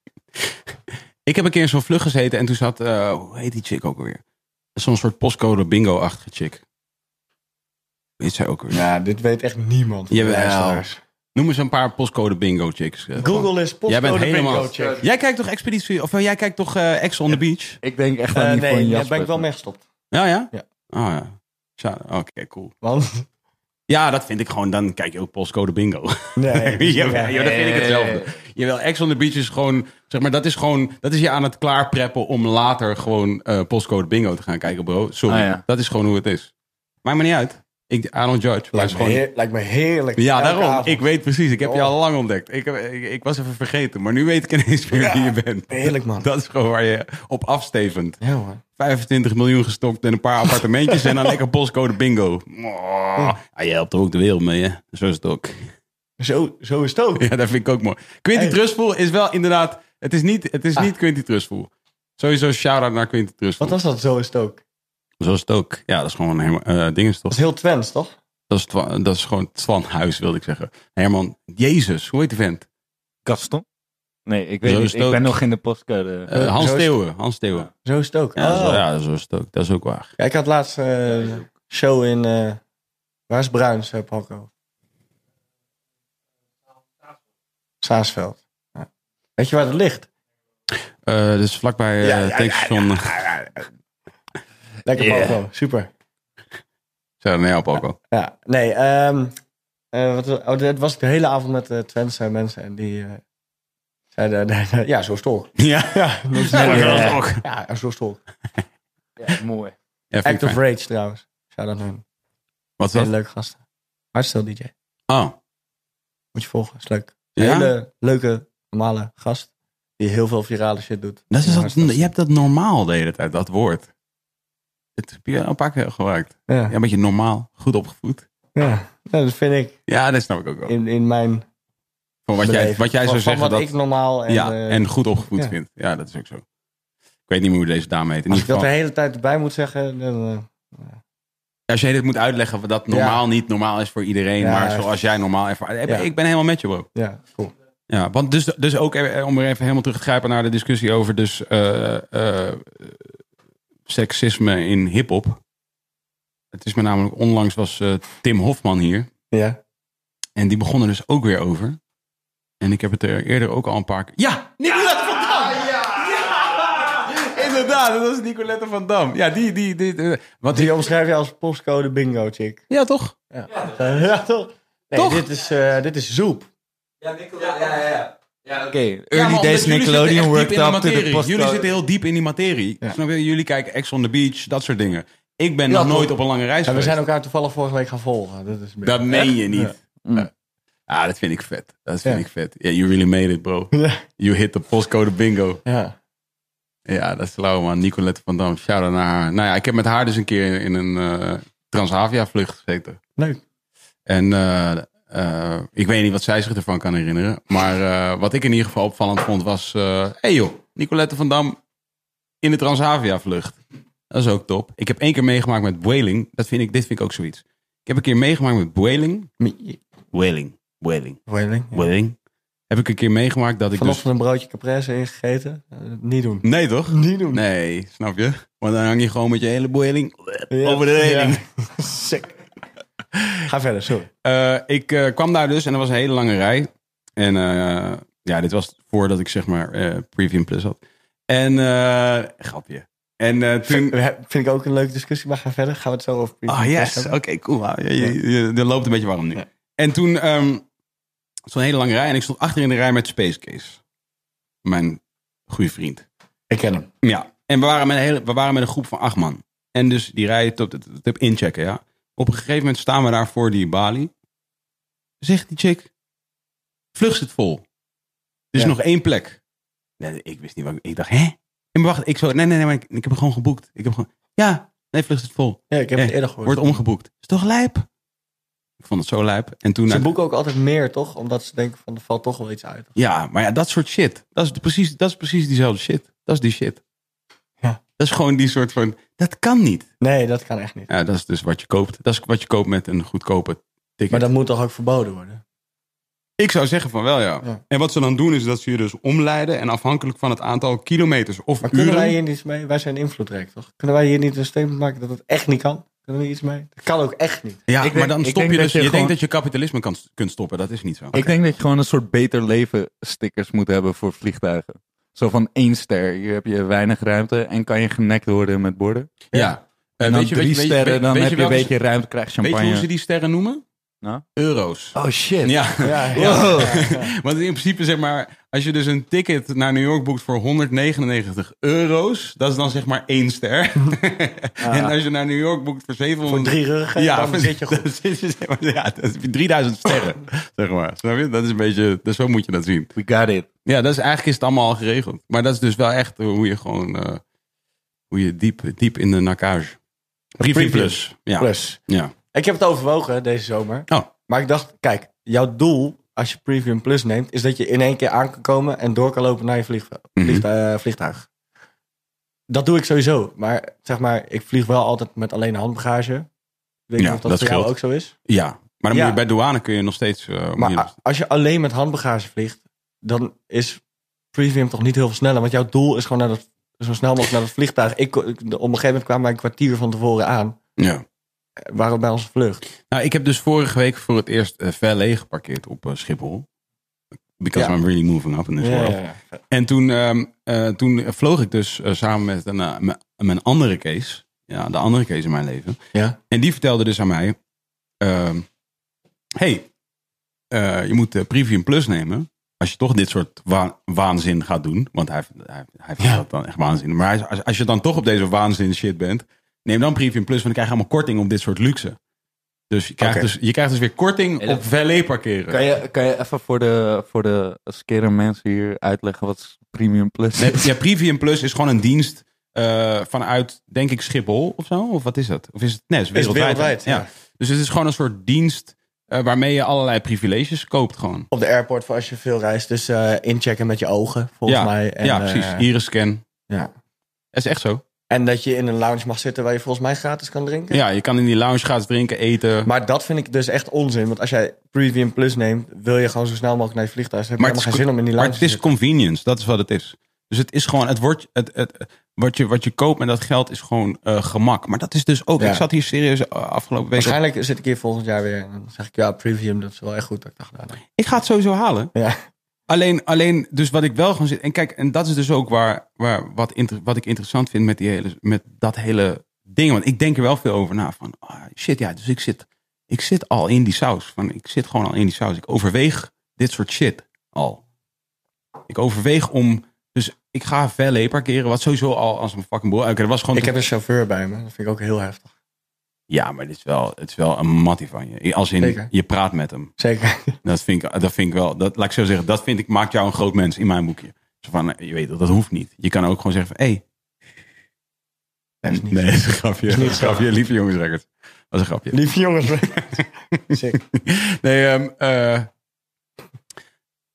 Ik heb een keer in zo'n vlucht gezeten en toen zat, eh, hoe heet die chick ook alweer? Zo'n soort postcode bingo-achtige chick. Weet zij ook weer. Nou, dit weet echt niemand. van de Jawel. luisteraars. Noem eens een paar postcode bingo chicks. eh, gewoon. Google is Jij bent postcode helemaal- bingo check. Jij kijkt toch Expeditie, of eh, jij kijkt toch eh Ex on the Beach? Ik denk echt Eh, aan die van nee, daar Jasper. ben ik wel mee gestopt. Ja, ja? Ja. Oh ja. Tja, Oké, cool. Want... Ja, dat vind ik gewoon, dan kijk je ook postcode bingo. Nee. dat is niet Jawel, waar. joh, dat vind ik hetzelfde. Nee. Jawel, Ex on the Beach is gewoon, zeg maar, dat is gewoon, dat is je aan het klaarpreppen om later gewoon eh, postcode bingo te gaan kijken, bro. Sorry, Ah, ja. dat is gewoon hoe het is. Maakt me niet uit. Ik, I don't judge. Maar het is Lijkt me, gewoon, heer- lijkt me heerlijk. ja, Elke daarom. avond. Ik weet precies. Ik heb je Oh. al lang ontdekt. Ik, heb- ik, ik was even vergeten, maar nu weet ik ineens weer wie je bent. Heerlijk, man. Dat is gewoon waar je op afstevend. Ja, man. 25 miljoen gestopt en een paar appartementjes en dan lekker postcode bingo. Oh, ja, je helpt er ook de wereld mee, hè? Zo is het ook. Zo, zo is het ook. Ja, dat vind ik ook mooi. Quinty Hey. Ah. Trustful is wel inderdaad. Het is niet, het is niet Quinty Trustful. Sowieso shout-out naar Quinty Trustful. Wat was dat, zo is het ook? Zo is het ook. Ja, dat is gewoon helemaal. eh dinges Dat toch? is heel Twents, toch? Dat is, Twa- dat is gewoon Twan Huis, wilde ik zeggen. Herman, Jezus, hoe heet die vent? Gaston? Nee, ik weet Zo niet. is het ook. Ik ben nog in de postcode. Eh, Eh, Hans zo is- Steeuwen. Hans Steeuwen. Zo is het ook. Ja, Oh. zo, ja, zo is het ook. Dat is ook waar. Ja, ik had laatst eh, show in... eh, waar is Bruins, eh, Paco? Saasveld. Ja. Weet je waar dat ligt? Eh dus vlakbij eh Ja, ja, ja, tankstation. Lekker, Yeah. Paco. Super. Zou dat niet helpen ook al? Ja, nee. ehm eh, wat, oh, dat was ik de hele avond met eh Twentse mensen. En die eh, zeiden... ja, zo is het ook. Ja, Ja, dat is dat ja. is ook. Ja, zo is het ook. Ja, mooi. Ja, vind ik Act of fijn. Rage trouwens. Shout out hun. Wat is dat? Hele leuke gasten. Hartstil DJ. Oh, Moet je volgen. Is leuk. Een ja? hele leuke, normale gast. Die heel veel virale shit doet. Dat is Ja, dat, je hebt dat normaal de hele tijd, dat woord. Het heb je al een paar keer gebruikt. Ja. Ja, Ja. een beetje normaal, goed opgevoed. Nou, dat vind ik Ja, dat snap ik ook wel. in, in mijn Van wat, jij, beleving. wat jij Van- zou van zeggen, wat dat, ik normaal en, ja, eh, en goed opgevoed ja. vindt. Ja, dat is ook zo. Ik weet niet meer hoe deze dame heet. In als ieder ik geval, dat de hele tijd erbij moet zeggen, dan... eh, als jij dit moet uitleggen, dat normaal niet normaal is voor iedereen, Ja, maar echt. zoals jij normaal ervaart. Ik ben- Ja. Ik ben helemaal met je, bro. ja, cool. Ja, want dus, dus ook eh, om er even helemaal terug te grijpen naar de discussie over dus eh, eh, seksisme in hip-hop. Het is me namelijk onlangs was eh, Tim Hofman hier Ja. en die begon er dus ook weer over. En ik heb het er eerder ook al een paar keer. Ja, Nicolette van Dam! Ja, Inderdaad, dat was Nicolette van Dam. Ja, die, die, die, die- want die, Die omschrijf je als postcode bingo chick. ja toch? Ja, ja toch? Nee, Toch? Dit, is, eh, dit is zoep. Oké, early days Nickelodeon worked up to the postcode. Jullie zitten heel diep in die materie. Ja. Snap je? Jullie kijken Ex on the Beach, dat soort dingen. Ik ben Ja, nog toch. nooit op een lange reis En we geweest. zijn elkaar toevallig vorige week gaan volgen. Dat, is Dat meen je niet. Ja. Mm. Ja. Ah, dat vind ik vet. Dat vind Ja. ik vet. Yeah, you really made it, bro. Ja. You hit the postcode bingo. Ja. Ja, dat is lauw, man. Nicolette van Dam. Shout-out naar haar. Nou ja, ik heb met haar dus een keer in een eh, Transavia-vlucht gezeten. Leuk. En eh, eh, ik weet niet wat zij zich ervan kan herinneren. Maar eh, wat ik in ieder geval opvallend vond was... eh hey joh, Nicolette van Dam in de Transavia-vlucht. Dat is ook top. Ik heb één keer meegemaakt met Whaling. Dat vind ik, dit vind ik ook zoiets. Ik heb een keer meegemaakt met Whaling. Whaling. Whaling. Whaling. Ja. Wedding. Heb ik een keer meegemaakt dat ik Vanochtend een broodje caprese ingegeten. Eh, niet doen. dus... Nee toch? Niet doen. Nee, snap je? Want dan hang je gewoon met je hele boeling Ja. over de reling. Ja. Sick. Ga verder, sorry. Eh, ik eh, kwam daar dus en er was een hele lange rij. En eh, ja, dit was voordat ik zeg maar eh Premium Plus had. En eh, grapje. En eh, toen... We heb- Vind ik ook een leuke discussie, maar ga verder. Gaan we het zo over Ah, yes. Oké, cool. Wauw. Je, je, je- er loopt een beetje warm nu. En toen ehm zo'n hele lange rij en ik stond achter in de rij met Space Case. Mijn goede vriend. Ik ken hem. Ja, en we waren met een, hele, we waren met een groep van acht man. En dus die rijden tot, tot, tot inchecken, ja. Op een gegeven moment staan we daar voor die balie. Zegt die chick, vlucht zit vol. Er is Ja. nog één plek. Nee, ik wist niet wat ik... Ik dacht, hè? Nee, maar wacht, ik zo... Nee, nee, nee, maar ik, ik heb gewoon geboekt. Ik heb gewoon... Ja, nee, vlucht zit vol. Ja, ik heb Ja, het eerder gehoord. Wordt omgeboekt. Is toch lijp? Ik vond het zo lijp. En toen... Ze boeken ook altijd meer, toch? Omdat ze denken van, er valt toch wel iets uit. Ja, maar ja, dat soort shit. Dat is precies, dat is precies diezelfde shit. Dat is die shit. Ja. Dat is gewoon die soort van... Dat kan niet. Nee, dat kan echt niet. Ja, dat is dus wat je koopt. Dat is wat je koopt met een goedkope ticket. Maar dat moet toch ook verboden worden? Ik zou zeggen van wel, ja. Ja. En wat ze dan doen is dat ze je dus omleiden. En afhankelijk van het aantal kilometers of Maar kunnen uren... wij hier niets mee? Wij zijn invloedrijk, toch? Kunnen wij hier niet een statement maken dat het echt niet kan? Kunnen we hier iets mee? Dat kan ook echt niet. Ja, Ik denk- maar dan ik stop je denk dus... dat je je gewoon- denkt dat je kapitalisme kan, kunt stoppen. Dat is niet zo. Ik denk dat je gewoon een soort beter leven stickers moet hebben voor vliegtuigen. Zo van één ster. Hier heb je weinig ruimte en kan je genekt worden met borden. Ja. Eh, En dan weet je- drie weet je- weet je- sterren, dan weet je heb je een welke- beetje ruimte, krijg Weet je hoe champagne. ze die sterren noemen? Nou? Euro's. Oh shit. Ja. Ja, Want in principe zeg maar, als je dus een ticket naar New York boekt voor 199 euro's, dat is dan zeg maar één ster. en als je naar New York boekt voor 700... Voor drie ruggen, ja, dan voor- zit je goed. dan zit je, zeg maar, ja, dat is 3000 sterren, zeg maar. Snap je? Dat is een beetje, dus zo moet je dat zien. We got it. Ja, dat is, eigenlijk is het allemaal al geregeld. Maar dat is dus wel echt hoe je gewoon, eh, hoe je diep, diep in de nakage. Preview plus. Ja. Plus. ja. Ik heb het overwogen deze zomer. Oh. Maar ik dacht, kijk, jouw doel als je Premium Plus neemt, is dat je in één keer aan kan komen en door kan lopen naar je vlieg- Mhm. vliegtu- eh, vliegtuig. Dat doe ik sowieso. Maar zeg maar, ik vlieg wel altijd met alleen handbagage. Ik weet niet Ja, of dat, dat voor jou scheelt. ook zo is. Ja, maar dan Ja. Moet je, bij douane kun je nog steeds... eh, moet Maar ah. je- a- als je alleen met handbagage vliegt, dan is Premium toch niet heel veel sneller. Want jouw doel is gewoon naar dat, zo snel mogelijk naar dat vliegtuig. Ik, kon- ik- op een gegeven moment kwamen wij een kwartier van tevoren aan. ja. eh, Waren we bij onze vlucht. Nou, ik heb dus vorige week voor het eerst eh valet geparkeerd op eh, Schiphol. Because Ja. I'm really moving up in this world. En toen, ehm, eh, toen vloog ik dus eh, samen met een, eh, m- mijn andere Kees. Ja, de andere Kees in mijn leven. Ja. En die vertelde dus aan mij... ehm, hey, eh, je moet eh, Premium Plus nemen. Als je toch dit soort wa- waanzin gaat doen. Want hij, hij, hij vindt dat dan echt waanzin. Maar hij- als, als je dan toch op deze waanzin shit bent... Neem dan Premium Plus, want dan krijg je allemaal korting op dit soort luxe. Dus je krijgt, Oké. dus, je krijgt dus weer korting Hele- op valet parkeren. Kan je, kan je even voor de, voor de skeren mensen hier uitleggen wat Premium Plus Nee, is? ja, Premium Plus is gewoon een dienst eh, vanuit, denk ik, Schiphol of zo. Of wat is dat? Of is het, nee, het is Is wereldwijd. wereldwijd, hè? ja. ja. Dus het is gewoon een soort dienst eh, waarmee je allerlei privileges koopt gewoon. Op de airport voor als je veel reist. Dus eh, inchecken met je ogen, volgens ja, mij. En, ja, eh, precies. Iris scan. ja. Dat is echt zo. En dat je in een lounge mag zitten waar je volgens mij gratis kan drinken. Ja, je kan in die lounge gaan drinken, eten. Maar, Maar dat vind ik dus echt onzin. Want als jij Premium Plus neemt, wil je gewoon zo snel mogelijk naar je vliegtuig. Dan heb je Maar het helemaal geen zin om in die lounge het te is zitten. convenience. Dat is wat het is. Dus het is gewoon, het wordt, het, het, wat, je, wat je koopt met dat geld is gewoon eh, gemak. Maar dat is dus ook, Ja. ik zat hier serieus eh, afgelopen week. op- Waarschijnlijk zit ik hier volgend jaar weer. En dan zeg ik, ja, Premium, dat is wel echt goed dat ik nou, dat gedaan heb. Ik ga het sowieso halen. Ja. Alleen, alleen, dus wat ik wel gewoon zit. En kijk, en dat is dus ook waar, waar wat, inter- wat ik interessant vind met, die hele, met dat hele ding. Want ik denk er wel veel over na. Van ah, shit, ja, dus ik zit, ik zit al in die saus. Van, ik zit gewoon al in die saus. Ik overweeg dit soort shit al. Ik overweeg om. Dus ik ga valet parkeren, wat sowieso al als een fucking boel. Oké, dat was gewoon. Ik heb een chauffeur bij me. Dat vind ik ook heel heftig. Ja, maar dit is wel, het is wel een mattie van je. Als in, Zeker. je praat met hem. Zeker. Dat vind ik, dat vind ik wel. Dat, laat ik zo zeggen, dat vind ik, maakt jou een groot mens in mijn boekje. Zo van, eh, je weet dat, dat hoeft niet. Je kan ook gewoon zeggen van, hé. Hey, Dat is niet nee, dat is een grapje. Dat is een grapje. Lieve jongensrekkers. Dat is een grapje. Lieve jongens. Zeker. Nee, ehm, eh,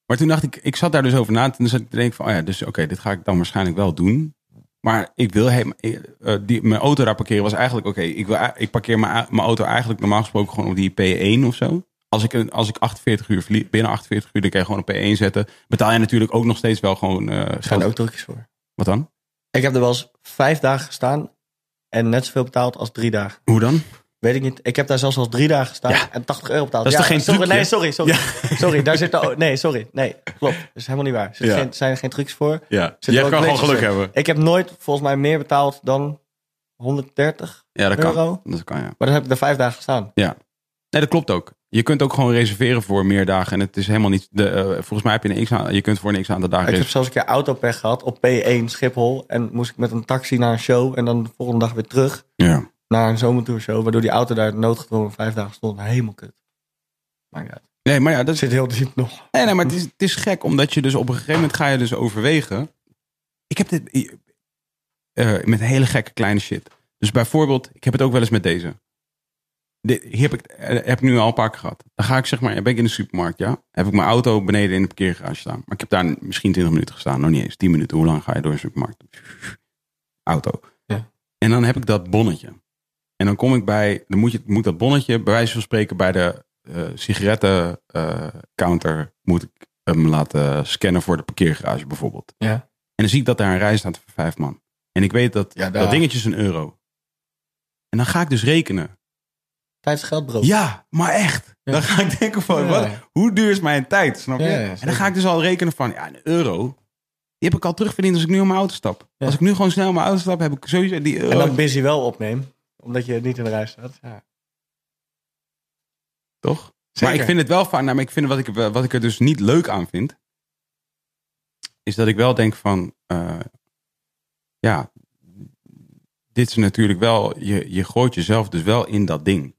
maar toen dacht ik, ik zat daar dus over na. Toen zat ik te denken van, oh ja, dus oké, dit ga ik dan waarschijnlijk wel doen. Maar ik wil helemaal, eh, eh, die, mijn auto daar parkeren was eigenlijk oké. ik wil, ik parkeer mijn, mijn auto eigenlijk normaal gesproken gewoon op die P1 of zo. Als ik, een- als ik 48 uur vlie, binnen 48 uur, dan kan je gewoon op P1 zetten. Betaal je natuurlijk ook nog steeds wel gewoon eh, Er zijn geld. ook trucjes voor. Wat dan? Ik heb er wel eens vijf dagen gestaan en net zoveel betaald als drie dagen. Hoe dan? Weet ik niet. Ik heb daar zelfs al drie dagen gestaan Ja. en 80 euro betaald. Dat is toch geen sorry, trucje? Nee, sorry, sorry. Sorry, daar zit de... Nee, sorry. Nee, klopt. Dat is helemaal niet waar. Er zit Ja. geen- zijn er geen trucs voor. Ja, Zit jij er ook kan gewoon netjes geluk in. hebben. Ik heb nooit volgens mij meer betaald dan 130. Ja, dat kan. Ah, Euro? Dat kan, ja. Maar dan heb ik er vijf dagen gestaan. Nee, dat klopt ook. Je kunt ook gewoon reserveren voor meer dagen. En het is helemaal niet. De, eh, volgens mij heb je een x aan. Je kunt voor een x aantal dagen. Ik heb reserveren. zelfs een keer autopech gehad op P1 Schiphol. En moest ik met een taxi naar een show. En dan de volgende dag weer terug Ja. naar een zomertourshow. Waardoor die auto daar noodgedwongen vijf dagen stond. Helemaal kut. Maakt niet uit. Nee, maar ja, dat Het is. zit heel diep nog. Nee, nee, maar het is, het is gek omdat je dus op een gegeven moment ga je dus overwegen. Ik heb dit eh, met hele gekke kleine shit. Dus bijvoorbeeld, ik heb het ook wel eens met deze. dit, hier heb ik, eh, heb ik nu al een paar keer gehad. Dan ga ik zeg maar, ben ik in de supermarkt, ja. Heb ik mijn auto beneden in de parkeergarage staan. Maar ik heb daar misschien 20 minuten gestaan, nog niet eens. 10 minuten, hoe lang ga je door een supermarkt? Auto. Ja. En dan heb ik dat bonnetje. En dan kom ik bij, dan moet, je, moet dat bonnetje, bij wijze van spreken, bij de eh, sigarettencounter moet ik hem laten scannen voor de parkeergarage bijvoorbeeld. Ja. En dan zie ik dat daar een rij staat voor vijf man. En ik weet dat Ja, daar. dat dingetje is een euro. En dan ga ik dus rekenen. Tijd is geld, bro. Ja, maar echt. Oh. Ja. Dan ga ik denken van, Ja. wat, hoe duur is mijn tijd? Snap je? Ja, ja, en zeker. dan ga ik dus al rekenen van, ja, een euro. Die heb ik al terugverdiend als ik nu op mijn auto stap. Ja. Als ik nu gewoon snel op mijn auto stap, heb ik sowieso die euro. En dan busy wel opneemt, omdat je niet in de rij staat. Ja. Toch? Zeker. Maar ik vind het wel vaak, nou, maar ik vind wat ik, wat ik er dus niet leuk aan vind, is dat ik wel denk van, eh, ja, dit is natuurlijk wel, je, je gooit jezelf dus wel in dat ding.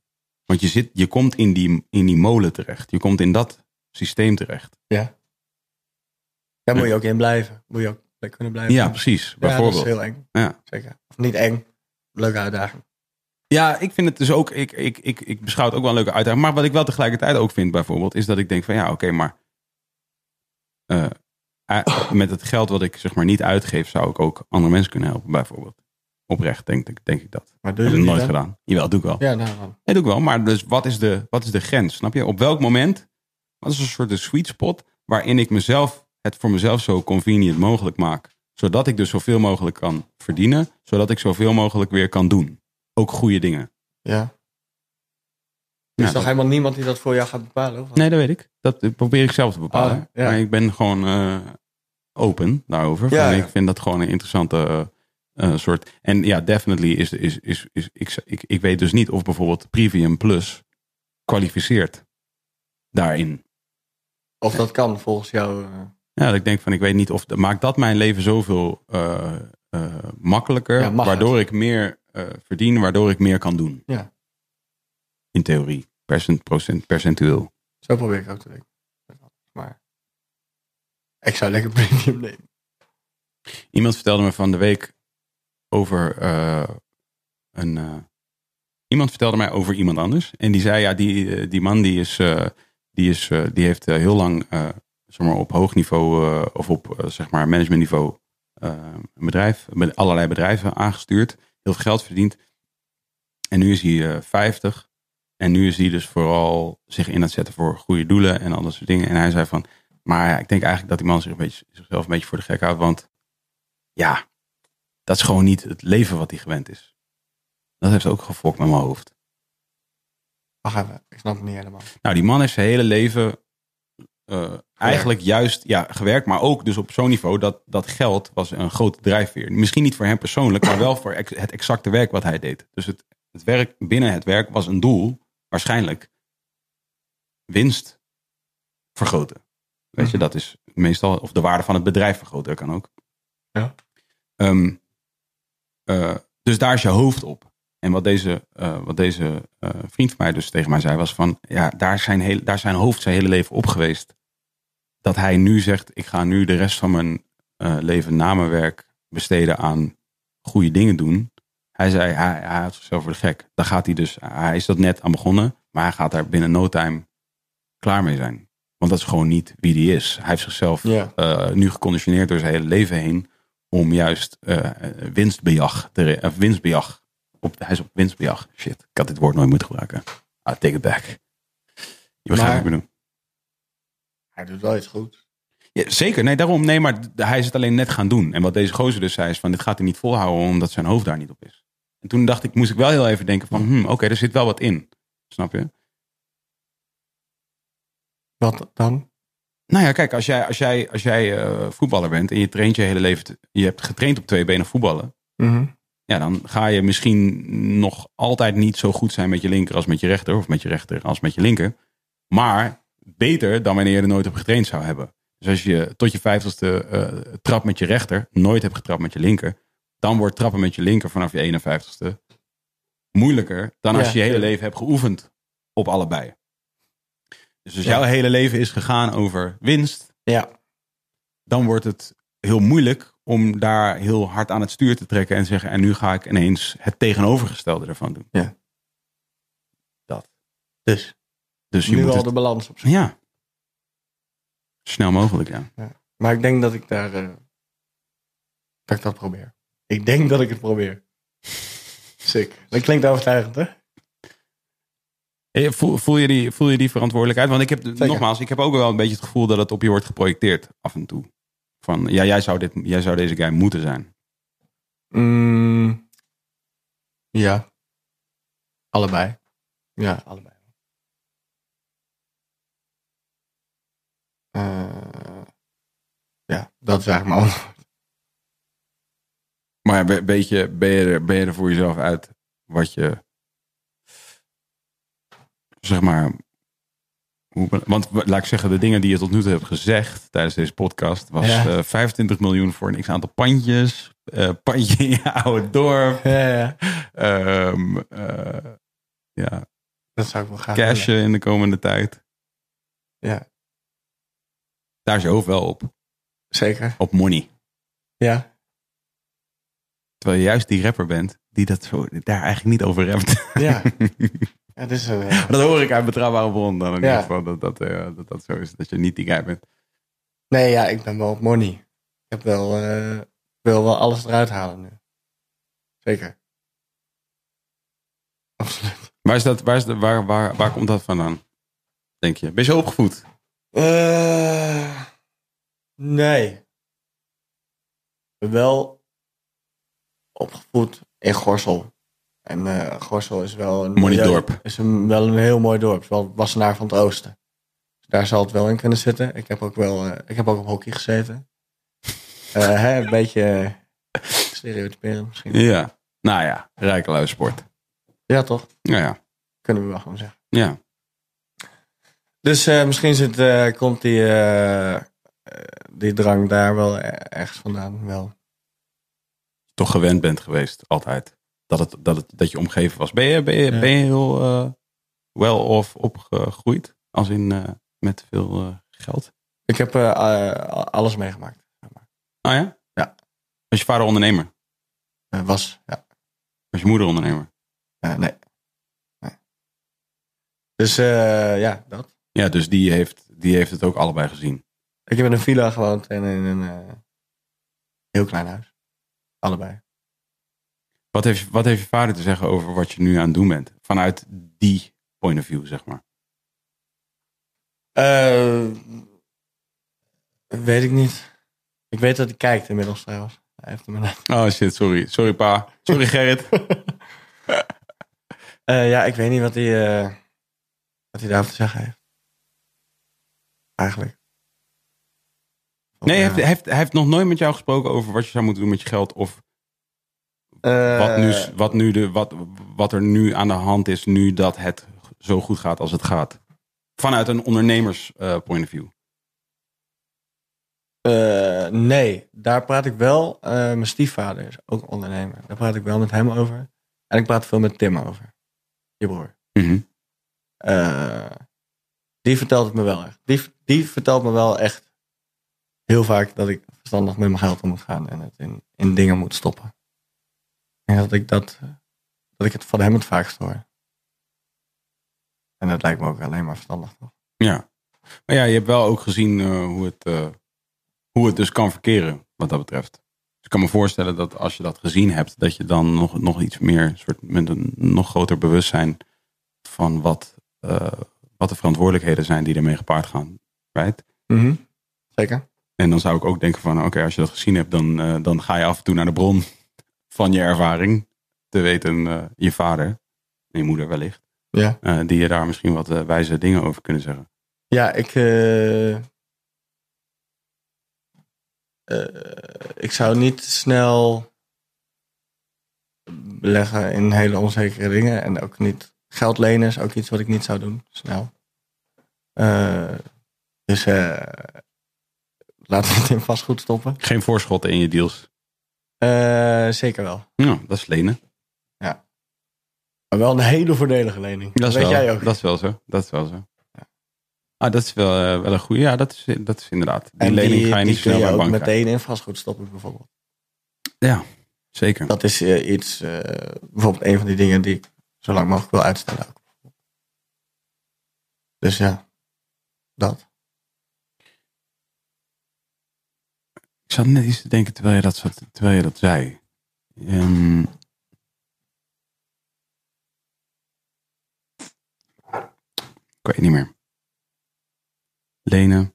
Want je, zit, je komt in die, in die molen terecht. Je komt in dat systeem terecht. Daar moet je ook in blijven. Moet je ook bij kunnen blijven. Ja, precies. Ja, Bijvoorbeeld. dat is heel eng. Ja. Zeker. Of niet eng. Leuke uitdaging. Ja, ik vind het dus ook. Ik, ik, ik, ik beschouw het ook wel een leuke uitdaging. Maar wat ik wel tegelijkertijd ook vind, bijvoorbeeld, is dat ik denk van ja, oké, maar. eh, eh, met het geld wat ik zeg maar niet uitgeef, zou ik ook andere mensen kunnen helpen, bijvoorbeeld. Oprecht, denk, ik- denk ik dat. Maar doe Dat je heb dat ik niet, nooit hè? gedaan. Jawel, doe ik wel. Ja, nou daarom. Nee, doe ik wel. Maar dus wat is, de, wat is de grens? Snap je? Op welk moment? Wat is een soort de sweet spot waarin ik mezelf het voor mezelf zo convenient mogelijk maak, zodat ik dus zoveel mogelijk kan verdienen, zodat ik zoveel mogelijk weer kan doen. Ook goede dingen. Ja. Er is Ja, toch dat- helemaal niemand die dat voor jou gaat bepalen? Of? wat? Nee, dat weet ik. Dat probeer ik zelf te bepalen. Ah, ja. Maar ik ben gewoon eh, open daarover. Ja, Van, ja. Ik vind dat gewoon een interessante eh, eh, soort. En ja, definitely is, is, is, is ik, ik, ik weet dus niet of bijvoorbeeld Premium Plus kwalificeert daarin. Of dat kan volgens jou. eh, Ja, dat ik denk van, ik weet niet of... Maakt dat mijn leven zoveel eh, eh, makkelijker? Ja, mag waardoor ik meer eh, verdien, waardoor ik meer kan doen. Ja. In theorie. Percent, procent, percentueel. Zo probeer ik ook te denken. Maar ik zou lekker premium nemen. Iemand vertelde me van de week over eh, een... eh, iemand vertelde mij over iemand anders. En die zei, ja, die, eh, die man die is... eh, die, is eh, die heeft eh, heel lang eh, zeg maar, op hoog niveau... eh, of op eh, zeg maar managementniveau... eh, een bedrijf, met allerlei bedrijven aangestuurd. Heel veel geld verdiend. En nu is hij eh, 50. En nu is hij dus vooral zich in aan het zetten voor goede doelen en al dat soort dingen. En hij zei van... Maar ja, ik denk eigenlijk dat die man zich een beetje, zichzelf een beetje voor de gek houdt. Want ja, dat is gewoon niet het leven wat hij gewend is. Dat heeft ook gefokt met mijn hoofd. Wacht even, ik snap het niet helemaal. Nou, die man heeft zijn hele leven eh, eigenlijk juist ja, gewerkt, maar ook dus op zo'n niveau dat, dat geld was een grote drijfveer. Misschien niet voor hem persoonlijk, maar wel voor ex- het exacte werk wat hij deed. Dus het, het werk binnen het werk was een doel, waarschijnlijk winst vergroten. Weet je, dat is meestal, of de waarde van het bedrijf vergroten, dat kan ook. Ja. Ehm, eh, dus daar is je hoofd op. En wat deze, eh, wat deze eh, vriend van mij dus tegen mij zei, was van ja, daar zijn, heel, daar zijn hoofd zijn hele leven op geweest. Dat hij nu zegt, ik ga nu de rest van mijn eh, leven na mijn werk besteden aan goede dingen doen. Hij zei, hij, hij had zichzelf voor de gek. Daar gaat hij dus, hij is dat net aan begonnen, maar hij gaat daar binnen no time klaar mee zijn. Want dat is gewoon niet wie die is. Hij heeft zichzelf Ja. eh, nu geconditioneerd door zijn hele leven heen om juist eh, winstbejag, te re- of winstbejag op, hij is op winstbejag. Shit, ik had dit woord nooit moeten gebruiken. Ah, take it back. Je begrijpt wat ik bedoel. Hij doet wel iets goed. Ja, zeker, nee, daarom. Nee, maar d- hij is het alleen net gaan doen. En wat deze gozer dus zei is van, dit gaat hij niet volhouden omdat zijn hoofd daar niet op is. En toen dacht ik, moest ik wel heel even denken van, hmm, oké, er zit wel wat in. Snap je? Wat dan? Nou ja, kijk, als jij, als jij, als jij eh, voetballer bent en je traint je hele leven, te- je hebt getraind op twee benen voetballen. Mhm. Ja, dan ga je misschien nog altijd niet zo goed zijn met je linker als met je rechter. Of met je rechter als met je linker. Maar beter dan wanneer je er nooit op getraind zou hebben. Dus als je tot je vijftigste eh trap met je rechter, nooit hebt getrapt met je linker. Dan wordt trappen met je linker vanaf je 51ste moeilijker dan als Ja, je je hele tuurlijk. leven hebt geoefend op allebei. Dus als Ja. jouw hele leven is gegaan over winst, Ja. dan wordt het heel moeilijk om daar heel hard aan het stuur te trekken en te zeggen: en nu ga ik ineens het tegenovergestelde ervan doen. Ja. Dat. Dus Dus je nu moet al het- de balans op zoek. Ja. Snel mogelijk, ja. Maar ik denk dat ik daar. eh, dat ik dat probeer. Ik denk dat ik het probeer. Sick. Dat klinkt overtuigend, hè? Eh, Voel, voel, je die, voel je die verantwoordelijkheid? Want ik heb, nogmaals, ik heb ook wel een beetje het gevoel dat het op je wordt geprojecteerd af en toe. Van, ja, jij zou, dit, jij zou deze guy moeten zijn. Mm, ja. Allebei. Ja, allebei. Eh, ja, dat is eigenlijk mijn antwoord. Maar be- weet je, ben, je er, ben je er voor jezelf uit wat je. Zeg maar. Hoe, be- want w- laat ik zeggen, de dingen die je tot nu toe hebt gezegd tijdens deze podcast was Ja. eh, 25 miljoen voor een x aantal pandjes. eh, pandje in je oude dorp. Ja, ja. ehm, eh, ja, Dat zou ik wel graag willen. cashen in de komende tijd. Ah, Ja. Daar is je hoofd wel op. Zeker. Op money. Ja. Terwijl je juist die rapper bent die dat zo, daar eigenlijk niet over rapt. Ja. ja dit is, eh, dat hoor ik uit betrouwbare bron dan in Ja. ieder geval. Dat dat, eh, dat dat zo is. Dat je niet die guy bent. nee, ja, ik ben wel op money. Ik heb wel, eh, wil wel alles eruit halen nu. Zeker. Absoluut. Waar, is dat, waar, is de, waar, waar, waar komt dat vandaan? Denk je? Ben je zo opgevoed? Eh, nee. Wel opgevoed in Gorsel. En eh, Gorsel is wel een, Mooi milieu- dorp. Is een, wel een heel mooi dorp. Het is wel Wassenaar van het Oosten. Dus daar zal het wel in kunnen zitten. Ik heb ook, wel, eh, ik heb ook op hockey gezeten. Eh, hè, een beetje eh, stereotyperend misschien. Ja. Nou ja, rijke lui sport. Ja, toch? Nou ja. Kunnen we wel gewoon zeggen. Ja. Dus eh, misschien zit, eh, komt die, eh, eh, die drang daar wel eh, ergens vandaan. Wel. Toch gewend bent geweest, altijd. Dat, het, dat, het, dat je omgeven was. Ben je, ben je, Ja. ben je heel eh well off opgegroeid? Als in eh, met veel eh, geld? Ik heb eh, eh, alles meegemaakt. Oh ja? Ja. Was je vader ondernemer? Eh, was, ja. Was je moeder ondernemer? Eh, nee. nee. Dus eh, ja, dat. Ja, dus die heeft, die heeft het ook allebei gezien. Ik heb in een villa gewoond en in een eh, heel klein huis. Allebei. Wat heeft, wat heeft je vader te zeggen over wat je nu aan het doen bent? Vanuit die point of view, zeg maar. Eh, weet ik niet. Ik weet dat hij kijkt inmiddels trouwens. Hij heeft hem net. Oh shit, sorry. Sorry pa. Sorry Gerrit. Eh, ja, ik weet niet wat hij, eh, wat hij daarover te zeggen heeft. Eigenlijk. Nee, hij Ja. heeft, hij heeft, hij heeft nog nooit met jou gesproken over wat je zou moeten doen met je geld. Of Eh, wat, nu, wat, nu de, wat, wat er nu aan de hand is, nu dat het zo goed gaat als het gaat. Vanuit een ondernemers eh, point of view. Eh, nee, daar praat ik wel. eh, mijn stiefvader is ook ondernemer. Daar praat ik wel met hem over. En ik praat veel met Tim over. Je broer. Eh, die vertelt het me wel echt. Die, die vertelt me wel echt heel vaak dat ik verstandig met mijn geld om moet gaan. En het in, in dingen moet stoppen. En dat ik dat, dat ik het van hem het vaakst hoor. En dat lijkt me ook alleen maar verstandig. toch? Ja. Maar ja, je hebt wel ook gezien eh, hoe, het, eh, hoe het dus kan verkeren, wat dat betreft. Dus ik kan me voorstellen dat als je dat gezien hebt, dat je dan nog, nog iets meer, soort, met een nog groter bewustzijn van wat, eh, wat de verantwoordelijkheden zijn die ermee gepaard gaan. Right? Zeker. En dan zou ik ook denken van, oké, als je dat gezien hebt, dan, eh, dan ga je af en toe naar de bron van je ervaring. Te weten, eh, je vader en je moeder wellicht. Ja. eh, die je daar misschien wat eh, wijze dingen over kunnen zeggen. Ja, ik. eh, eh, ik zou niet snel beleggen in hele onzekere dingen. En ook niet. Geld lenen is ook iets wat ik niet zou doen. Snel. Eh, dus eh, laten we het in vastgoed stoppen. Geen voorschotten in je deals. Eh, zeker wel. Ja, dat is lenen. Maar wel een hele voordelige lening. Dat is weet wel, jij ook. Dat is wel zo. Dat is wel zo. Ah, dat is wel, eh, wel een goede. Ja, dat is, dat is inderdaad. Die en lening ga je niet die snel kun je bij de ook bank krijgen. meteen in vastgoed stoppen, bijvoorbeeld. Zeker. Dat is eh, iets, eh, bijvoorbeeld een van die dingen die ik zo lang mogelijk wil uitstellen. Ook. Dus ja, dat. Ik zat net iets te denken terwijl je dat, zat- terwijl je dat zei. Ehm. ik weet niet meer. Lenen.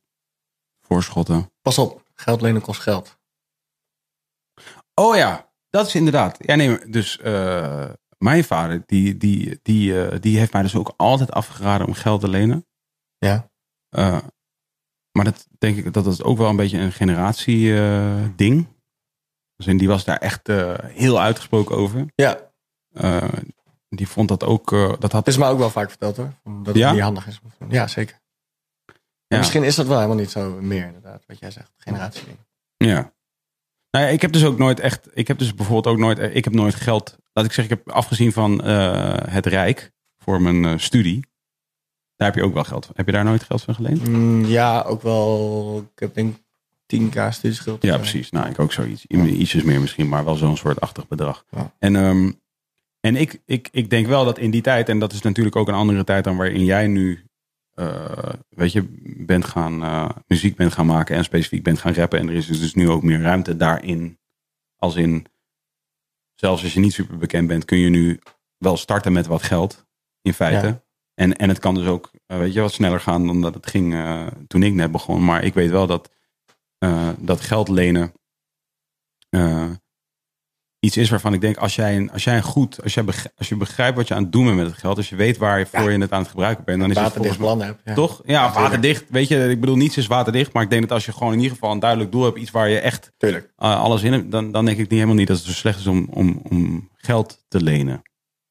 Voorschotten. Pas op, geld lenen kost geld. Oh ja, dat is inderdaad. Ja, nee, maar dus eh, mijn vader, die, die, die, eh, die heeft mij dus ook altijd afgeraden om geld te lenen. Ja. Eh, maar dat denk ik dat dat ook wel een beetje een generatie-ding. dus en die was daar echt eh, heel uitgesproken over. Ja, het Eh, die vond dat ook. eh, dat had, is mij ook wel vaak verteld hoor. Dat het Ja? niet handig is. om te doen. Ja, zeker. Ja. En Misschien is dat wel helemaal niet zo meer inderdaad, wat jij zegt. Generatie. ja. Nou ja, ik heb dus ook nooit echt. Ik heb dus bijvoorbeeld ook nooit. Ik heb nooit geld. Laat ik zeggen, ik heb afgezien van eh, het Rijk voor mijn eh, studie. Daar heb je ook wel geld van. Heb je daar nooit geld van geleend? Mm, ja, ook wel. Ik heb denk ik 10k studieschuld. eh, Ja, precies. Nou, ik ook zoiets. I- Ietsjes meer misschien, maar wel zo'n soortachtig bedrag. Ja. En, ehm, en ik, ik, ik denk wel dat in die tijd, en dat is natuurlijk ook een andere tijd dan waarin jij nu, eh, weet je, bent gaan, eh, muziek bent gaan maken en specifiek bent gaan rappen. En er is dus nu ook meer ruimte daarin. Als in, zelfs als je niet super bekend bent, kun je nu wel starten met wat geld, in feite. Ja. En, en het kan dus ook, eh, weet je, wat sneller gaan dan dat het ging eh, toen ik net begon. Maar ik weet wel dat eh, dat geld lenen eh, iets is waarvan ik denk, als jij een, als jij een goed, als, jij beg- als je begrijpt wat je aan het doen bent met het geld, als je weet waarvoor je het aan het gebruiken bent, dan is het volgens Waterdicht mij- plan heb. Ja. toch? Ja, tuurlijk. waterdicht. Weet je, ik bedoel, niets is waterdicht, maar ik denk dat als je gewoon in ieder geval een duidelijk doel hebt, iets waar je echt Tuurlijk. eh, alles in hebt, dan, dan denk ik niet helemaal niet dat het zo slecht is om, om, om geld te lenen.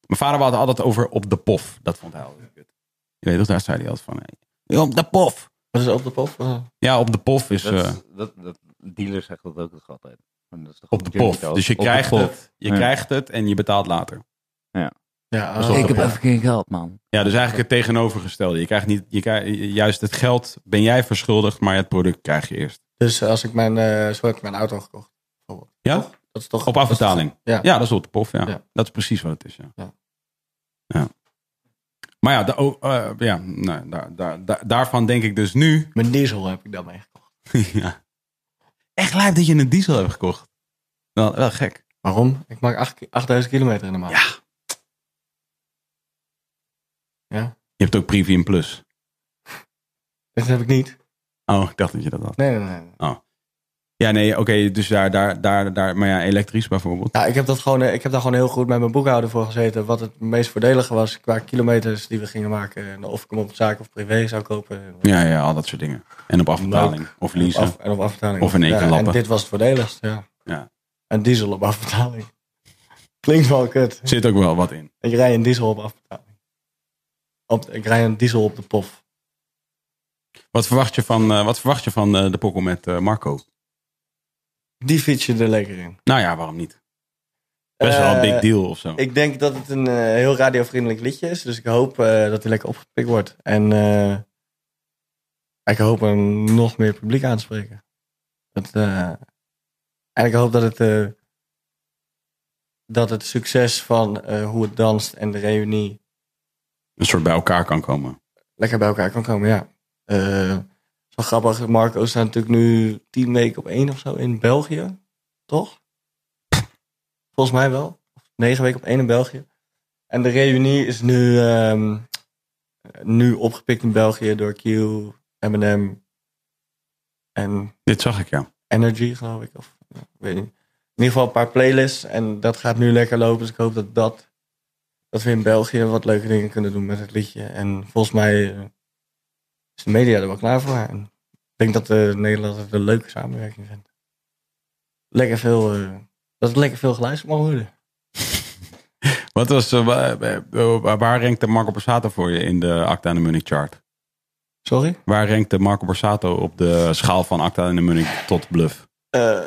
Mijn vader had het altijd over op de pof. Dat vond hij altijd kut. Je weet toch, daar zei hij altijd van. hey, Op de pof. Wat is op de pop? Eh, Ja, op de pof is... Dat, eh, is- dat, dat, dealer zegt dat ook nog altijd. Maar dat is toch Op de een pof. geld? Dus je Op de krijgt pof. het. Je Ja. krijgt het en je betaalt later. Ja, Dat is ah, op de pof. geen geld, man. Ja, dus eigenlijk het tegenovergestelde. Je krijgt niet, je krijgt, juist het geld ben jij verschuldigd, maar het product krijg je eerst. Dus als ik mijn, eh zo heb ik mijn auto gekocht. bijvoorbeeld. Ja? Toch? Dat is toch Op afbetaling. Ja. Ja, dat is op de pof. Ja. Ja. Dat is precies wat het is. Ja. Ja. Ja. Maar ja, da- oh, eh, ja nou, daar, daar, daar- daarvan denk ik dus nu. Mijn diesel heb ik daarmee gekocht. ja. Echt lijp dat je een diesel hebt gekocht. Wel, wel gek. Waarom? Ik maak acht- 8000 kilometer in de maand. Ja. Ja. Je hebt ook Premium Plus. Dat heb ik niet. Oh, ik dacht dat je dat had. Nee, nee, nee. nee. Ja, nee, oké. dus daar, daar, daar, daar. Maar ja, elektrisch bijvoorbeeld. Nou, ik heb, dat gewoon, eh, ik heb daar gewoon heel goed met mijn boekhouder voor gezeten. Wat het meest voordelige was qua kilometers die we gingen maken. En Of ik hem op zaak of privé zou kopen. Ja, ja, al dat soort dingen. En op afbetaling. Of En op leasen. af- en op afbetaling. Of in één Ja, keer lappen. En dit was het voordeligst, ja. Ja. En diesel op afbetaling. Klinkt wel kut. Zit ook wel wat in. Ik rij een diesel op afbetaling. Op, ik rij een diesel op de pof. Wat verwacht je van, eh, wat verwacht je van eh, de pokkel met eh, Marco? Die fiets je er lekker in. Nou ja, waarom niet? Best wel een Eh, big deal of zo. Ik denk dat het een eh, heel radiovriendelijk liedje is. Dus ik hoop eh, dat hij lekker opgepikt wordt. En eh, ik hoop een nog meer publiek aanspreken. Dat, eh, en ik hoop dat het, eh, dat het succes van eh, hoe het danst en de reunie een soort bij elkaar kan komen. lekker bij elkaar kan komen, ja. Eh zo grappig, Marco staat natuurlijk nu tien weken op één of zo in België, toch? Volgens mij wel. Of negen weken op één in België. En de reunie is nu, ehm, eh, nu opgepikt in België door Q, Eminem en Dit zag ik, ja. Energy, geloof ik. Of, ja, ik weet niet. In ieder geval een paar playlists en dat gaat nu lekker lopen. Dus ik hoop dat, dat, dat we in België wat leuke dingen kunnen doen met het liedje. En volgens mij eh, is de media er wel klaar voor. En ik denk dat de Nederland het een leuke samenwerking vindt. Lekker veel, eh, dat het lekker veel geluisterd mag worden. Wat was, eh, wa- eh, eh, waar rankte Marco Borsato voor je in de Acta en de Munich chart? Sorry? Waar rankte Marco Borsato op de schaal van Acta en de Munich tot Bluff? Eh,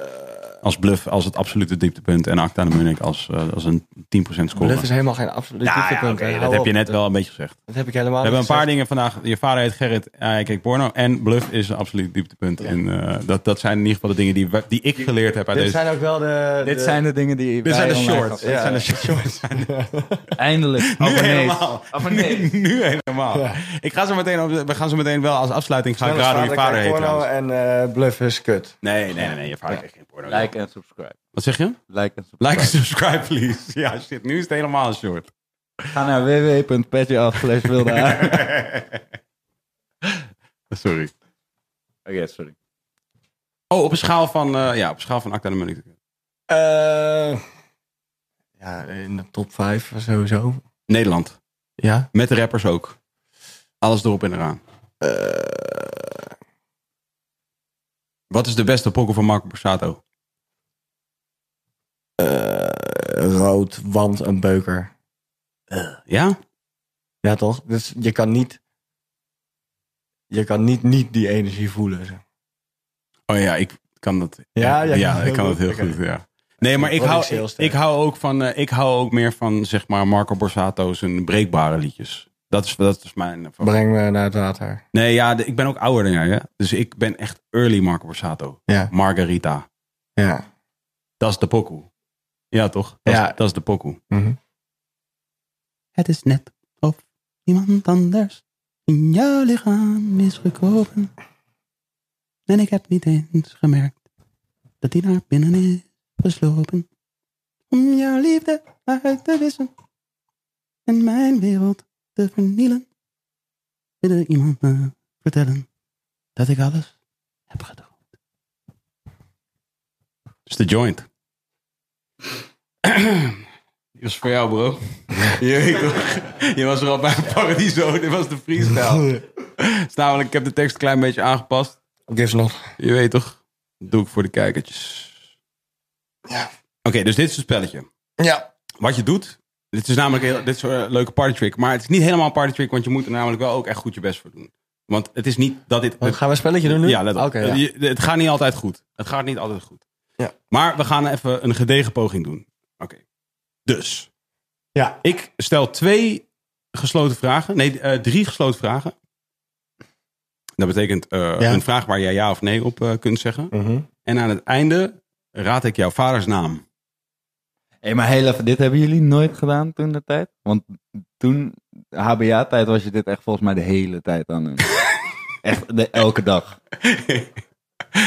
als bluff als het absolute dieptepunt. En Acta de Munich als, eh, als een 10% score. Bluff is helemaal geen absoluut Nou ja, dieptepunt, oké, hè. dat Hou heb op. je net wel een beetje gezegd. Dat heb ik helemaal We hebben een niet paar gezegd. dingen vandaag. Je vader heet Gerrit, hij kijkt porno. En bluff is een absoluut dieptepunt. En eh, dat, dat zijn in ieder geval de dingen die, we- die ik geleerd heb uit Dit deze... zijn ook wel de... Dit de- zijn de dingen die Eh, Dit dus zijn de online shorts. gaan- Dit zijn de Ja. shorts. Eindelijk. Nu Abonnees. helemaal. Abonnees. Nu, nu helemaal. Ja. Ik ga zo meteen op, de- we gaan zo meteen wel als afsluiting gaan Snelle raden hoe je vader vader heet kijkt porno trouwens. En eh, bluff is kut. Nee, nee, nee, nee, je vader Ja. kijkt geen porno. Like en subscribe. Wat zeg je? Like en subscribe. Like en subscribe, please. Ja, shit, nu is het helemaal een short. Ga naar www.patreon slash wilde Aap. Sorry. Oké, sorry. Oh, op een schaal van, eh ja, op een schaal van Acta de Munich. Eh, ja, in de top 5 sowieso. Nederland. Ja. Met de rappers ook. Alles erop en eraan. Eh, Wat is de beste pokkel van Marco Borsato? eh, rood, want een beuker. Ja? Ja, toch? Dus je kan niet... Je kan niet, niet die energie voelen. zeg. Oh ja, ik kan dat. Ja, jij kan het ik heel kan dat goed. heel Oké. goed. Ja. Nee, maar ik Word ik hou, heel ik, sterk. ik hou ook van, eh, ik hou ook meer van zeg maar Marco Borsato's en breekbare liedjes. Dat is, dat is mijn. Breng me naar het water. Nee, ja, de- ik ben ook ouder dan jij, hè? dus ik ben echt early Marco Borsato. Ja. Margarita, Ja. dat is de pokoe. Ja, toch? Dat, Ja. is, dat is de pokoe. Mhm. Het is net of iemand anders in jouw lichaam is gekomen. En ik heb niet eens gemerkt dat hij naar binnen is geslopen. Om jouw liefde uit te wissen en mijn wereld te vernielen. Wil er iemand me vertellen dat ik alles heb gedaan? is de joint. Die was voor jou, bro. Je, weet toch, je was er al bij Paradiso. Dit was de freestyle. Het is namelijk, ik heb de tekst een klein beetje aangepast. Gives nog. Je weet toch? Dat doe ik voor de kijkertjes. Ja. Oké, dus dit is het spelletje. Ja. Wat je doet. Dit is namelijk heel, dit is eh, een leuke party trick. Maar het is niet helemaal een party trick, want je moet er namelijk wel ook echt goed je best voor doen. Want het is niet dat dit. Oh, Gaan we een spelletje doen nu? Ja, let op. Oké, ja. Je- Het gaat niet altijd goed. Het gaat niet altijd goed. Ja. Maar we gaan even een gedegen poging doen. Oké. Dus. Ja. Ik stel twee gesloten vragen. Nee, eh, drie gesloten vragen. Dat betekent eh, een vraag waar jij ja of nee op eh, kunt zeggen. Mhm. En aan het einde raad ik jouw vaders naam. Hé, maar heel even, dit hebben jullie nooit gedaan toen de tijd? Want toen, HBA-tijd, was je dit echt volgens mij de hele tijd aan het doen. echt de, elke dag. Heb je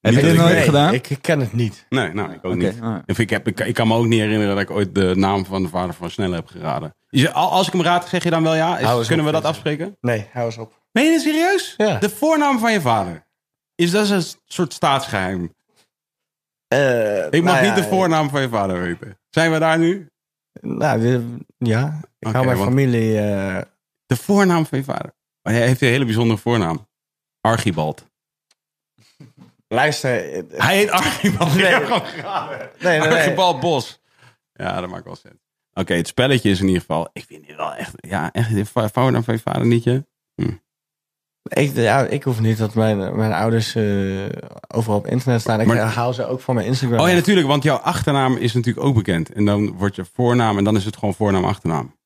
dat dit ik nooit weet. gedaan? Ik ken het niet. Nee, nou, ik ook Oké, niet. alright. Of ik, heb, ik, ik kan me ook niet herinneren dat ik ooit de naam van de vader van Snelle heb geraden. Je zegt, al- Als ik hem raad, zeg je dan wel ja? Is- Hou eens kunnen op, we dat mensen. afspreken? Nee, hou eens op. Meen je dit serieus? Ja. De voornaam van je vader. Is dat een soort staatsgeheim? Eh, Ik Nou mag niet de voornaam van je vader weten. Zijn we daar nu? Nou, dit- ja. Ik Oké, hou mijn want- familie... eh, De voornaam van je vader. Maar Hij heeft een hele bijzondere voornaam. Archibald. luister. eh, Hij heet Archibald. Nee. Ja, gewoon graven. Nee, nee, nee. Archibald Bos. Ja, dat maakt wel zin. Oké, het spelletje is in ieder geval... Ik vind dit wel echt... Ja, echt de vo- voornaam van je vader nietje. Ik, ja, ik hoef niet dat mijn, mijn ouders eh, overal op internet staan. Ik Maar- haal ze ook van mijn Instagram. Oh ja, natuurlijk. Want jouw achternaam is natuurlijk ook bekend. En dan wordt je voornaam... En dan is het gewoon voornaam-achternaam.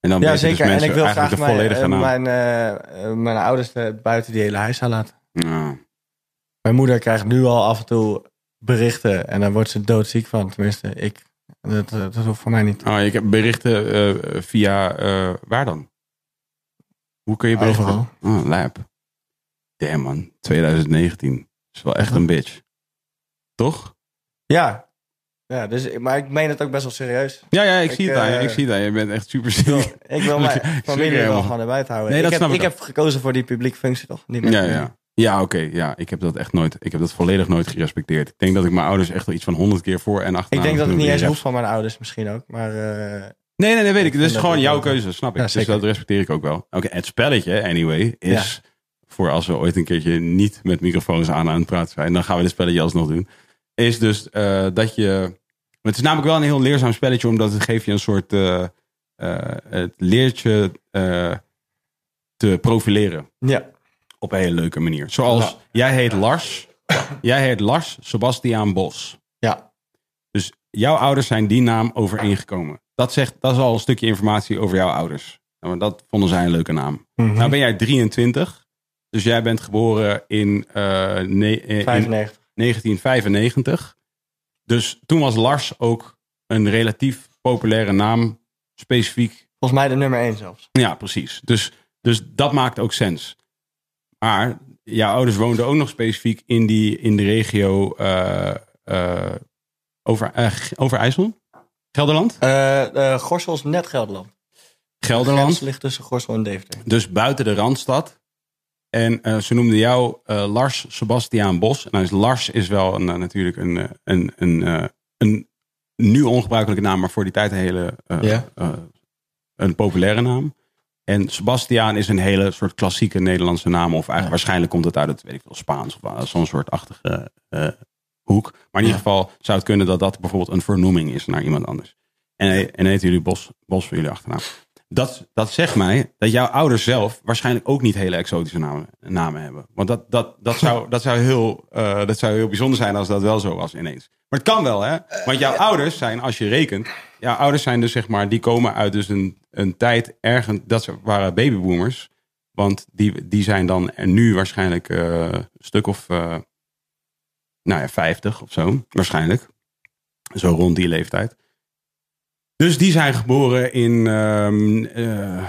En dan Ja, weten dus zeker. en mensen ik wil eigenlijk graag de mijn, volledige eh, naam. mijn, eh, eh, mijn ouders eh, buiten die hele huis aan laten. Ja. Mijn moeder krijgt nu al af en toe berichten. En daar wordt ze doodziek van. Tenminste, ik. Dat, eh, dat dat hoeft voor mij niet. Oh, ik heb berichten eh, via eh, waar dan? Hoe kun je berichten? Overal. Oh, lijp. Damn man, 2019 is wel echt een bitch. Toch? Ja. ja dus, ik- maar ik meen het ook best wel serieus. Ja, ja, ik, Ik, zie het aan je. eh, Ik zie het aan je. Je bent echt super Ik wil, ziek. ik wil mijn Sorry, familie wel helemaal. gewoon erbij te houden. Nee, dat ik heb, snap ik ik heb gekozen voor die publieke functie toch? Niet meer. Ja, ja. Ja, oké. ja, ik heb dat echt nooit. Ik heb dat volledig nooit gerespecteerd. Ik denk dat ik mijn ouders echt wel iets van honderd keer voor en achter. Ik denk dat ik niet eens hoef van mijn ouders misschien ook. Maar eh, Nee, nee, nee, weet ik. Ik Dit is vind dat gewoon ook jouw wel- keuze, snap ik. Ja, dus zeker. dat respecteer ik ook wel. Oké, het spelletje, anyway, is voor als we ooit een keertje niet met microfoons aan aan het praten zijn, dan gaan we dit spelletje alsnog doen. Is dus eh, dat je. Het is namelijk wel een heel leerzaam spelletje, omdat het geeft je een soort. eh, eh, het leert je eh, te profileren ja. op een hele leuke manier. Nou, Zoals Ja. jij heet Lars Jij heet Lars Sebastiaan Bos. Ja. Dus jouw ouders zijn die naam overeengekomen. Dat, zegt, dat is al een stukje informatie over jouw ouders. Nou, maar dat vonden zij een leuke naam. Mhm. Nou ben jij 23. Dus jij bent geboren in, eh, ne- eh, in 95. 1995. Dus toen was Lars ook een relatief populaire naam. Specifiek Volgens mij de nummer 1 zelfs. ja, precies. Dus, dus dat maakt ook sens. Maar jouw ouders woonden ook nog specifiek in, die, in de regio eh, eh, over, eh, G- Overijssel? Gelderland? Eh, eh, Gorsel is net Gelderland. De grens Gelderland. ligt tussen Gorsel en Deventer. Dus buiten de Randstad. En eh, ze noemden jou eh, Lars Sebastiaan Bos. En nou is Lars is wel een, eh, natuurlijk een, eh, een, een, eh, een nu ongebruikelijke naam, maar voor die tijd een hele eh, Ja. eh, een populaire naam. En Sebastiaan is een hele soort klassieke Nederlandse naam. Of eigenlijk, waarschijnlijk komt het uit het weet ik veel, Spaans of eh, zo'n soort achtige eh, hoek. Maar in ieder geval zou het kunnen dat dat bijvoorbeeld een vernoeming is naar iemand anders. En, hij- en heten jullie Bos, Bos voor jullie achternaam. Dat, dat zegt mij dat jouw ouders zelf waarschijnlijk ook niet hele exotische namen, namen hebben. Want dat, dat, dat, zou, dat, zou heel, eh, dat zou heel bijzonder zijn als dat wel zo was ineens. Maar het kan wel, hè? Want jouw ouders zijn, als je rekent, jouw ouders zijn dus zeg maar, die komen uit dus een, een tijd ergens, dat ze waren babyboomers. Want die, die zijn dan en nu waarschijnlijk eh, een stuk of, eh, nou ja, 50 of zo, waarschijnlijk. Zo rond die leeftijd. Dus die zijn geboren in ehm, eh,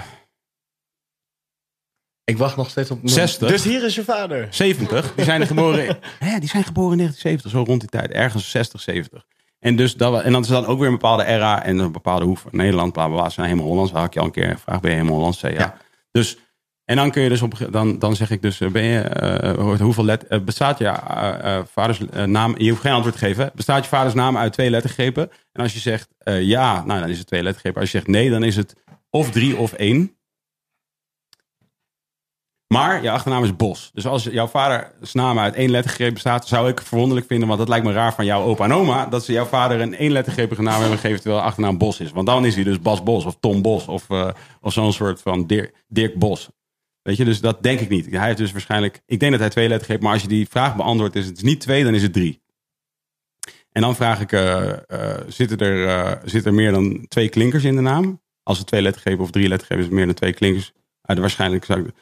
Ik wacht nog steeds op... 60. Dus hier is je vader. 70. Die zijn geboren, hè, die zijn geboren in 1970, zo rond die tijd. Ergens 60, 70. En, dus dat, wa- en dan is dan ook weer een bepaalde era en een bepaalde hoek van Nederland, bla bla bla. Ze Zijn helemaal Hollands. Haak je al een keer gevraagd, ben je helemaal Hollands? Zei ja. Dus, en dan kun je dus op, een gege- dan, dan zeg ik dus, eh, ben je, eh, hoort- hoeveel let, eh, bestaat je eh, eh, vaders eh, naam, je hoeft geen antwoord te geven, bestaat je vaders naam uit twee lettergrepen? En als je zegt eh, ja, nou dan is het twee lettergrepen. Als je zegt nee, dan is het of drie of één. Maar je achternaam is Bos. Dus als jouw vaders naam uit één lettergreep bestaat, zou ik het verwonderlijk vinden, want dat lijkt me raar van jouw opa en oma, dat ze jouw vader een één lettergrepige naam hebben gegeven terwijl de achternaam Bos is. Want dan is hij dus Bas Bos of Tom Bos of, eh, of zo'n soort van Dirk, Dirk Bos. Weet je, dus dat denk ik niet. Hij heeft dus waarschijnlijk, ik denk dat hij twee letters geeft, maar als je die vraag beantwoordt, is het dus niet twee, dan is het drie. En dan vraag ik, eh, eh, zitten er, eh, zit er meer dan twee klinkers in de naam? Als het twee letters geven of drie letters geven, is het meer dan twee klinkers. Uit waarschijnlijk zou ik-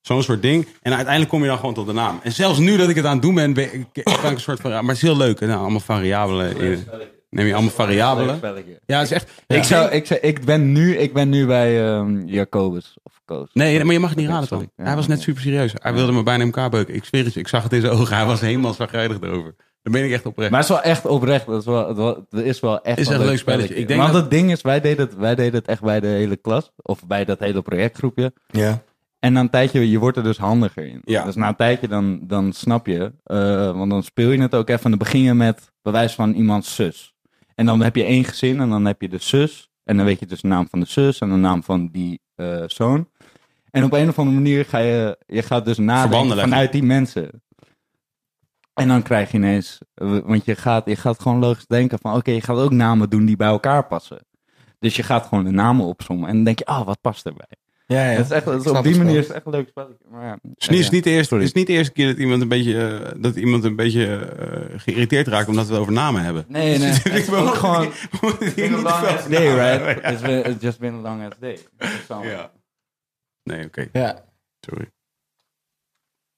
zo'n soort ding. En uiteindelijk kom je dan gewoon tot de naam. En zelfs nu dat ik het aan het doen ben, ben ik, ik ben een soort van, ja, maar het is heel leuk. hè? Nou, allemaal variabelen. in- Neem je allemaal variabelen? Ja, het is echt. Ik, zou, ik, zou, ik, ben nu, ik ben nu bij ehm, Jacobus of Koos. Nee, maar je mag het niet raden, Sorry. Tom. Ja, hij was net ja. super serieus. Hij wilde me bijna in elkaar beuken. Ik zweer het je, ik zag het in zijn ogen. Hij was helemaal zagrijdig erover. Daar ben ik echt oprecht. Maar het is wel echt oprecht. Het is wel, het wa- het is wel echt Is echt een leuk spelletje. Ik denk Want dat- het ding is, wij deden het, wij deden het echt bij de hele klas. Of bij dat hele projectgroepje. Ja. En na een tijdje, je wordt er dus handiger in. Ja. Dus na een tijdje, dan, dan snap je. eh, want dan speel je het ook even. En dan begin je met bewijs van iemands zus. En dan heb je één gezin en dan heb je de zus. En dan weet je dus de naam van de zus en de naam van die eh, zoon. En op een of andere manier ga je, je gaat dus Verbanden nadenken leggen. vanuit die mensen. En dan krijg je ineens, eh, want je gaat, je gaat gewoon logisch denken van oké, je gaat ook namen doen die bij elkaar passen. Dus je gaat gewoon de namen opzommen en dan denk je, ah, wat past erbij? Ja, ja. Het is echt, het is Ik snap op die het manier wel. is het echt een leuk spelletje. Maar ja. Het is niet- het is niet de eerste, Sorry. het is niet de eerste keer dat iemand een beetje, eh, dat iemand een beetje eh, geïrriteerd raakt omdat we het over namen hebben. Nee, nee. Het is ook gewoon... Moet hier It's been a niet long veel ass day, namen right? hebben, ja. It's, been, it's just been a long ass day. Ja. Ja. Nee, oké. Ja. Sorry.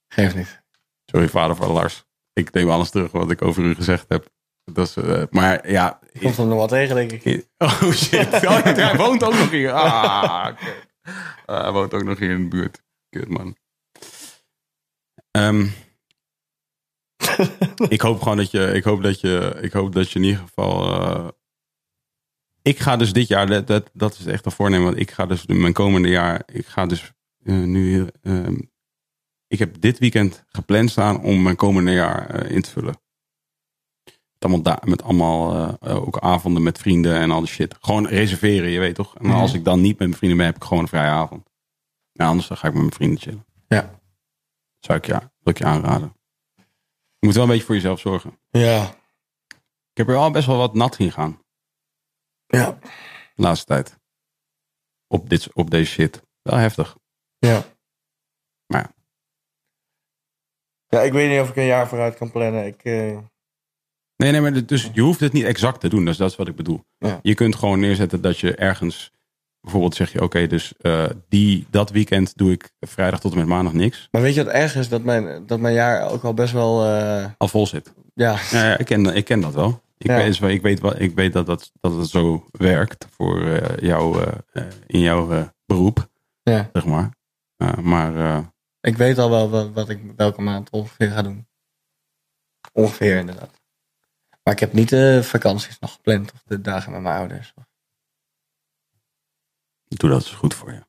Geeft niet. Sorry, vader van Lars. Ik neem alles terug wat ik over u gezegd heb. Dat is, eh, maar ja. Komt hem nog wel tegen, denk ik. Oh shit. Oh, ja, hij woont ook nog hier. Ah, kut. Ah, hij woont ook nog hier in de buurt. Kut man. Ehm, ik hoop gewoon dat je. Ik hoop dat je. Ik hoop dat je in ieder geval. eh, ik ga dus dit jaar. Dat, dat, dat is echt een voornemen. Want ik ga dus mijn komende jaar. Ik ga dus eh, nu. hier, ehm, ik heb dit weekend gepland staan om mijn komende jaar eh, in te vullen. Met allemaal, da- met allemaal eh, eh, ook avonden met vrienden en al die shit. Gewoon reserveren, je weet toch? En als ik dan niet met mijn vrienden ben, heb ik gewoon een vrije avond. Nou, anders dan ga ik met mijn vrienden chillen. Ja. Zou ik, ja, wil ik je aanraden. Je moet wel een beetje voor jezelf zorgen. Ja. Ik heb er al best wel wat nat in gaan Ja. de laatste tijd. Op, dit, op deze shit. Wel heftig. Ja. Maar ja. Ja, ik weet niet of ik een jaar vooruit kan plannen. Ik, eh, Nee, nee, maar dit- dus je hoeft het niet exact te doen. Dus dat is wat ik bedoel. Ja. Je kunt gewoon neerzetten dat je ergens... Bijvoorbeeld zeg je, oké, dus eh, die, dat weekend doe ik vrijdag tot en met maandag niks. Maar weet je wat erg is? Dat mijn, dat mijn jaar ook al best wel... eh, Al vol zit. ja, Ja, ja, ik, ken, ik ken dat wel. Ik, Ja. weet, is wel- ik, weet, wel- ik weet dat dat, dat het zo werkt voor eh, jou, eh, eh, in jouw eh, beroep, ja, zeg maar. Eh, maar eh, ik weet al wel wat, wat ik welke maand ongeveer ga doen. Ongeveer inderdaad. Maar ik heb niet de vakanties nog gepland of de dagen met mijn ouders. doe dat is goed voor je.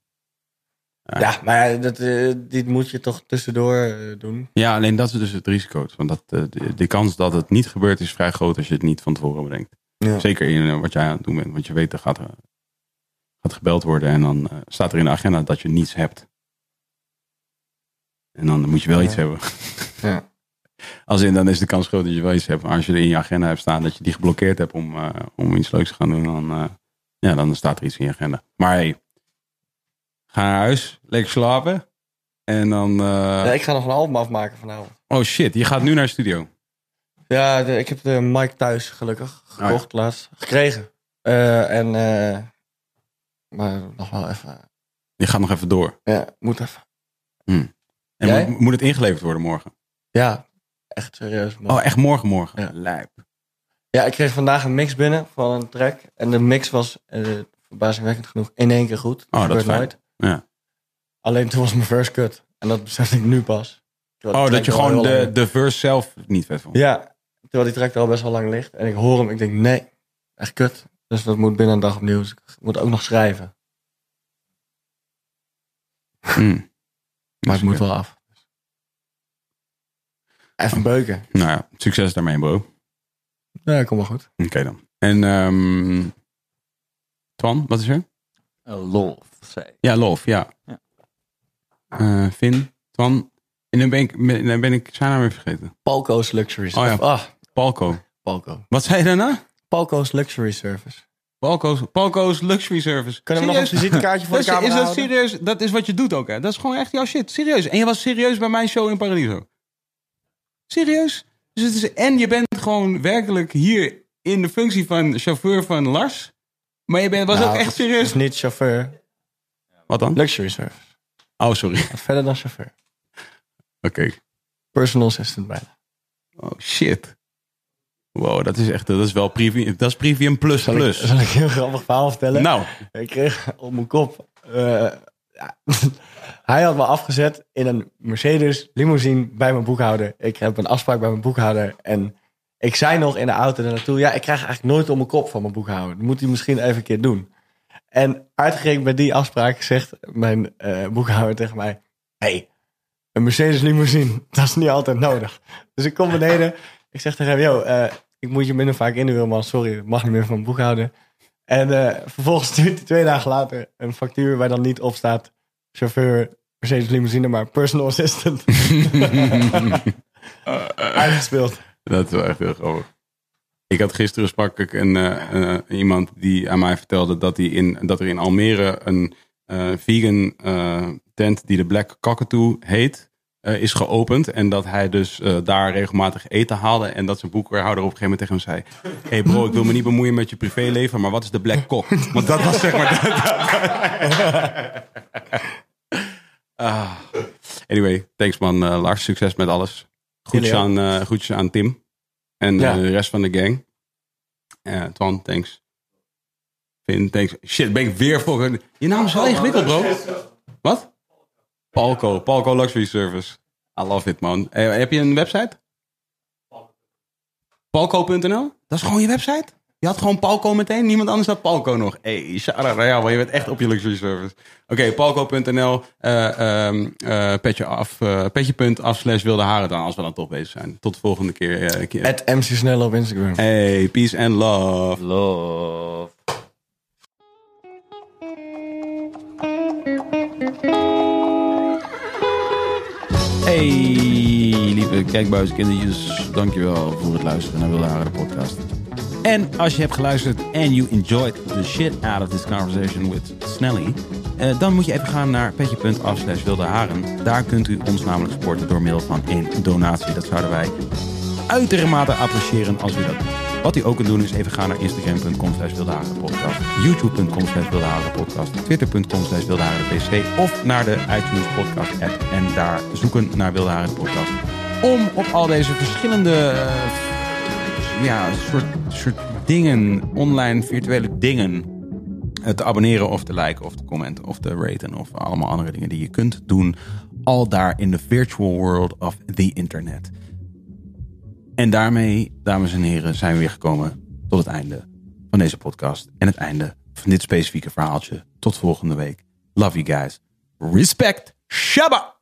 Ja. Ja, maar ja, dat, eh, dit moet je toch tussendoor eh, doen. Ja, alleen dat is dus het risico. Want dat, eh, de, de kans dat het niet gebeurt is vrij groot als je het niet van tevoren bedenkt. Ja. Zeker in eh, wat jij aan het doen bent. Want je weet, er gaat, eh, gaat gebeld worden en dan eh, staat er in de agenda dat je niets hebt. En dan moet je wel Ja. iets hebben. Ja. Als in, dan is de kans groot dat je wel iets hebt. Maar als je er in je agenda hebt staan dat je die geblokkeerd hebt om, eh, om iets leuks te gaan doen, dan, eh, ja, dan staat er iets in je agenda. Maar hey, ga naar huis, lekker slapen. En dan... eh, Ja, ik ga nog een album afmaken vanavond. Oh shit, je gaat nu naar de studio. Ja, de- ik heb de mic thuis gelukkig Oh ja. gekocht laatst. Gekregen. Eh, en, eh, maar nog wel even. Je gaat nog even door. Ja, moet even. Jij? En moet, moet het ingeleverd worden morgen? Ja, echt serieus. man. Oh, echt morgen, morgen. Ja. Lijp. Ja, ik kreeg vandaag een mix binnen van een track. En de mix was eh, verbazingwekkend genoeg in één keer goed. Oh, dat is gebeurt fijn. nooit. Ja. Alleen toen was mijn verse cut. En dat besef ik nu pas. Terwijl Oh, die dat je track al gewoon heel de, lang- de verse zelf niet vet vond. Ja, terwijl die track er al best wel lang ligt. En ik hoor hem, ik denk nee, echt kut. Dus dat moet binnen een dag opnieuw. Dus ik moet ook nog schrijven. Hmm. Maar het moet wel af. Even beuken. Nou ja, succes daarmee, bro. Oké Ja, kom maar goed. dan. En, ehm Twan, wat is er? Eh, lol, zei Ja, Lof, ja. Ja. Eh, Vin, Twan. En dan ben ik, dan ben ik zijn naam weer vergeten. Palco's Luxury Oh ja. Service. Ah, Palco. Palco. Wat zei je daarna? Palco's Luxury Service. Palco's, Palco's Luxury Service. Kunnen we nog een Serieus? visitekaartje voor de Dat is- camera is dat houden? serieus? Dat is wat je doet ook, hè? Dat is gewoon echt jouw shit. Serieus. En je was serieus bij mijn show in Paradiso. Serieus? Dus het is, en je bent gewoon werkelijk hier in de functie van chauffeur van Lars. Maar je bent, was Nou, ook echt het is- serieus. het is niet chauffeur. Wat dan? Luxury service. Oh, sorry. Oké. Wat verder dan chauffeur. Personal assistant bijna. Oh, shit. Wow, dat is echt, dat is wel premium, dat is premium plus Zal ik, plus. zal ik een heel grappig verhaal vertellen? Nou, Ik kreeg op mijn kop. eh, ja. Hij had me afgezet in een Mercedes limousine bij mijn boekhouder. Ik heb een afspraak bij mijn boekhouder. En ik zei nog in de auto naartoe: Ja, ik krijg eigenlijk nooit op mijn kop van mijn boekhouder. Dat moet hij misschien even een keer doen. En uitgerekend bij die afspraak zegt mijn eh, boekhouder tegen mij: hey, een Mercedes limousine, dat is niet altijd nodig. Dus ik kom beneden. Ik zeg tegen hem: Yo, eh, ik moet je minder vaak inhuren, man. Sorry, het mag niet meer van mijn boekhouder. En eh, vervolgens stuurt hij twee dagen later een factuur waar dan niet op staat chauffeur, Mercedes limousine, maar personal assistant. Uitgespeeld. Dat is wel echt heel grappig. Ik had gisteren sprak ik een, eh, eh, iemand die aan mij vertelde dat, hij in, dat er in Almere een eh, vegan eh, tent die de Black Cockatoo heet, eh, is geopend. En dat hij dus eh, daar regelmatig eten haalde. En dat zijn boekhouder op een gegeven moment tegen hem zei. Hé hey bro, ik wil me niet bemoeien met je privéleven, maar wat is de Black Cock? Want dat was zeg maar... Ah. Anyway, thanks man eh, Lars. Succes met alles. Groetjes Jullie aan, eh, groetjes aan Tim. En eh, Ja. de rest van de gang. Eh Twan, thanks. Vin, thanks. Shit, ben ik weer volgende. Je naam is wel ingewikkeld, bro. Wat? Palco. Palco Luxury Service. I love it, man. Eh, heb je een website? Palco.nl? Dat is gewoon je website? Je had gewoon Palco meteen. Niemand anders had Palco nog. hey, shout-out naar jou, want je bent echt op je luxury service. Oké, palco.nl. eh, ehm, eh, petje af, eh, Petje.af slash wilde haren dan, als we dan toch bezig zijn. Tot de volgende keer. eh, keer. Het MC Snelle op Instagram. Hey, peace and love. Love. Hey, lieve kijkbuiskindertjes. Dankjewel voor het luisteren naar Wilde Haren, de podcast. En als je hebt geluisterd en you enjoyed the shit out of this conversation with Snelly... eh, dan moet je even gaan naar petje.af slash wilde haren. Daar kunt u ons namelijk sporten door middel van een donatie. Dat zouden wij uitermate appreciëren als u dat doet. Wat u ook kunt doen is even gaan naar instagram.com slash wildeharenpodcast, youtube.com slash wildeharenpodcast, twitter.com slash wildeharenpc of naar de iTunes podcast app en daar zoeken naar Wilde Haren podcast. Om op al deze verschillende eh, ja, soort, soort dingen, online virtuele dingen, eh, te abonneren of te liken of te commenten of te raten of allemaal andere dingen die je kunt doen. Al daar in de virtual world of the internet. En daarmee, dames en heren, zijn we weer gekomen tot het einde van deze podcast. En het einde van dit specifieke verhaaltje. Tot volgende week. Love you guys. Respect. Shabba.